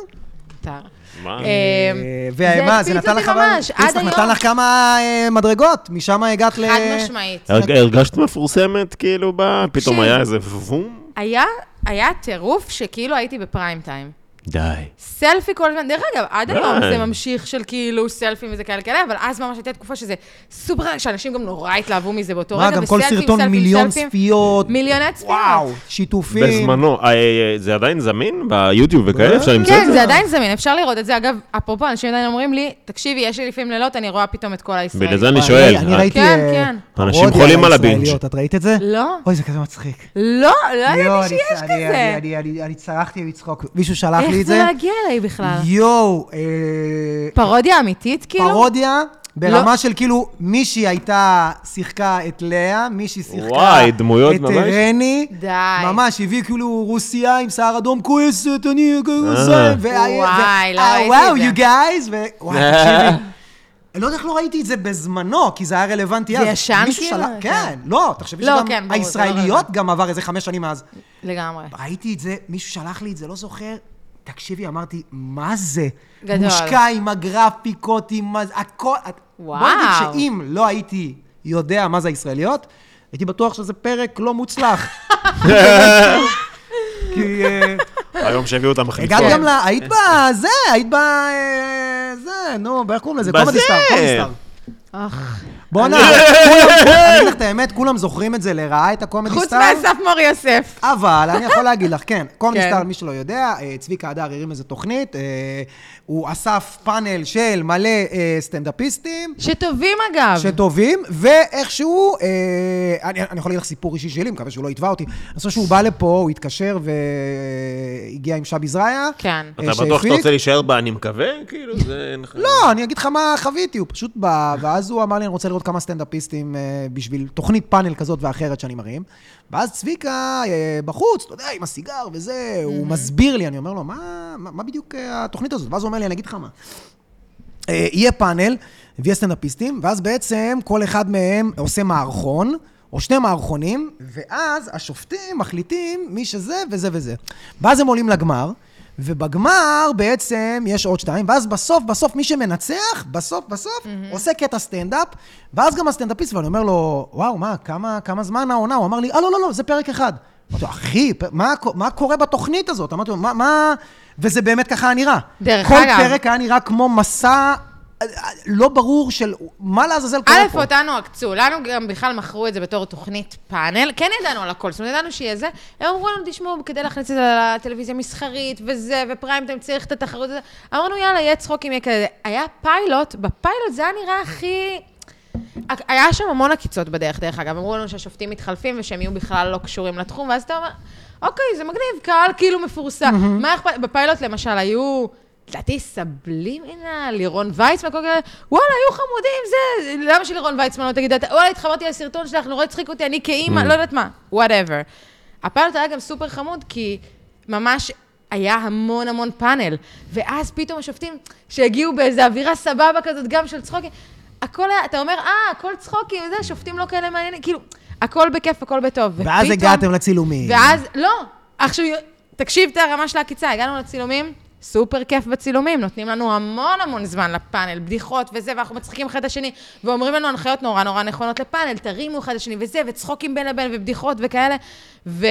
S3: מותר.
S2: מה?
S3: אה,
S1: אה,
S3: זה
S1: ומה,
S3: הקפיץ
S1: זה נתן
S3: אותי
S1: לך... אבל-
S3: ממש, עד
S1: פריסטח נתן
S3: היום.
S1: לך כמה אה, מדרגות, משם הגעת ל...
S3: חד משמעית.
S2: הרג- הרגשת מפורסמת, כאילו, ב... פתאום
S3: תקשיב.
S2: היה איזה וום?
S3: היה, היה טירוף שכאילו הייתי בפריים טיים.
S2: די.
S3: סלפי כל הזמן, דרך אגב, עד
S2: די.
S3: היום זה ממשיך של כאילו סלפים וזה כאלה כאלה, אבל אז ממש הייתה תקופה שזה סופר, שאנשים גם נורא התלהבו מזה באותו
S1: מה,
S3: רגע,
S1: גם כל
S3: וסלפים,
S1: סרטון
S3: סלפים,
S1: מיליון
S3: סלפים.
S1: צפיות.
S3: מיליוני צפיות.
S1: וואו, שיתופים.
S2: בזמנו, אה, אה, זה עדיין זמין ביוטיוב וכאלה? אפשר למצוא את לא.
S3: כן,
S2: זה?
S3: זה עדיין זמין, אפשר לראות את זה. אגב, אפרופו, אנשים עדיין אומרים לי, תקשיבי, יש לי לפעמים לילות, אני רואה פתאום את כל הישראלים.
S2: בגלל זה אני
S1: וואי,
S2: שואל.
S1: אני
S2: אה,
S1: ראיתי...
S3: כן,
S1: אה,
S3: כן.
S2: אנשים
S1: פרודיה
S2: חולים על
S1: לישראליות.
S2: הבינג'.
S1: את ראית את זה?
S3: לא.
S1: אוי, זה כזה מצחיק.
S3: לא, לא
S1: יואו,
S3: ידעתי
S1: אני-
S3: שיש
S1: אני- אני-
S3: כזה.
S1: אני- אני- אני צרחתי מצחוק. מישהו שלח לי
S3: איך
S1: את
S3: זה
S1: זה.
S3: להגיע אליי בכלל?
S1: יואו, אה,
S3: פרודיה אמיתית, כאילו?
S1: פרודיה ברמה של כאילו, מישהי הייתה, שיחקה את לאה, מישהי שיחקה
S2: וואי, דמויות
S1: את
S2: ממש.
S1: רני.
S3: די.
S1: ממש, הביא כאילו רוסייה עם שיער אדום, כועסת, אני...
S2: אה.
S1: זה, ו-
S3: וואי,
S1: ו-
S3: לא
S1: אה,
S3: ראיתי
S1: וואו,
S3: את זה.
S1: you guys, ו- וואי, תקשיבי. אני לא יודע איך לא ראיתי את זה בזמנו, כי זה היה רלוונטי
S3: זה
S1: אז.
S3: ישן
S1: מישהו
S3: כאילו?
S1: שלח- כן, לא, תחשבי
S3: לא,
S1: שגם
S3: כן, ברור, זה לא
S1: הישראליות
S3: רלוונטי.
S1: גם עבר איזה חמש שנים מאז.
S3: לגמרי.
S1: ראיתי את זה, מישהו שלח לי את זה, לא זוכר. תקשיבי, אמרתי, מה זה?
S3: גדול.
S1: מושקע עם הגרפיקות, עם מה זה, הכל... את- בוא נגיד
S3: וואו.
S1: שאם לא הייתי יודע מה זה הישראליות, הייתי בטוח שזה פרק לא מוצלח.
S2: אה.
S1: כי... אה,
S2: היום שהביאו אותם
S1: הגעת
S2: מחליפות.
S1: גם ל... היית בזה, היית ב... אה, זה, נו, איך קוראים לזה?
S2: בזה.
S1: קומדי סטאר, קומדי סטאר.
S3: אוח.
S1: בואנה, כולם, אני אגיד לך את האמת, כולם זוכרים את זה לרעה, את הקומדי
S3: חוץ
S1: סטאר.
S3: מאסף מור יוסף.
S1: אבל אני יכול להגיד לך, כן, קומדי
S3: כן.
S1: סטאר, מי שלא יודע, אה, צביקה הדר הרים איזה תוכנית, אה, הוא אסף פאנל של מלא אה, סטנדאפיסטים.
S3: שטובים אגב.
S1: שטובים, ואיכשהו, אה, אני, אני יכול להגיד לך סיפור אישי שלי, מקווה שהוא לא יתבע אותי. אני חושב שהוא בא לפה, הוא התקשר והגיע עם שבי זרעיה.
S3: כן.
S1: אה,
S2: אתה בטוח שאתה
S1: שהפיק.
S2: רוצה להישאר בה, אני מקווה? כאילו, זה...
S1: לא, אני אגיד לך מה חוויתי, הוא פשוט בא, ואז הוא אמר לי, אני רוצה לראות כמה סטנדאפיסטים אה, בשביל תוכנית פאנל כזאת ואחרת שאני מרים. ואז צביקה אה, בחוץ, אתה יודע, עם הסיגר וזה, הוא מסביר לי, אני אומר לו, מה, מה, מה בדיוק אה, התוכנית הזאת? ואז הוא אומר לי, אני אגיד לך מה. אה, יהיה פאנל, ויהיה סטנדאפיסטים, ואז בעצם כל אחד מהם עושה מערכון, או שני מערכונים, ואז השופטים מחליטים מי שזה וזה וזה. ואז הם עולים לגמר, ובגמר בעצם יש עוד שתיים, ואז בסוף, בסוף מי שמנצח, בסוף, בסוף, mm-hmm. עושה קטע סטנדאפ, ואז גם הסטנדאפיסט, ואני אומר לו, וואו, מה, כמה, כמה זמן העונה? הוא אמר לי, אה, לא, לא, לא, זה פרק אחד. אמרתי לו, אחי, פ- מה, קו- מה קורה בתוכנית הזאת? אמרתי לו, מה, מה... וזה באמת ככה היה נראה.
S3: דרך
S1: כל
S3: אגב.
S1: כל פרק היה נראה כמו מסע אה, אה, לא ברור של מה לעזאזל קורה
S3: א',
S1: פה.
S3: אותנו עקצו, לנו גם בכלל מכרו את זה בתור תוכנית פאנל, כן ידענו על הכל, זאת אומרת, ידענו שיהיה זה, הם אמרו לנו, תשמעו, כדי להכניס את זה לטלוויזיה המסחרית וזה, ופריים טיים צריך את התחרות הזאת, אמרנו, יאללה, יהיה צחוקים, יהיה כזה. היה פיילוט, בפיילוט זה היה נראה הכי... היה שם המון עקיצות בדרך, דרך אגב, אמרו לנו שהשופטים מתחלפים ושהם יהיו בכלל לא קשורים לתחום, ואז אתה אומר, אוקיי, זה מגניב, קהל כאילו מפורסם. מה אכפת, בפיילוט למשל היו, לדעתי סבלימינה, לירון ויצמן, כל כאלה, וואלה, היו חמודים, זה, למה שלירון ויצמן לא תגיד, "אתה- וואלה, התחברתי לסרטון שלך, נורא הצחיק אותי, אני כאימא, לא יודעת מה, וואטאבר. הפיילוט היה גם סופר חמוד, כי ממש היה המון המון פאנל, ואז פתאום השופטים שהגיעו באיזו אווירה סבבה כזאת, גם של צחוקים, הכל היה, אתה אומר, אה, הכל צחוקים, וזה, שופטים לא כאלה מעניינים, כאילו, הכל בכיף, הכל בטוב.
S1: ואז
S3: ופתאום-
S1: הגעתם לצילומים.
S3: ואז, לא, עכשיו, תקשיב את הרמה של העקיצה, הגענו לצילומים, סופר כיף בצילומים, נותנים לנו המון המון זמן לפאנל, בדיחות וזה, ואנחנו מצחיקים אחד את השני, ואומרים לנו הנחיות נורא נורא נכונות לפאנל, תרימו אחד את השני וזה, וצחוקים בין לבין, ובדיחות וכאלה, ו...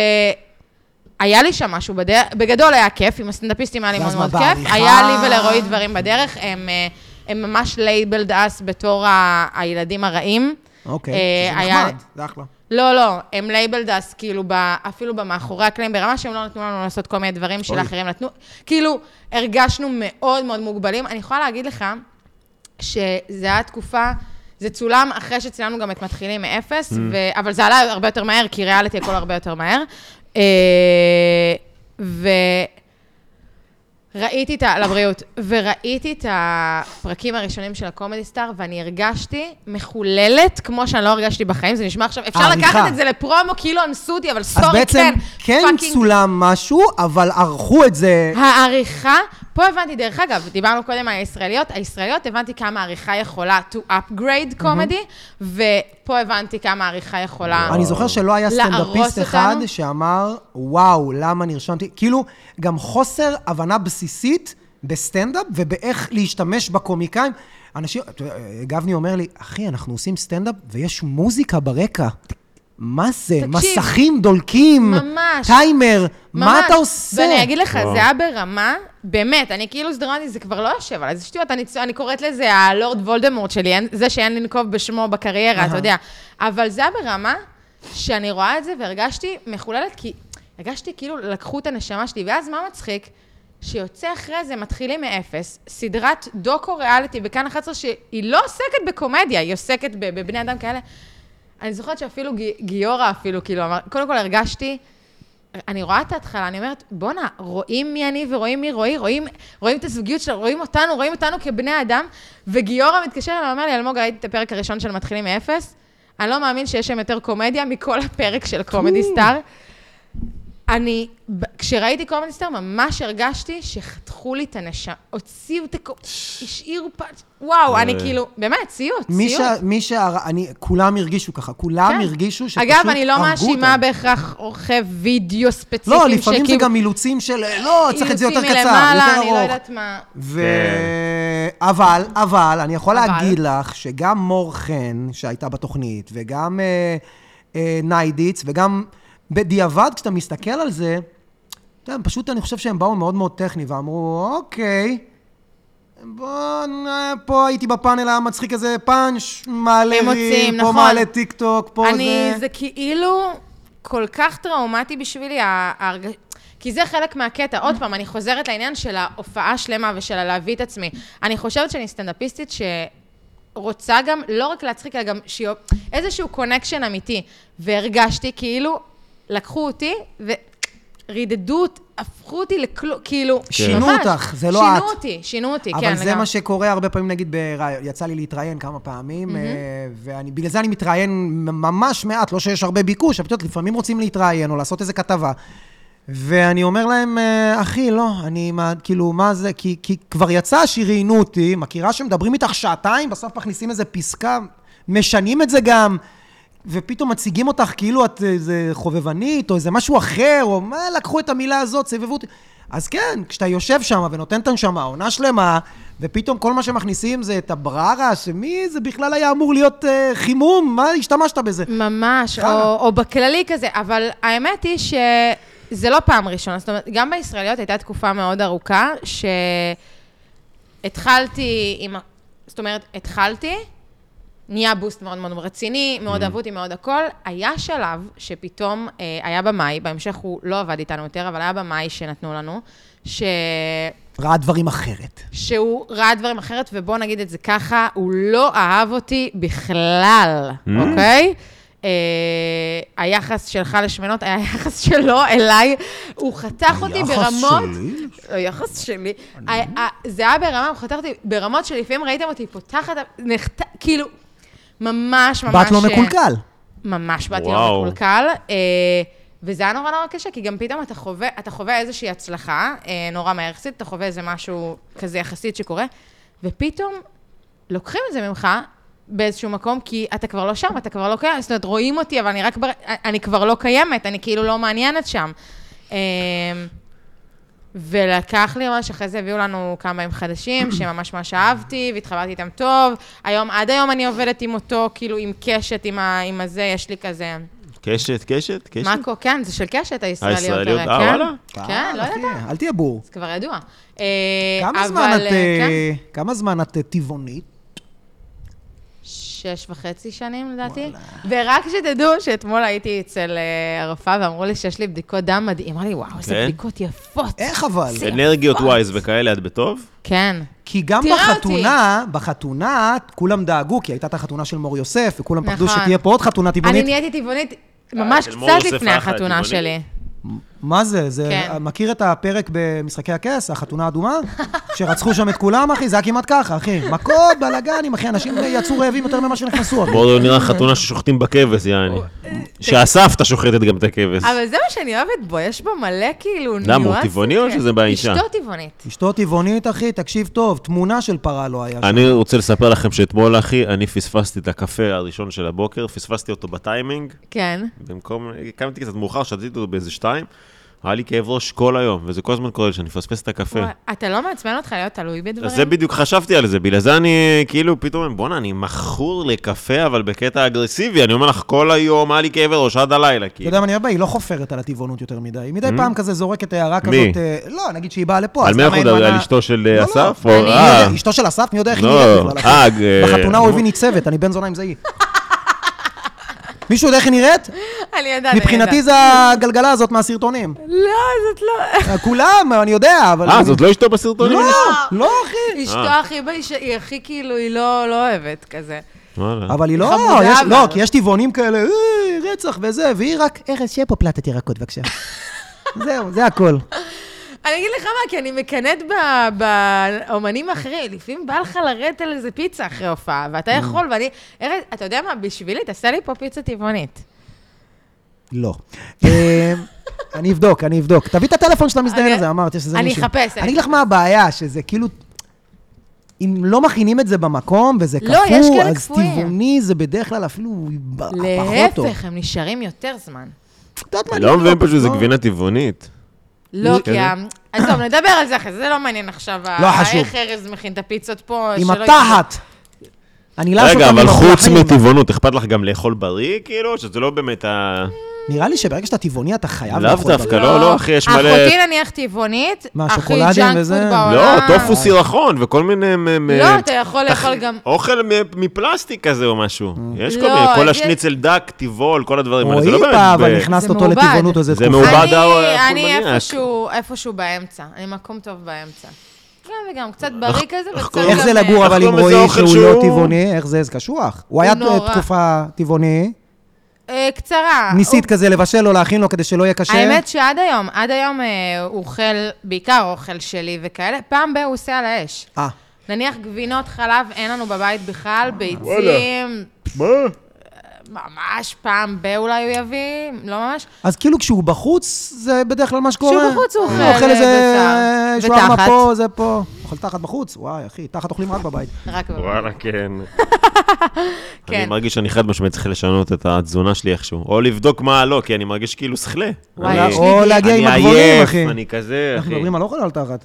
S3: היה לי שם משהו בדרך, בגדול היה כיף, עם הסטנדאפיסטים היה לי
S1: ואז
S3: מאוד מאוד
S1: מה,
S3: כיף.
S1: בעריכה?
S3: היה לי ולרועי דברים בדרך, הם, אה, הם ממש לייבלד אס בתור ה- הילדים הרעים.
S1: אוקיי,
S3: אה,
S1: שזה
S3: היה-
S1: נחמד, זה אחלה.
S3: לא, לא, הם לייבלד אס, כאילו, ב, אפילו במאחורי הקלעים, ברמה שהם לא נתנו לנו לעשות כל מיני דברים שלאחרים נתנו. כאילו, הרגשנו מאוד מאוד מוגבלים. אני יכולה להגיד לך שזו הייתה תקופה, זה צולם אחרי שצילמנו גם את מתחילים מאפס,
S1: Mm.
S3: ו, אבל זה עלה הרבה יותר מהר, כי ריאליטי הכל הרבה יותר מהר. אה, ו... ראיתי את ה... לבריאות. וראיתי את הפרקים הראשונים של הקומדי סטאר, ואני הרגשתי מחוללת, כמו שאני לא הרגשתי בחיים. זה נשמע עכשיו... אפשר
S1: העריכה.
S3: לקחת את זה לפרומו, כאילו אנסו אותי, אבל
S1: אה, אז
S3: סורי, כן.
S1: בעצם כן
S3: פאקינג
S1: צולם משהו, אבל ערכו את זה...
S3: העריכה, פה הבנתי, דרך אגב, דיברנו קודם על הישראליות, הישראליות הבנתי כמה העריכה יכולה to upgrade comedy, ופה הבנתי כמה העריכה יכולה...
S1: אני זוכר שלא היה
S3: להרוס
S1: סטנדאפיסט
S3: אותנו?
S1: אחד שאמר, וואו, למה נרשמתי? כאילו, גם חוסר הבנה בסיסית בסטנדאפ ובאיך להשתמש בקומיקאים. אנשים, אתה יודע, גבני אומר לי, אחי, אנחנו עושים סטנדאפ ויש מוזיקה ברקע. מה זה?
S3: תקשיב.
S1: מסכים דולקים,
S3: ממש.
S1: טיימר, מה
S3: ממש.
S1: אתה עושה?
S3: ואני אגיד לך,
S2: וואו.
S3: זה היה ברמה, באמת, אני כאילו סדרנית, זה כבר לא יושב על איזה שטויות, אני, צ- אני קוראת לזה הלורד וולדמורט שלי, אין- זה שאין לנקוב בשמו בקריירה, אתה
S1: אהה.
S3: יודע. אבל זה היה ברמה שאני רואה את זה והרגשתי מחוללת, כי הרגשתי כאילו לקחו את הנשמה שלי, ואז מה מצחיק? שיוצא אחרי זה, מתחילים מאפס, סדרת דוקו ריאליטי בכאן 11, שהיא לא עוסקת בקומדיה, היא עוסקת ב- בבני אדם כאלה. אני זוכרת שאפילו גי- גיורא אפילו, כאילו, אמר, קודם כל הרגשתי, אני רואה את ההתחלה, אני אומרת, בואנה, רואים מי אני ורואים מי רועי, רואים, רואים את הזוגיות שלו, רואים אותנו, רואים אותנו כבני אדם, וגיורא מתקשר אליי ואומר לי, אלמוג, ראיתי את הפרק הראשון של מתחילים מאפס, אני לא מאמין שיש שם יותר קומדיה מכל הפרק של קומדי סטאר. אני, ב- כשראיתי קומדי סטאר, ממש הרגשתי שחתכו לי את הנשמה, הוציאו את הכל, השאירו פאנץ', וואו, אני
S2: אה.
S3: כאילו, באמת, סיוט,
S1: מי ש...
S3: סיוט.
S1: מי ש... אני... כולם הרגישו ככה, כולם
S3: כן.
S1: הרגישו שפשוט
S3: אגב, אני לא
S1: הרגו
S3: מאשימה
S1: אותם.
S3: בהכרח עורכי וידאו ספציפיים
S1: לא, לפעמים זה
S3: שכאילו-
S1: גם אילוצים של, לא, צריך את זה יותר קצר,
S3: אילוצים
S1: יותר
S3: מלמעלה,
S1: ארוך.
S3: אני לא יודעת מה.
S1: ו... אבל, אבל, אני יכול
S3: אבל?
S1: להגיד לך שגם מור חן, שהייתה בתוכנית, וגם אה, אה, ניידיץ, וגם בדיעבד, כשאתה מסתכל על זה, אתה יודע, פשוט אני חושב שהם באו מאוד מאוד טכני, ואמרו, אוקיי, בוא, נ- פה הייתי בפאנל המצחיק הזה, פאנץ', מעלה ריל,
S3: הם מוציאים,
S1: פה
S3: נכון.
S1: מעלה טיק טוק, פה
S3: אני,
S1: זה...
S3: זה כאילו כל כך טראומטי בשבילי, ההרגשה... כי זה חלק מהקטע. עוד פעם, אני חוזרת לעניין של ההופעה שלמה ושל הלהביא את עצמי. אני חושבת שאני סטנדאפיסטית ש... רוצה גם, לא רק להצחיק, אלא גם שיהיה איזשהו קונקשן אמיתי. והרגשתי כאילו, לקחו אותי ורידדו, אות- הפכו אותי לכלום, כאילו,
S1: שינו
S3: ממש,
S1: אותך, זה לא את.
S3: שינו אותי, שינו אותי, כן,
S1: אבל זה מה שקורה הרבה פעמים, נגיד, ברא- יצא לי להתראיין כמה פעמים, אה, ובגלל זה אני מתראיין ממש מעט, לא שיש הרבה ביקוש, אבל את יודעת, לפעמים רוצים להתראיין או לעשות איזה כתבה. ואני אומר להם, אה, אחי, לא, אני, מה, כאילו, מה זה, כי, כי כבר יצא שראיינו אותי, מכירה שמדברים איתך שעתיים, בסוף מכניסים איזה פסקה, משנים את זה גם, ופתאום מציגים אותך כאילו את איזה חובבנית, או איזה משהו אחר, או מה, לקחו את המילה הזאת, סבבו אותי. אז כן, כשאתה יושב שם ונותן את הנשמה, עונה שלמה, ופתאום כל מה שמכניסים זה את הבררה, שמי זה בכלל היה אמור להיות אה, חימום, מה השתמשת בזה?
S3: ממש,
S1: חרא.
S3: או, או בכללי כזה, אבל האמת היא שזה לא פעם ראשונה, זאת אומרת, גם בישראליות הייתה תקופה מאוד ארוכה, שהתחלתי עם, ה- זאת אומרת, התחלתי, נהיה בוסט מאוד מאוד רציני, מאוד אהבו אותי, מאוד הכל. היה שלב שפתאום אה, היה במאי, בהמשך הוא לא עבד איתנו יותר, אבל היה במאי שנתנו לנו, ש...
S1: ראה דברים אחרת.
S3: שהוא ראה דברים אחרת, ובואו נגיד את זה ככה, הוא לא אהב אותי בכלל,
S1: Mm.
S3: אוקיי? אה, היחס שלך לשמנות היה היחס שלו אליי, הוא חתך אותי
S1: היחס
S3: ברמות... לא,
S1: שלי?
S3: היחס שלי. ה- ה- זה היה ברמה, הוא חתך אותי ברמות שלפעמים ראיתם אותי פותחת, נחת... כאילו, ממש ממש...
S1: בת לא
S3: אה,
S1: מקולקל.
S3: ממש באתי לא
S2: וואו.
S3: מקולקל. אה, וזה היה נורא נורא קשה, כי גם פתאום אתה חווה, אתה חווה איזושהי הצלחה, אה, נורא מהר יחסית, אתה חווה איזה משהו כזה יחסית שקורה, ופתאום לוקחים את זה ממך באיזשהו מקום, כי אתה כבר לא שם, אתה כבר לא קיים, זאת אומרת, רואים אותי, אבל אני רק, בר... אני כבר לא קיימת, אני כאילו לא מעניינת שם. אה, ולקח לי ממש, אחרי זה הביאו לנו כמה ימים חדשים, שממש ממש אהבתי, והתחברתי איתם טוב. היום, עד היום אני עובדת עם אותו, כאילו עם קשת, עם, ה, עם הזה, יש לי כזה...
S2: קשת, קשת, קשת.
S3: מאקו, כן, זה של קשת, הישראליות.
S2: הישראליות,
S3: הרי,
S2: אה,
S3: כן?
S2: וואלה?
S3: כן, לא
S1: אה, אחי,
S3: ידעת,
S1: אל תהיה בור.
S3: זה כבר ידוע. אה,
S1: כמה
S3: אבל,
S1: זמן את,
S3: אה, כן.
S1: אה, כמה זמן את אה, טבעונית?
S3: ש... שש וחצי שנים, לדעתי. ורק שתדעו שאתמול הייתי אצל אה, הרופאה ואמרו לי שיש לי בדיקות דם מדהים. אמרה לי, וואו, איזה
S2: כן?
S3: בדיקות יפות.
S1: איך אבל?
S3: זה-
S2: אנרגיות ווייז וכאלה, את בטוב?
S3: כן.
S1: כי גם
S3: תראה אותי.
S1: בחתונה, בחתונה, כולם דאגו, כי הייתה את החתונה של מור יוסף, וכולם פחדו
S3: נכון.
S1: שתהיה פה עוד חתונה
S3: אני
S1: טבעונית.
S3: נהייתי טבעונית ממש
S2: אה, של מור
S3: קצת
S2: יוסף
S3: לפני
S2: אחלה,
S3: החתונה
S2: טבעונית.
S3: שלי.
S1: מה זה? זה...
S3: כן.
S1: מכיר את הפרק במשחקי הכס, החתונה האדומה? שרצחו שם את כולם, אחי? זה היה כמעט ככה, אחי. מכות, בלאגנים, אחי, אנשים יצאו רעבים יותר ממה שנכנסו. אחי.
S2: מאוד לא נראה חתונה ששוחטים בכבש, יעני. שהסבתא שוחטת גם את הכבש.
S3: אבל זה מה שאני אוהבת בו, יש בו מלא כאילו ניואנסים.
S2: למה, הוא טבעוני או
S3: כאלה.
S2: שזה באישה?
S3: אשתו טבעונית.
S1: אשתו טבעונית, אחי, תקשיב טוב, תמונה של פרה לא היה. שם.
S2: אני רוצה לספר לכם שאתמול, אחי, אני פספסתי את הקפה הראשון של הבוקר, פספסתי אותו בטיימינג,
S3: כן.
S2: במקום, קמתי קצת מאוחר, שתיתי אותו באיזה שתיים, היה לי כאב ראש כל היום, וזה כל הזמן קורה לי שאני מפספס את הקפה.
S3: וואי, אתה לא מעצבן אותך להיות תלוי בדברים?
S2: אז זה בדיוק חשבתי על זה, בגלל זה אני כאילו פתאום, בואנה, אני מכור לקפה, אבל בקטע אגרסיבי, אני אומר לך, כל היום היה לי כאב ראש עד הלילה,
S1: אתה
S2: כאילו.
S1: יודע מה אני אומר? היא לא חופרת על הטבעונות יותר מדי. היא מדי פעם כזה זורקת הערה כזאת...
S2: מי?
S1: אה, לא, נגיד שהיא באה לפה,
S2: על
S1: אז
S2: מי
S1: למה
S2: אנחנו
S1: אין
S2: מדברים? על
S1: מנה-
S2: אשתו של
S1: לא,
S2: אה,
S1: לא,
S2: אסף? או-
S1: אני- מי
S2: אה.
S1: יודע, אשתו של אסף, מי יודע איך היא
S2: לא,
S1: נראית בכלל. אחי.
S2: אה, אה,
S1: בחתונה
S2: אה,
S1: אויבי ניצבת, אני בן זונה עם זה היא. מישהו יודע איך היא נראית?
S3: אני יודעת, אני
S1: מבחינתי
S3: יודעת.
S1: זה הגלגלה הזאת מהסרטונים.
S3: לא, זאת לא...
S1: אה, כולם, אני יודע, אבל...
S2: אה, זאת לא אשתו בסרטונים?
S1: לא, לא, אחי.
S3: אשתו
S2: אה.
S3: הכי באישה, היא הכי כאילו, היא לא לא אוהבת כזה.
S2: וואלה.
S1: אבל היא לא,
S3: חמודה,
S1: יש,
S3: אבל.
S1: לא, כי יש טבעונים כאלה, "אה, רצח וזה, והיא רק, ארז, שיהיה פה פלטת ירקות בבקשה. זהו, זה הכל.
S3: אני אגיד לך מה, כי אני מקנאת ב- באומנים האחרים. לפעמים בא לך לרדת על איזה פיצה אחרי הופעה, ואתה
S2: Mm.
S3: יכול, ואני... ארז, אתה יודע מה, בשבילי, תעשה לי פה פיצה טבעונית.
S1: אה, לא. אה, אני אבדוק, אני אבדוק. תביא את הטלפון של המזדיין
S3: אני-
S1: הזה, אמרת שזה
S3: אני
S1: מישהו.
S3: אחפש, אני
S1: אני אגיד לך מה הבעיה, שזה כאילו... אם לא מכינים את זה במקום, וזה
S3: לא, יש
S1: קפוא,
S3: כאלה
S1: אז
S3: קפואים.
S1: טבעוני זה בדרך כלל אפילו ב- פחות טוב.
S3: להפך, הם נשארים יותר זמן.
S1: את יודעת מה, אני
S2: לא מבין
S1: אבדוק.
S2: פשוט, זה
S1: לא.
S2: גבינה טבעונית.
S3: לא, כי
S2: כן.
S3: ה... עזוב, נדבר על זה אחרי זה, זה לא מעניין עכשיו. ה-
S1: לא חשוב.
S3: איך ארז מכין את הפיצות פה,
S1: עם
S3: שלא
S1: התחת. אני לא אעשה
S2: רגע,
S1: אותם עם
S2: אבל חוץ
S1: הפלחים.
S2: מטבעונות, אכפת לך גם לאכול בריא, כאילו? שזה לא באמת ה...
S1: נראה לי שברגע שאתה טבעוני, אתה חייב
S2: לאו
S1: לאכול
S2: דווקא,
S1: דבר.
S2: לא, לא, אחי, יש מלא...
S3: אחותי נניח טבעונית,
S1: מה,
S3: הכי
S1: שוקולדים
S3: ג'אנק
S1: וזה?
S3: פוד
S1: לא,
S3: בעולם.
S2: לא, טופו סירחון וכל מיני... מ- מ-
S3: לא, אתה יכול
S2: תח-
S3: לאכול גם...
S2: אוכל מ- מפלסטיק כזה או משהו. יש כל
S3: לא,
S2: מיני, כל
S3: זה-
S2: השניצל דק, טבעול, כל הדברים האלה. זה
S1: אה. רועי
S2: לא באמת...
S1: בא,
S2: ב-
S1: אבל נכנסת
S3: זה
S1: אותו
S3: מעובד.
S1: לטבעונות איזה
S2: זה
S1: תקופה.
S2: מעובד.
S3: אני-
S2: ה-
S3: אני
S2: החולמניאק.
S3: איפשהו, איפשהו באמצע, אני מקום טוב באמצע. גם וגם, קצת בריא כזה,
S2: איך
S3: וקצת...
S2: קוראים
S1: איך
S3: גם-
S1: זה
S3: אה,
S1: לגור
S2: איך
S1: אבל עם
S2: קוראים לזה
S1: רועי
S2: אוכל
S1: שהוא לא
S2: שהוא-
S1: טבעוני? איך זה? זה קשוח. הוא היה
S3: נורא.
S1: תקופה טבעוני,
S3: אה, קצרה.
S1: ניסית
S3: הוא-
S1: כזה לבשל לו, להכין לו כדי שלא יהיה קשה.
S3: האמת שעד היום, עד היום אה, הוא אוכל, בעיקר אוכל שלי וכאלה, פעם ב- הוא עושה על האש.
S1: אה,
S3: נניח גבינות חלב אין לנו בבית בכלל, ביצים,
S2: מה?
S3: ממש פעם ב- אולי הוא יביא, לא ממש.
S1: אז כאילו כשהוא בחוץ, זה בדרך כלל מה שקורה.
S3: כשהוא בחוץ הוא אוכל,
S1: הוא אוכל איזה
S3: בשר.
S1: שווארמה
S3: ותחת.
S1: פה, זה פה. אוכל תחת בחוץ? וואי, אחי, תחת אוכלים רק בבית.
S3: רק
S2: וואלה, כן. אני
S3: כן.
S2: מרגיש שאני חד משמעית צריך לשנות את התזונה שלי איכשהו. או לבדוק מה לא, כי אני מרגיש כאילו שכלה.
S3: וואי,
S2: אני-
S3: אה, יש לי-
S1: או להגיע עם
S2: אני
S1: הגבוהים,
S2: עייף,
S1: אחי.
S2: אני כזה,
S1: אנחנו
S2: אחי.
S1: מדברים על אוכל או על אה. תחת?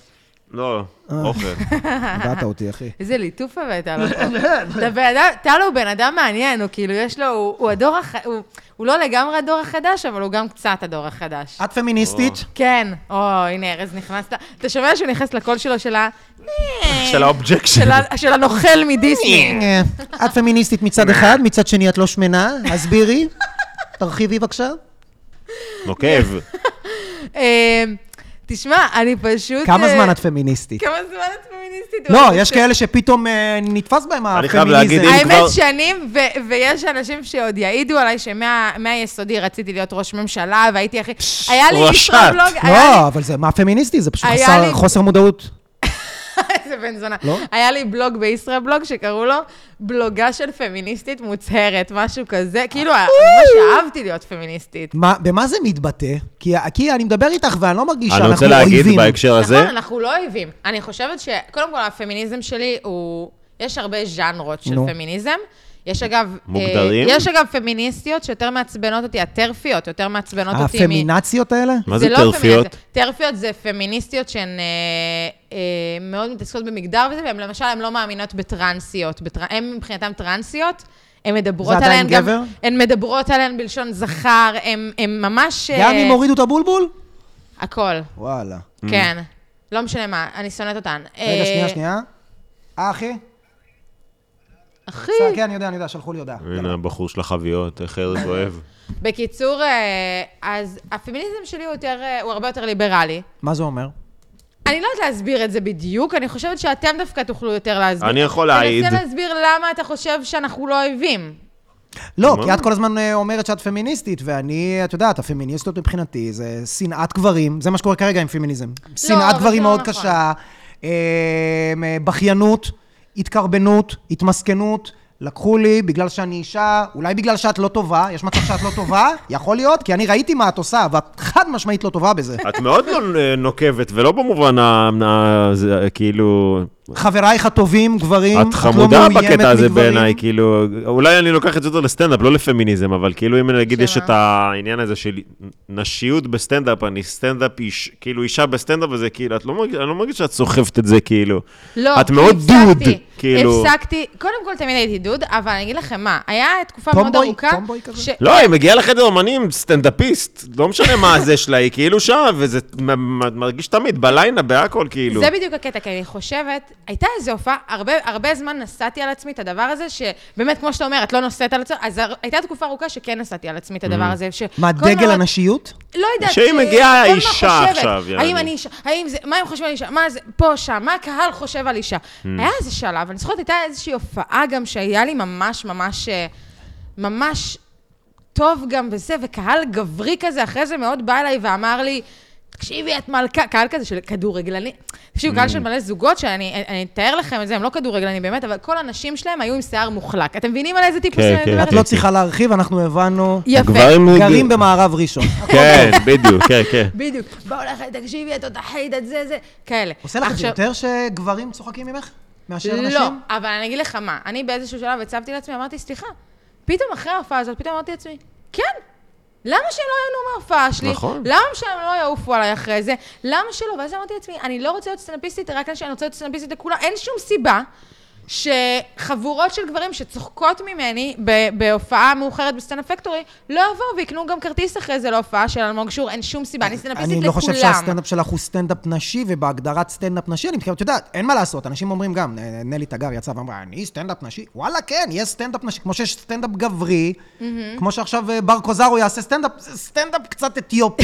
S2: לא, אוכל.
S1: הבאת אותי, אחי.
S3: איזה ליטוף הבאת לו
S1: כן.
S3: פה. אתה בן אדם, טל הוא בן אדם מעניין, הוא כאילו, יש לו, הוא- הוא הדור הח... הוא- הוא לא לגמרי הדור החדש, אבל הוא גם קצת הדור החדש.
S1: את פמיניסטית?
S3: כן. או, הנה, ארז נכנס ל... אתה שומע שהוא נכנס לקול שלו של ה...
S2: של האובג'קשן.
S3: אה. של ה- של הנוכל מדיסני.
S1: אה, את פמיניסטית מצד אחד, מצד שני את לא שמנה, הסבירי. תרחיבי בבקשה.
S2: נוקב.
S3: אה, תשמע, אני פשוט...
S1: כמה
S3: אה,
S1: זמן את פמיניסטית?
S3: כמה זמן את פמיניסטית?
S1: לא,
S3: אבל
S1: יש
S3: זה- אה,
S1: כאלה שפתאום אה, נתפס בהם
S2: אני חייב
S1: הפמיניזם.
S2: להגיד, אם- כבר-
S3: האמת שנים, ו- ויש אנשים שעוד יעידו עליי שמהיסודי רציתי להיות ראש ממשלה, והייתי הכי... היה לי
S2: ראשת.
S3: ישראבלוג, היה לי...
S1: לא, אבל זה מה פמיניסטי? זה פשוט
S3: היה
S1: חסר-
S3: לי-
S1: חוסר מודעות.
S3: איזה בן זונה.
S1: לא?
S3: היה לי בלוג בישראבלוג שקראו לו בלוגה של פמיניסטית מוצהרת, משהו כזה. כאילו, היה- ממש אהבתי להיות פמיניסטית.
S1: מה- במה זה מתבטא? כי כי אני מדבר איתך ואני לא מרגיש
S2: אני רוצה
S1: שאנחנו
S2: להגיד
S1: אויבים.
S2: בהקשר הזה,
S3: נכון, אנחנו לא אויבים. אני חושבת שקודם כל הפמיניזם שלי הוא... יש הרבה ז'אנרות של
S1: נו.
S3: פמיניזם. יש אגב...
S2: מוגדרים?
S3: אה, יש אגב פמיניסטיות שיותר מעצבנות אותי, הטרפיות, יותר מעצבנות אותי מ...
S1: הפמינציות האלה?
S2: מה זה
S3: לא
S2: טרפיות?
S3: פמיניזם. טרפיות זה פמיניסטיות שהן אה, אה, מאוד מתעסקות במגדר וזה, והן למשל, הן לא מאמינות בטרנסיות. בטר... הן מבחינתן טרנסיות, הן מדברות
S1: זה עדיין
S3: עליהן גם...
S1: גבר?
S3: הן מדברות עליהן בלשון זכר, הן הן ממש...
S1: גם
S3: אה,
S1: אם הורידו את הבולבול?
S3: הכל,
S2: Mm.
S1: וואלה.
S3: כן. לא משנה מה, אני שונאת אותן.
S1: רגע,
S3: אה,
S1: שנייה, שנייה. אה, אחי?
S3: אחי.
S1: בסדר, כן, אני יודע, אני יודע, שלחו לי הודעה.
S2: הנה הבחור של החביות, איך ארז אוהב.
S1: כן.
S3: בקיצור, אה, אז הפמיניזם שלי הוא יותר, אה, הוא הרבה יותר ליברלי.
S1: מה זה אומר?
S3: אני לא יודעת להסביר את זה בדיוק, אני חושבת שאתם דווקא תוכלו יותר להסביר.
S2: אני יכול להעיד.
S3: תנסה להסביר למה אתה חושב שאנחנו לא אויבים.
S1: לא,
S2: מה?
S1: כי את כל הזמן אה, אומרת שאת פמיניסטית, ואני, את יודעת, הפמיניסטיות מבחינתי זה שנאת גברים, זה מה שקורה כרגע עם פמיניזם. שנאת
S3: אבל זה
S1: גברים
S3: לא
S1: מאוד
S3: נכון.
S1: קשה, אה, אה, בכיינות, התקרבנות, התמסכנות. לקחו לי בגלל שאני אישה, אולי בגלל שאת לא טובה, יש מצב שאת לא טובה, יכול להיות, כי אני ראיתי מה את עושה, ואת חד משמעית לא טובה בזה.
S2: את מאוד לא אה, נוקבת, ולא במובן ה... ה- זה, אה, כאילו...
S1: חברייך הטובים, גברים,
S3: לא
S1: לא
S2: את חמודה בקטע הזה בעיניי, כאילו... אולי אני לוקח את זה יותר לסטנדאפ, לא לפמיניזם, אבל כאילו אם נגיד
S3: שמה?
S2: יש את העניין הזה של נשיות בסטנדאפ, אני סטנדאפ איש, כאילו אישה בסטנדאפ, וזה כאילו, את לא מרגיש, אני לא מרגיש שאת סוחבת את זה, כאילו.
S3: לא,
S2: את מאוד
S3: הפסקתי,
S2: דוד, כאילו.
S3: הפסקתי, קודם כל תמיד הייתי דוד, אבל אני אגיד לכם מה, היה תקופה
S1: טומבוי?
S3: מאוד ארוכה.
S1: טומבוי כזה?
S3: ש-
S2: לא, היא מגיעה לחדר אומנים, סטנדאפיסט, לא משנה מה הזה שלה, היא כאילו שם, וזה מ- מ- מרגיש תמיד, בליינה, בהכל, כאילו.
S3: זה בדיוק הקטע, כי אני חושבת, הייתה איזו הופעה, הרבה, הרבה זמן נשאתי על עצמי את הדבר הזה, שבאמת, כמו שאתה אומר, את לא נושאת על עצמך, אז הר- הייתה תקופה ארוכה שכן נשאתי על עצמי את
S2: Mm.
S3: הדבר הזה. ש-
S1: מה,
S3: כל
S1: דגל
S3: הזמן-
S1: הנשיות?
S3: לא יודעת.
S2: שהיא
S3: ש-
S2: מגיעה
S3: כל מה
S2: אישה
S3: חושבת.
S2: עכשיו,
S3: האם
S2: יעני.
S3: אני אישה, האם זה, מה הם חושבים על אישה, מה זה, פה, שם, מה הקהל חושב על אישה.
S2: Hmm.
S3: היה איזה שלב, אני זוכרת, הייתה איזושהי הופעה גם שהיה לי ממש ממש, אה, ממש טוב גם וזה, וקהל גברי כזה, אחרי זה מאוד בא אליי ואמר לי, תקשיבי, את מלכה, קהל כזה של כדורגלנים, תקשיבו,
S2: Hmm.
S3: קהל של מלא זוגות, שאני אני- אני אתאר לכם את זה, הם לא כדורגלנים באמת, אבל כל הנשים שלהם היו עם שיער מוחלק. אתם מבינים על איזה טיפוס
S2: כן,
S3: אני
S2: כן,
S3: מדברת?
S1: את לא צריכה להרחיב, אנחנו הבנו,
S3: יפה.
S1: גרים במערב ראשון.
S2: כן, בדיוק, כן, כן.
S3: בדיוק. באו לך, תקשיבי, את תותחית, את זה, זה, כאלה.
S1: עושה לך את זה
S3: עכשיו-
S1: יותר שגברים צוחקים ממך? מאשר
S3: לא,
S1: נשים?
S3: אבל אני אגיד לך מה, אני באיזשהו שלב הצבתי לעצמי, אמרתי, סליחה, פתאום אחרי ההופעה הזאת, פתאום אמרתי לעצמי, כן, למה שלא ייהנו מההופעה שלי?
S2: נכון.
S3: למה שהם לא יעופו עליי אחרי זה? למה שלא? ואז אמרתי לעצמי, אני לא רוצה להיות סטנדאפיסטית, רק אני רוצה להיות סטנדאפיסטית לכולם, אין שום סיבה. שחבורות של גברים שצוחקות ממני ב- בהופעה מאוחרת בסטנדאפ פקטורי, לא יבואו ויקנו גם כרטיס אחרי זה להופעה של אלמוג שור, אין שום סיבה, אני סטנדאפיסטית
S1: אני
S3: לכולם.
S1: לא חושב שהסטנדאפ שלך הוא סטנדאפ נשי, ובהגדרת סטנדאפ נשי, אני מתכוון, את יודעת, אין מה לעשות, אנשים אומרים גם, נ- נלי תגר יצאה ואמרה, אני סטנדאפ נשי? וואלה, כן, יש סטנדאפ נשי, כמו שיש סטנדאפ גברי, כמו שעכשיו אה, בר קוזרו יעשה סטנדאפ, זה סטנדאפ קצת אתיופי.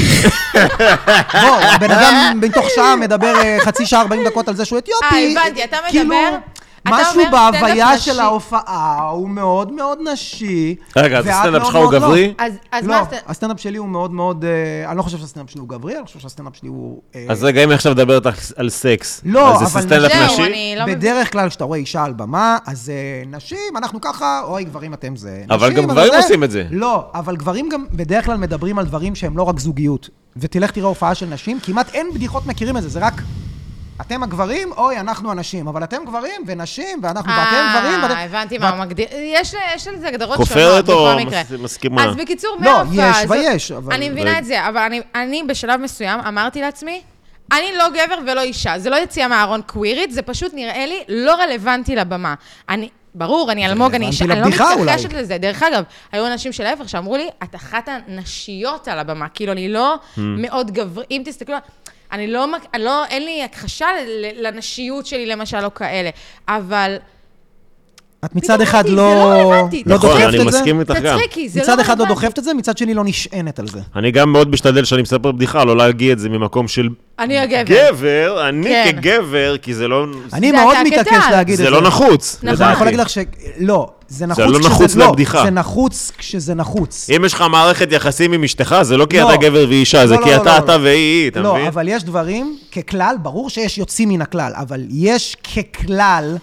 S1: בוא, הבן אדם בתוך שעה מדבר אה, חצי שעה, 40 דקות על זה שהוא אתיופי.
S3: אה, הבנתי, אתה
S1: כאילו,
S3: מדבר- אתה
S1: משהו
S3: אומר סטנדאפ
S1: בהוויה של
S3: נשי.
S1: ההופעה הוא מאוד מאוד נשי.
S2: רגע, אז
S1: ואת
S2: הסטנדאפ
S1: מאוד
S2: שלך הוא
S1: מאוד לא.
S2: גברי?
S3: אז, אז
S1: לא,
S3: מה... הסט-
S1: הסטנדאפ שלי הוא מאוד מאוד... אה, אני לא חושב שהסטנדאפ שלי הוא גברי, אני חושב שהסטנדאפ שלי הוא... אה,
S2: אז רגע, אם היא עכשיו מדברת על- על סקס,
S1: לא,
S2: אז זה
S1: אבל
S2: סטנדאפ
S3: זהו,
S2: נשי?
S3: אני- לא מבין.
S1: בדרך כלל כשאתה רואה אישה על במה, אז אה, נשים, אנחנו ככה, אוי, גברים אתם זה.
S2: אבל
S1: נשים,
S2: גם גברים
S1: זה-
S2: עושים את זה.
S1: לא, אבל גברים גם בדרך כלל מדברים על דברים שהם לא רק זוגיות. ותלך תראה הופעה של נשים, כמעט אין בדיחות מכירים את זה, זה רק... אתם הגברים, אוי, אנחנו הנשים. אבל אתם גברים ונשים, ואנחנו, ואתם גברים, ואתם...
S3: אה, הבנתי מה הוא מגדיר. יש ל- יש לזה הגדרות שונות
S2: כופרת או
S3: בכל מקרה.
S2: מס- מסכימה?
S3: אז בקיצור,
S1: לא,
S3: מההופעה
S1: יש
S3: הזאת...
S1: ויש, אבל-
S3: אני מבינה
S2: רגע.
S3: את זה, אבל אני- אני בשלב מסוים אמרתי לעצמי, אני לא גבר ולא אישה, זה לא יציאה מהארון קווירית, זה פשוט נראה לי לא רלוונטי לבמה. אני... ברור, אני אלמוג, אני
S1: רלוונטי
S3: אישה, אני לא
S1: לבדיחה אולי.
S3: מתכחשת לזה. דרך אגב, היו אנשים שלהפך שאמרו לי, את אחת הנשיות על הבמה, כאילו, אני לא
S2: Hmm.
S3: מאוד גבר... אם תסתכלו, אני לא, מק- אני לא, אין לי הכחשה ל- ל- לנשיות שלי, למשל, או כאלה, אבל
S1: את מצד אחד
S3: אמרתי, זה לא
S1: לא...
S3: רלוונטי,
S1: לא
S2: נכון,
S1: דוחפת
S2: אני
S1: את זה?
S2: מסכים איתך גם.
S3: תצחיקי, זה לא
S1: מצד אחד לא
S3: רלוונטי.
S1: דוחפת את זה, מצד שני לא נשענת על זה.
S2: אני גם מאוד משתדל שאני מספר בדיחה, לא להגיע את זה ממקום של
S3: אני הגבר.
S2: גבר, אני
S3: כן.
S2: כגבר, כי זה לא...
S1: כן. אני
S3: זה
S1: מאוד
S3: אתה הקטן.
S1: מתעקש להגיד את זה.
S2: זה לא נחוץ,
S3: נכון.
S1: אני
S2: לדעתי.
S1: יכול להגיד לך ש... לא, זה נחוץ
S2: לא
S1: כשזה-
S2: נחוץ
S1: לא,
S2: לבדיחה. אה,
S1: זה נחוץ כשזה נחוץ.
S2: אם יש לך מערכת יחסים עם אשתך, זה לא כי
S1: לא.
S2: אתה גבר ואישה,
S1: לא,
S2: זה
S1: לא,
S2: כי
S1: לא,
S2: אתה
S1: לא,
S2: אתה והיא היא, אתה
S1: לא,
S2: מבין?
S1: אבל יש דברים, ככלל, ברור שיש יוצאים מן הכלל, אבל יש ככלל...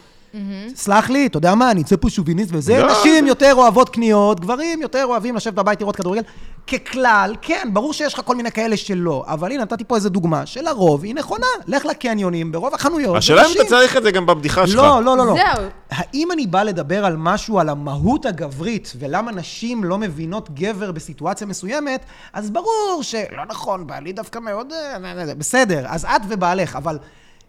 S1: סלח לי, אתה יודע מה, אני אצא פה שוביניסט וזה,
S2: לא.
S1: נשים יותר אוהבות קניות, גברים יותר אוהבים לשבת בבית לראות כדורגל. ככלל, כן, ברור שיש לך כל מיני כאלה שלא, אבל הנה, נתתי פה איזו דוגמה שלרוב היא נכונה. לך לקניונים, ברוב החנויות, זה
S2: השאלה אם
S1: נשים.
S2: אתה צריך את זה גם בבדיחה שלך.
S1: לא, לא, לא, לא.
S3: זהו.
S1: האם אני בא לדבר על משהו, על המהות הגברית, ולמה נשים לא מבינות גבר בסיטואציה מסוימת, אז ברור שלא נכון, בעלי דווקא מאוד... אה, בסדר, אז את ובעלך, אבל...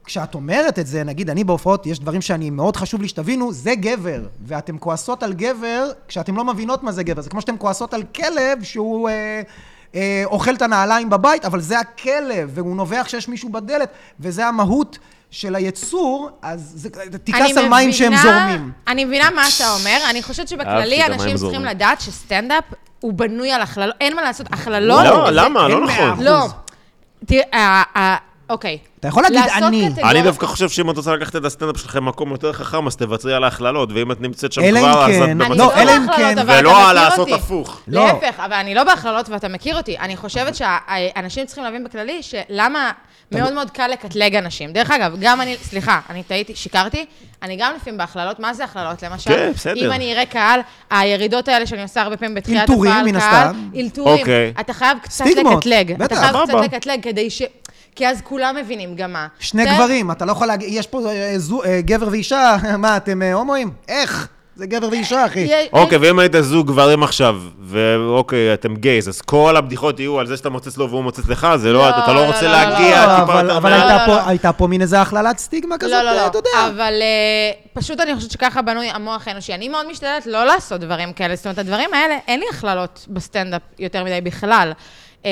S1: כשאת אומרת את זה, נגיד אני בהופעות, יש דברים שאני, מאוד חשוב לי שתבינו, זה גבר. ואתם כועסות על גבר כשאתם לא מבינות מה זה גבר. זה כמו שאתם כועסות על כלב שהוא אה, אה, אוכל את הנעליים בבית, אבל זה הכלב, והוא נובח כשיש מישהו בדלת, וזה המהות של היצור, אז זה, תכעס על מים שהם זורמים.
S3: אני מבינה מה אתה אומר. אני חושבת
S2: אהבתי את
S3: שבכללי
S2: המים
S3: אנשים צריכים
S2: זורמים.
S3: לדעת שסטנדאפ הוא בנוי על הכללות, אין מה לעשות, הכללות...
S2: לא,
S3: זה-
S2: למה?
S1: אין
S2: לא
S1: מאה
S2: נכון.
S1: אחוז.
S3: לא. תראה, אה, אה, אוקיי.
S1: אתה יכול להגיד
S3: לעשות
S1: אני.
S3: קטגוריה-
S2: אני דווקא חושב שאם את רוצה לקחת את הסטנדאפ שלך למקום יותר חכם, אז תוותרי על ההכללות, ואם את נמצאת שם
S1: אלא אם
S2: כבר, אז
S1: כן.
S2: את
S1: אני
S3: אני
S2: במצב...
S1: לא,
S3: לא
S1: אלא אם
S3: בהכללות,
S1: כן.
S3: אבל אתה
S2: ולא
S3: מכיר
S2: על לעשות
S3: אותי.
S2: הפוך.
S1: לא.
S3: להפך, אבל אני לא בהכללות ואתה מכיר אותי. אני חושבת שהאנשים צריכים להבין בכללי שלמה מאוד מאוד קל לקטלג אנשים. דרך אגב, גם אני, סליחה, אני טעיתי, שיקרתי, אני גם לפעמים בהכללות, מה זה הכללות למשל?
S2: כן, בסדר.
S3: אם אני אראה קהל, הירידות האלה שאני עושה הרבה פעמים בתחילת
S1: אלתורים,
S3: הקהל,
S1: מן
S3: קהל,
S1: הסתם.
S3: אלתורים,
S2: אוקיי.
S3: אתה חייב קצת
S1: סטיגמות,
S3: לקטלג.
S1: בטח,
S3: אתה חייב קצת
S2: סבבה.
S3: לקטלג כדי ש... כי אז כולם מבינים גם מה.
S1: שני
S3: אתה-
S1: גברים, אתה לא יכול להגיד, יש פה אה, זו- אה, גבר ואישה, מה, אתם אה, הומואים? איך? זה גבר ואישה, אחי.
S3: יש-
S2: אוקיי, ואם היית זוג גברים עכשיו, ואוקיי, אתם גייז, אז כל הבדיחות יהיו על זה שאתה מוצץ לו והוא מוצץ לך, זה
S3: לא,
S2: לא, אתה
S3: לא,
S2: לא רוצה
S3: לא,
S2: להגיע
S1: לא,
S2: טיפה
S1: אבל
S2: יותר
S1: אבל
S2: מעל.
S1: הייתה
S3: לא,
S1: פה-
S3: לא.
S1: הייתה פה מין איזה הכללת סטיגמה כזאת,
S3: לא, לא,
S1: אה, אתה
S3: לא,
S1: יודע.
S3: אבל אה, פשוט אני חושבת שככה בנוי המוח האנושי. אני מאוד משתדלת לא לעשות דברים כאלה, זאת אומרת, הדברים האלה, אין לי הכללות בסטנדאפ יותר מדי בכלל. אה,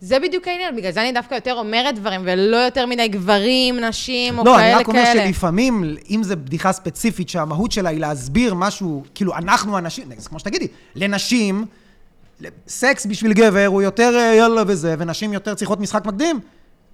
S3: זה בדיוק העניין, בגלל זה אני דווקא יותר אומרת דברים, ולא יותר מדי גברים, נשים, או
S1: לא, אני
S3: כאלה
S1: רק אומר
S3: כאלה.
S1: שלפעמים, אם זו בדיחה ספציפית שהמהות שלה היא להסביר משהו, כאילו, אנחנו הנשים, זה כמו שתגידי, לנשים, סקס בשביל גבר הוא יותר אה, יאללה וזה, ונשים יותר צריכות משחק מקדים.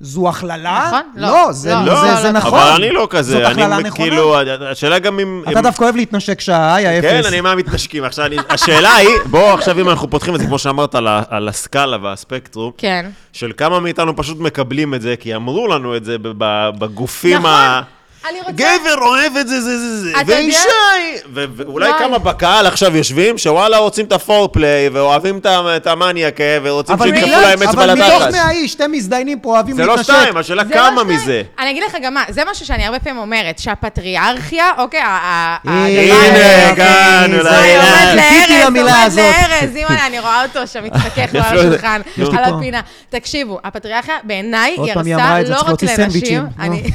S1: זו הכללה?
S3: נכון, לא.
S1: לא, זה,
S3: לא,
S1: זה,
S3: לא,
S1: זה,
S3: לא, לא.
S1: נכון.
S2: אבל אני לא כזה,
S1: זאת
S2: אני
S1: הכללה נכונה.
S2: כאילו, השאלה גם אם...
S1: אתה
S2: אם-
S1: דווקא אוהב להתנשק שעה, יא אפס.
S2: כן, אני מהמתנשקים. עכשיו, אני- השאלה היא, בוא עכשיו אם אנחנו פותחים את זה, כמו שאמרת, על ה- על הסקאלה והספקטרום,
S3: כן.
S2: של כמה מאיתנו פשוט מקבלים את זה, כי אמרו לנו את זה ב- ב- בגופים
S3: נכון.
S2: ה...
S3: אני רוצה...
S2: גבר אוהב את זה, זה, זה, זה,
S3: אתה יודע- לא.
S2: ואישה, היא- ו- ואולי
S3: וואי.
S2: כמה בקהל עכשיו יושבים, שוואלה רוצים את הפורפליי, ואוהבים את ה- את המניאק, אה, ורוצים
S1: אבל
S2: שידחפו
S3: מתוך-
S2: להם אצבע
S1: אבל מתוך
S2: לתחת.
S1: מאה איש, שתי מזדיינים פה אוהבים
S2: זה לא
S1: להתנשק.
S2: שתיים, השאלה
S3: זה לא
S2: כמה
S3: שניים.
S2: מזה.
S3: אני אגיד לך גם מה, זה משהו שאני הרבה פעמים אומרת, שהפטריארכיה, אוקיי, ה- ה-
S1: אה,
S3: הדבר
S2: הנה,
S3: הזה-
S2: כאן,
S1: זה
S2: אולי,
S3: אוי, עומד
S2: אילן.
S1: חיכיתי
S3: לארז, עומד
S1: למילה הזאת.
S3: לארז, אימא'לה, אני רואה אותו שם מתחכך לו על
S2: יש לו-
S3: השולחן,
S2: לא
S1: יש לי
S3: על
S1: פה.
S3: הפינה. תקשיבו, הפטריארכיה בעיניי
S1: עוד
S3: היא
S1: פעם היא אמרה
S3: הרסה
S1: את זה,
S3: לא
S1: צריך
S3: רק
S1: להוציא סנדוויצ'ים,
S3: לנשים.
S1: נו.
S3: אני-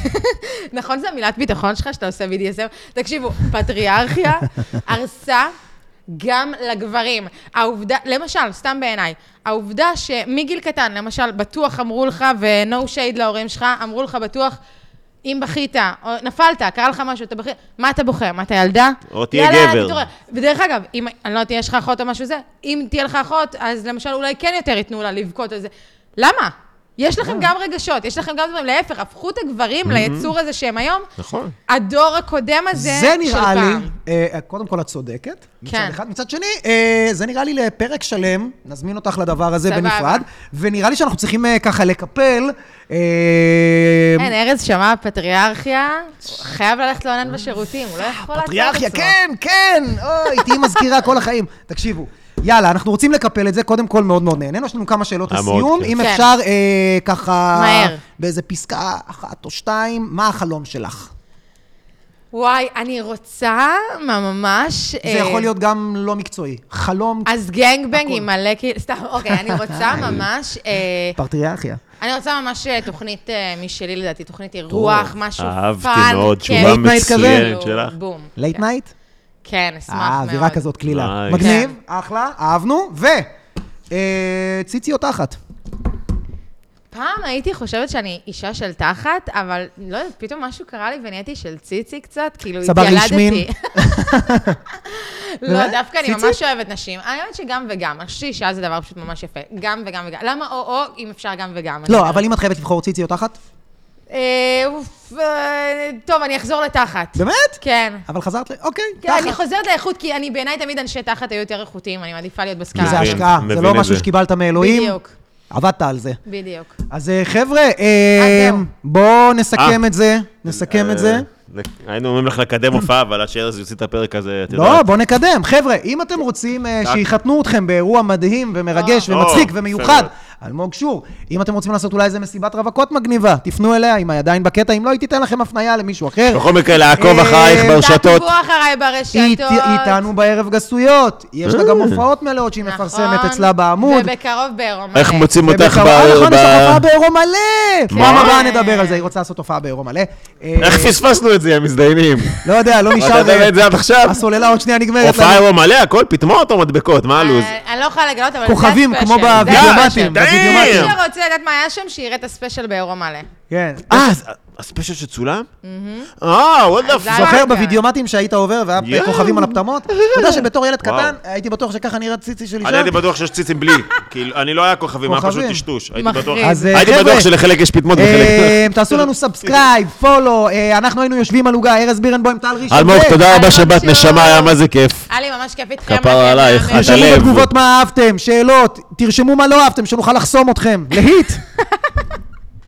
S3: נכון, זו מילת ביטחון שלך שאתה עושה BDSM? תקשיבו, פטריארכיה הרסה גם לגברים. העובדה, למשל, סתם בעיניי, העובדה שמגיל קטן, למשל, בטוח אמרו לך, ו-no shade להורים שלך, אמרו לך בטוח... אם בכית, או נפלת, קרה לך משהו, אתה בכית, מה אתה בוכה? מה, אתה ילדה?
S2: או תהיה
S3: יאללה,
S2: גבר.
S3: תתעורר. ודרך אגב, אם, אני לא יודעת, יש לך אחות או משהו זה, אם תהיה לך אחות, אז למשל אולי כן יותר ייתנו לה לבכות על זה. למה? יש
S1: אה.
S3: לכם גם רגשות, יש לכם גם דברים, להפך, הפכו את הגברים ליצור הזה שהם היום.
S2: נכון.
S3: הדור הקודם הזה
S1: זה
S3: של
S1: נראה לי,
S3: פעם.
S1: אה, קודם כל את צודקת, מצד
S3: כן.
S1: אחד. מצד שני, אה, זה נראה לי לפרק שלם, נזמין אותך לדבר הזה
S3: סבבה.
S1: בנפרד, ונראה לי שאנחנו צריכים אה, ככה לקפל. אה,
S3: כן, ארז שמע פטריארכיה, הוא חייב ללכת לעונן בשירותים, הוא לא יכול לעצור את עצמו.
S1: פטריארכיה, כן, כן, אוי, תהיי מזכירה כל החיים. תקשיבו, יאללה, אנחנו רוצים לקפל את זה, קודם כל מאוד מאוד נהנינו, יש לנו כמה שאלות
S2: היה מאוד
S1: לסיום,
S2: כיף.
S1: אם
S3: כן.
S1: אפשר אה, ככה...
S3: מהר.
S1: באיזה פסקה אחת או שתיים, מה החלום שלך?
S3: וואי, אני רוצה, מה, ממש... אה,
S1: זה יכול להיות גם לא מקצועי. חלום
S3: אז גנגבנג
S1: הכל.
S3: עם מלא כאילו, סתם, אוקיי, אני רוצה ממש... אה,
S1: פטריארכיה.
S3: אני רוצה ממש אה, תוכנית אה, משלי לדעתי, תוכנית אירוח, משהו פאן.
S2: אהבתי מאוד,
S3: כיף.
S2: תשובה
S1: Late night כזה?
S2: מצוינת שלך.
S3: בום.
S1: לייט
S3: כן.
S1: נייט?
S3: כן, אשמח מאוד.
S1: אה, אווירה כזאת קלילה.
S2: Nice.
S1: מגניב,
S3: כן.
S1: אחלה, אהבנו, ו... אה, ציצי או תחת.
S3: פעם הייתי חושבת שאני אישה של תחת, אבל לא יודעת, פתאום משהו קרה לי ונהייתי של ציצי קצת, כאילו
S1: צברי שמין.
S3: התיילדתי. לא,
S1: באמת?
S3: דווקא אני
S1: ציצי?
S3: ממש אוהבת נשים. אני אומרת שגם וגם, אני חושבת שאישה זה דבר פשוט ממש יפה. גם וגם וגם. למה או-או, אם אפשר גם וגם? אני
S1: לא,
S3: אומרת.
S1: אבל אם את חייבת לבחור ציצי או תחת?
S3: אה, אוף, אה, טוב, אני אחזור לתחת.
S1: באמת?
S3: כן.
S1: אבל חזרת ל... אוקיי,
S3: כן, אני
S1: תחת.
S3: חוזרת לאיכות, כי אני בעיניי תמיד אנשי תחת היו יותר איכותיים, אני מעדיפה להיות
S1: כי
S3: בסקאלה.
S1: זה
S2: מבין,
S1: השקעה, זה
S2: כן, מבין
S1: לא
S2: את
S1: משהו
S2: זה.
S1: שקיבלת מאלוהים.
S3: בדיוק,
S1: עבדת על זה.
S3: בדיוק.
S1: אז אה, חבר'ה, אה,
S3: זהו.
S1: בואו נסכם את זה, נסכם את זה.
S2: אה, היינו אומרים לך לקדם הופעה, אבל עד שארז יוציא את הפרק הזה, את
S1: לא, בואו נקדם. חבר'ה, אם אתם רוצים אה,
S2: טק.
S1: שיחתנו אתכם באירוע מדהים ומרגש
S2: אה.
S1: ומצחיק
S2: או,
S1: ומיוחד,
S2: בסדר.
S1: אלמוג שור, אם אתם רוצים לעשות אולי איזה מסיבת רווקות מגניבה, תפנו אליה, אם היא עדיין בקטע, אם לא, היא תיתן לכם הפנייה למישהו אחר.
S2: בכל מקרה, לעקוב
S1: אה,
S2: אחרייך
S1: אה,
S2: ברשתות.
S3: תעקבו אחריי
S1: היא
S3: ברשתות.
S1: ת- איתנו בערב גסויות, יש לה גם
S2: אה.
S1: הופעות מלאות שהיא מפרסמת
S3: נכון,
S1: אצלה בעמוד.
S3: ובקרוב בעירום.
S2: איך
S3: מלא.
S2: מוצאים אותך
S1: ובקרוב-
S2: ב...
S1: אה, נכון,
S2: ב- כן.
S1: יש לך הופעה בעירום מלא! פעם הבאה נדבר על זה, היא רוצה לעשות הופעה בעירום מלא. אה,
S2: איך פספסנו את זה, המזדיינים?
S1: לא יודע, לא
S2: אתה
S1: נשאר...
S2: יודע את זה עד עכשיו?
S1: הסוללה אה, עוד שנייה נגמרת
S2: הופעה
S1: לנו.
S2: אירוע מלא, הכל פטמות או מדבקות, מה הלו"ז?
S3: אה, אני לא יכולה לגלות, אבל זה לא הספיישל.
S1: כוכבים, כמו
S3: זה
S1: בווידאומטים,
S3: הספיישל.
S2: די.
S1: בווידאומטים.
S3: מי שרוצה לדעת מה היה שם, שיראה את הספיישל בעירום מלא.
S1: כן.
S2: אה, אז- הספיישל שצולם? אה, וואלה,
S3: אז זה היה-
S1: זוכר
S3: כן.
S1: בווידאומטים שהיית עובר והיה
S2: יואו.
S1: כוכבים על הפטמות? אתה יודע שבתור ילד
S2: וואו.
S1: קטן אה, הייתי בטוח שככה נראה ציצי שלי
S2: אני
S1: שם?
S2: הייתי בטוח שיש ציצים בלי. כאילו, אני לא היה כוכבים, היה פשוט
S1: כוכבים.
S2: טשטוש. הייתי בטוח-
S3: מחריד.
S1: אז, אה,
S2: הייתי
S1: חבר'ה,
S2: בטוח שלחלק יש פטמות וחלק...
S1: אה, תעשו לנו סאבסקרייב, פולו, אה, אנחנו היינו יושבים על עוגה, ארז בירנבוים, טל ראשון.
S2: אלמוג,
S1: זה.
S2: תודה רבה
S3: אלמוג
S2: שבאת,
S3: שוב.
S2: נשמה, היה מה זה כיף.
S3: היה לי ממש כיף איתכם. לא
S2: כפרה
S3: אתם
S2: עלייך,
S3: מהממים.
S2: את
S1: תרשמו
S2: הלב.
S1: בתגובות מה אהבתם, שאלות, תרשמו מה לא אהבתם, שנוכל לחסום אתכם. להיט!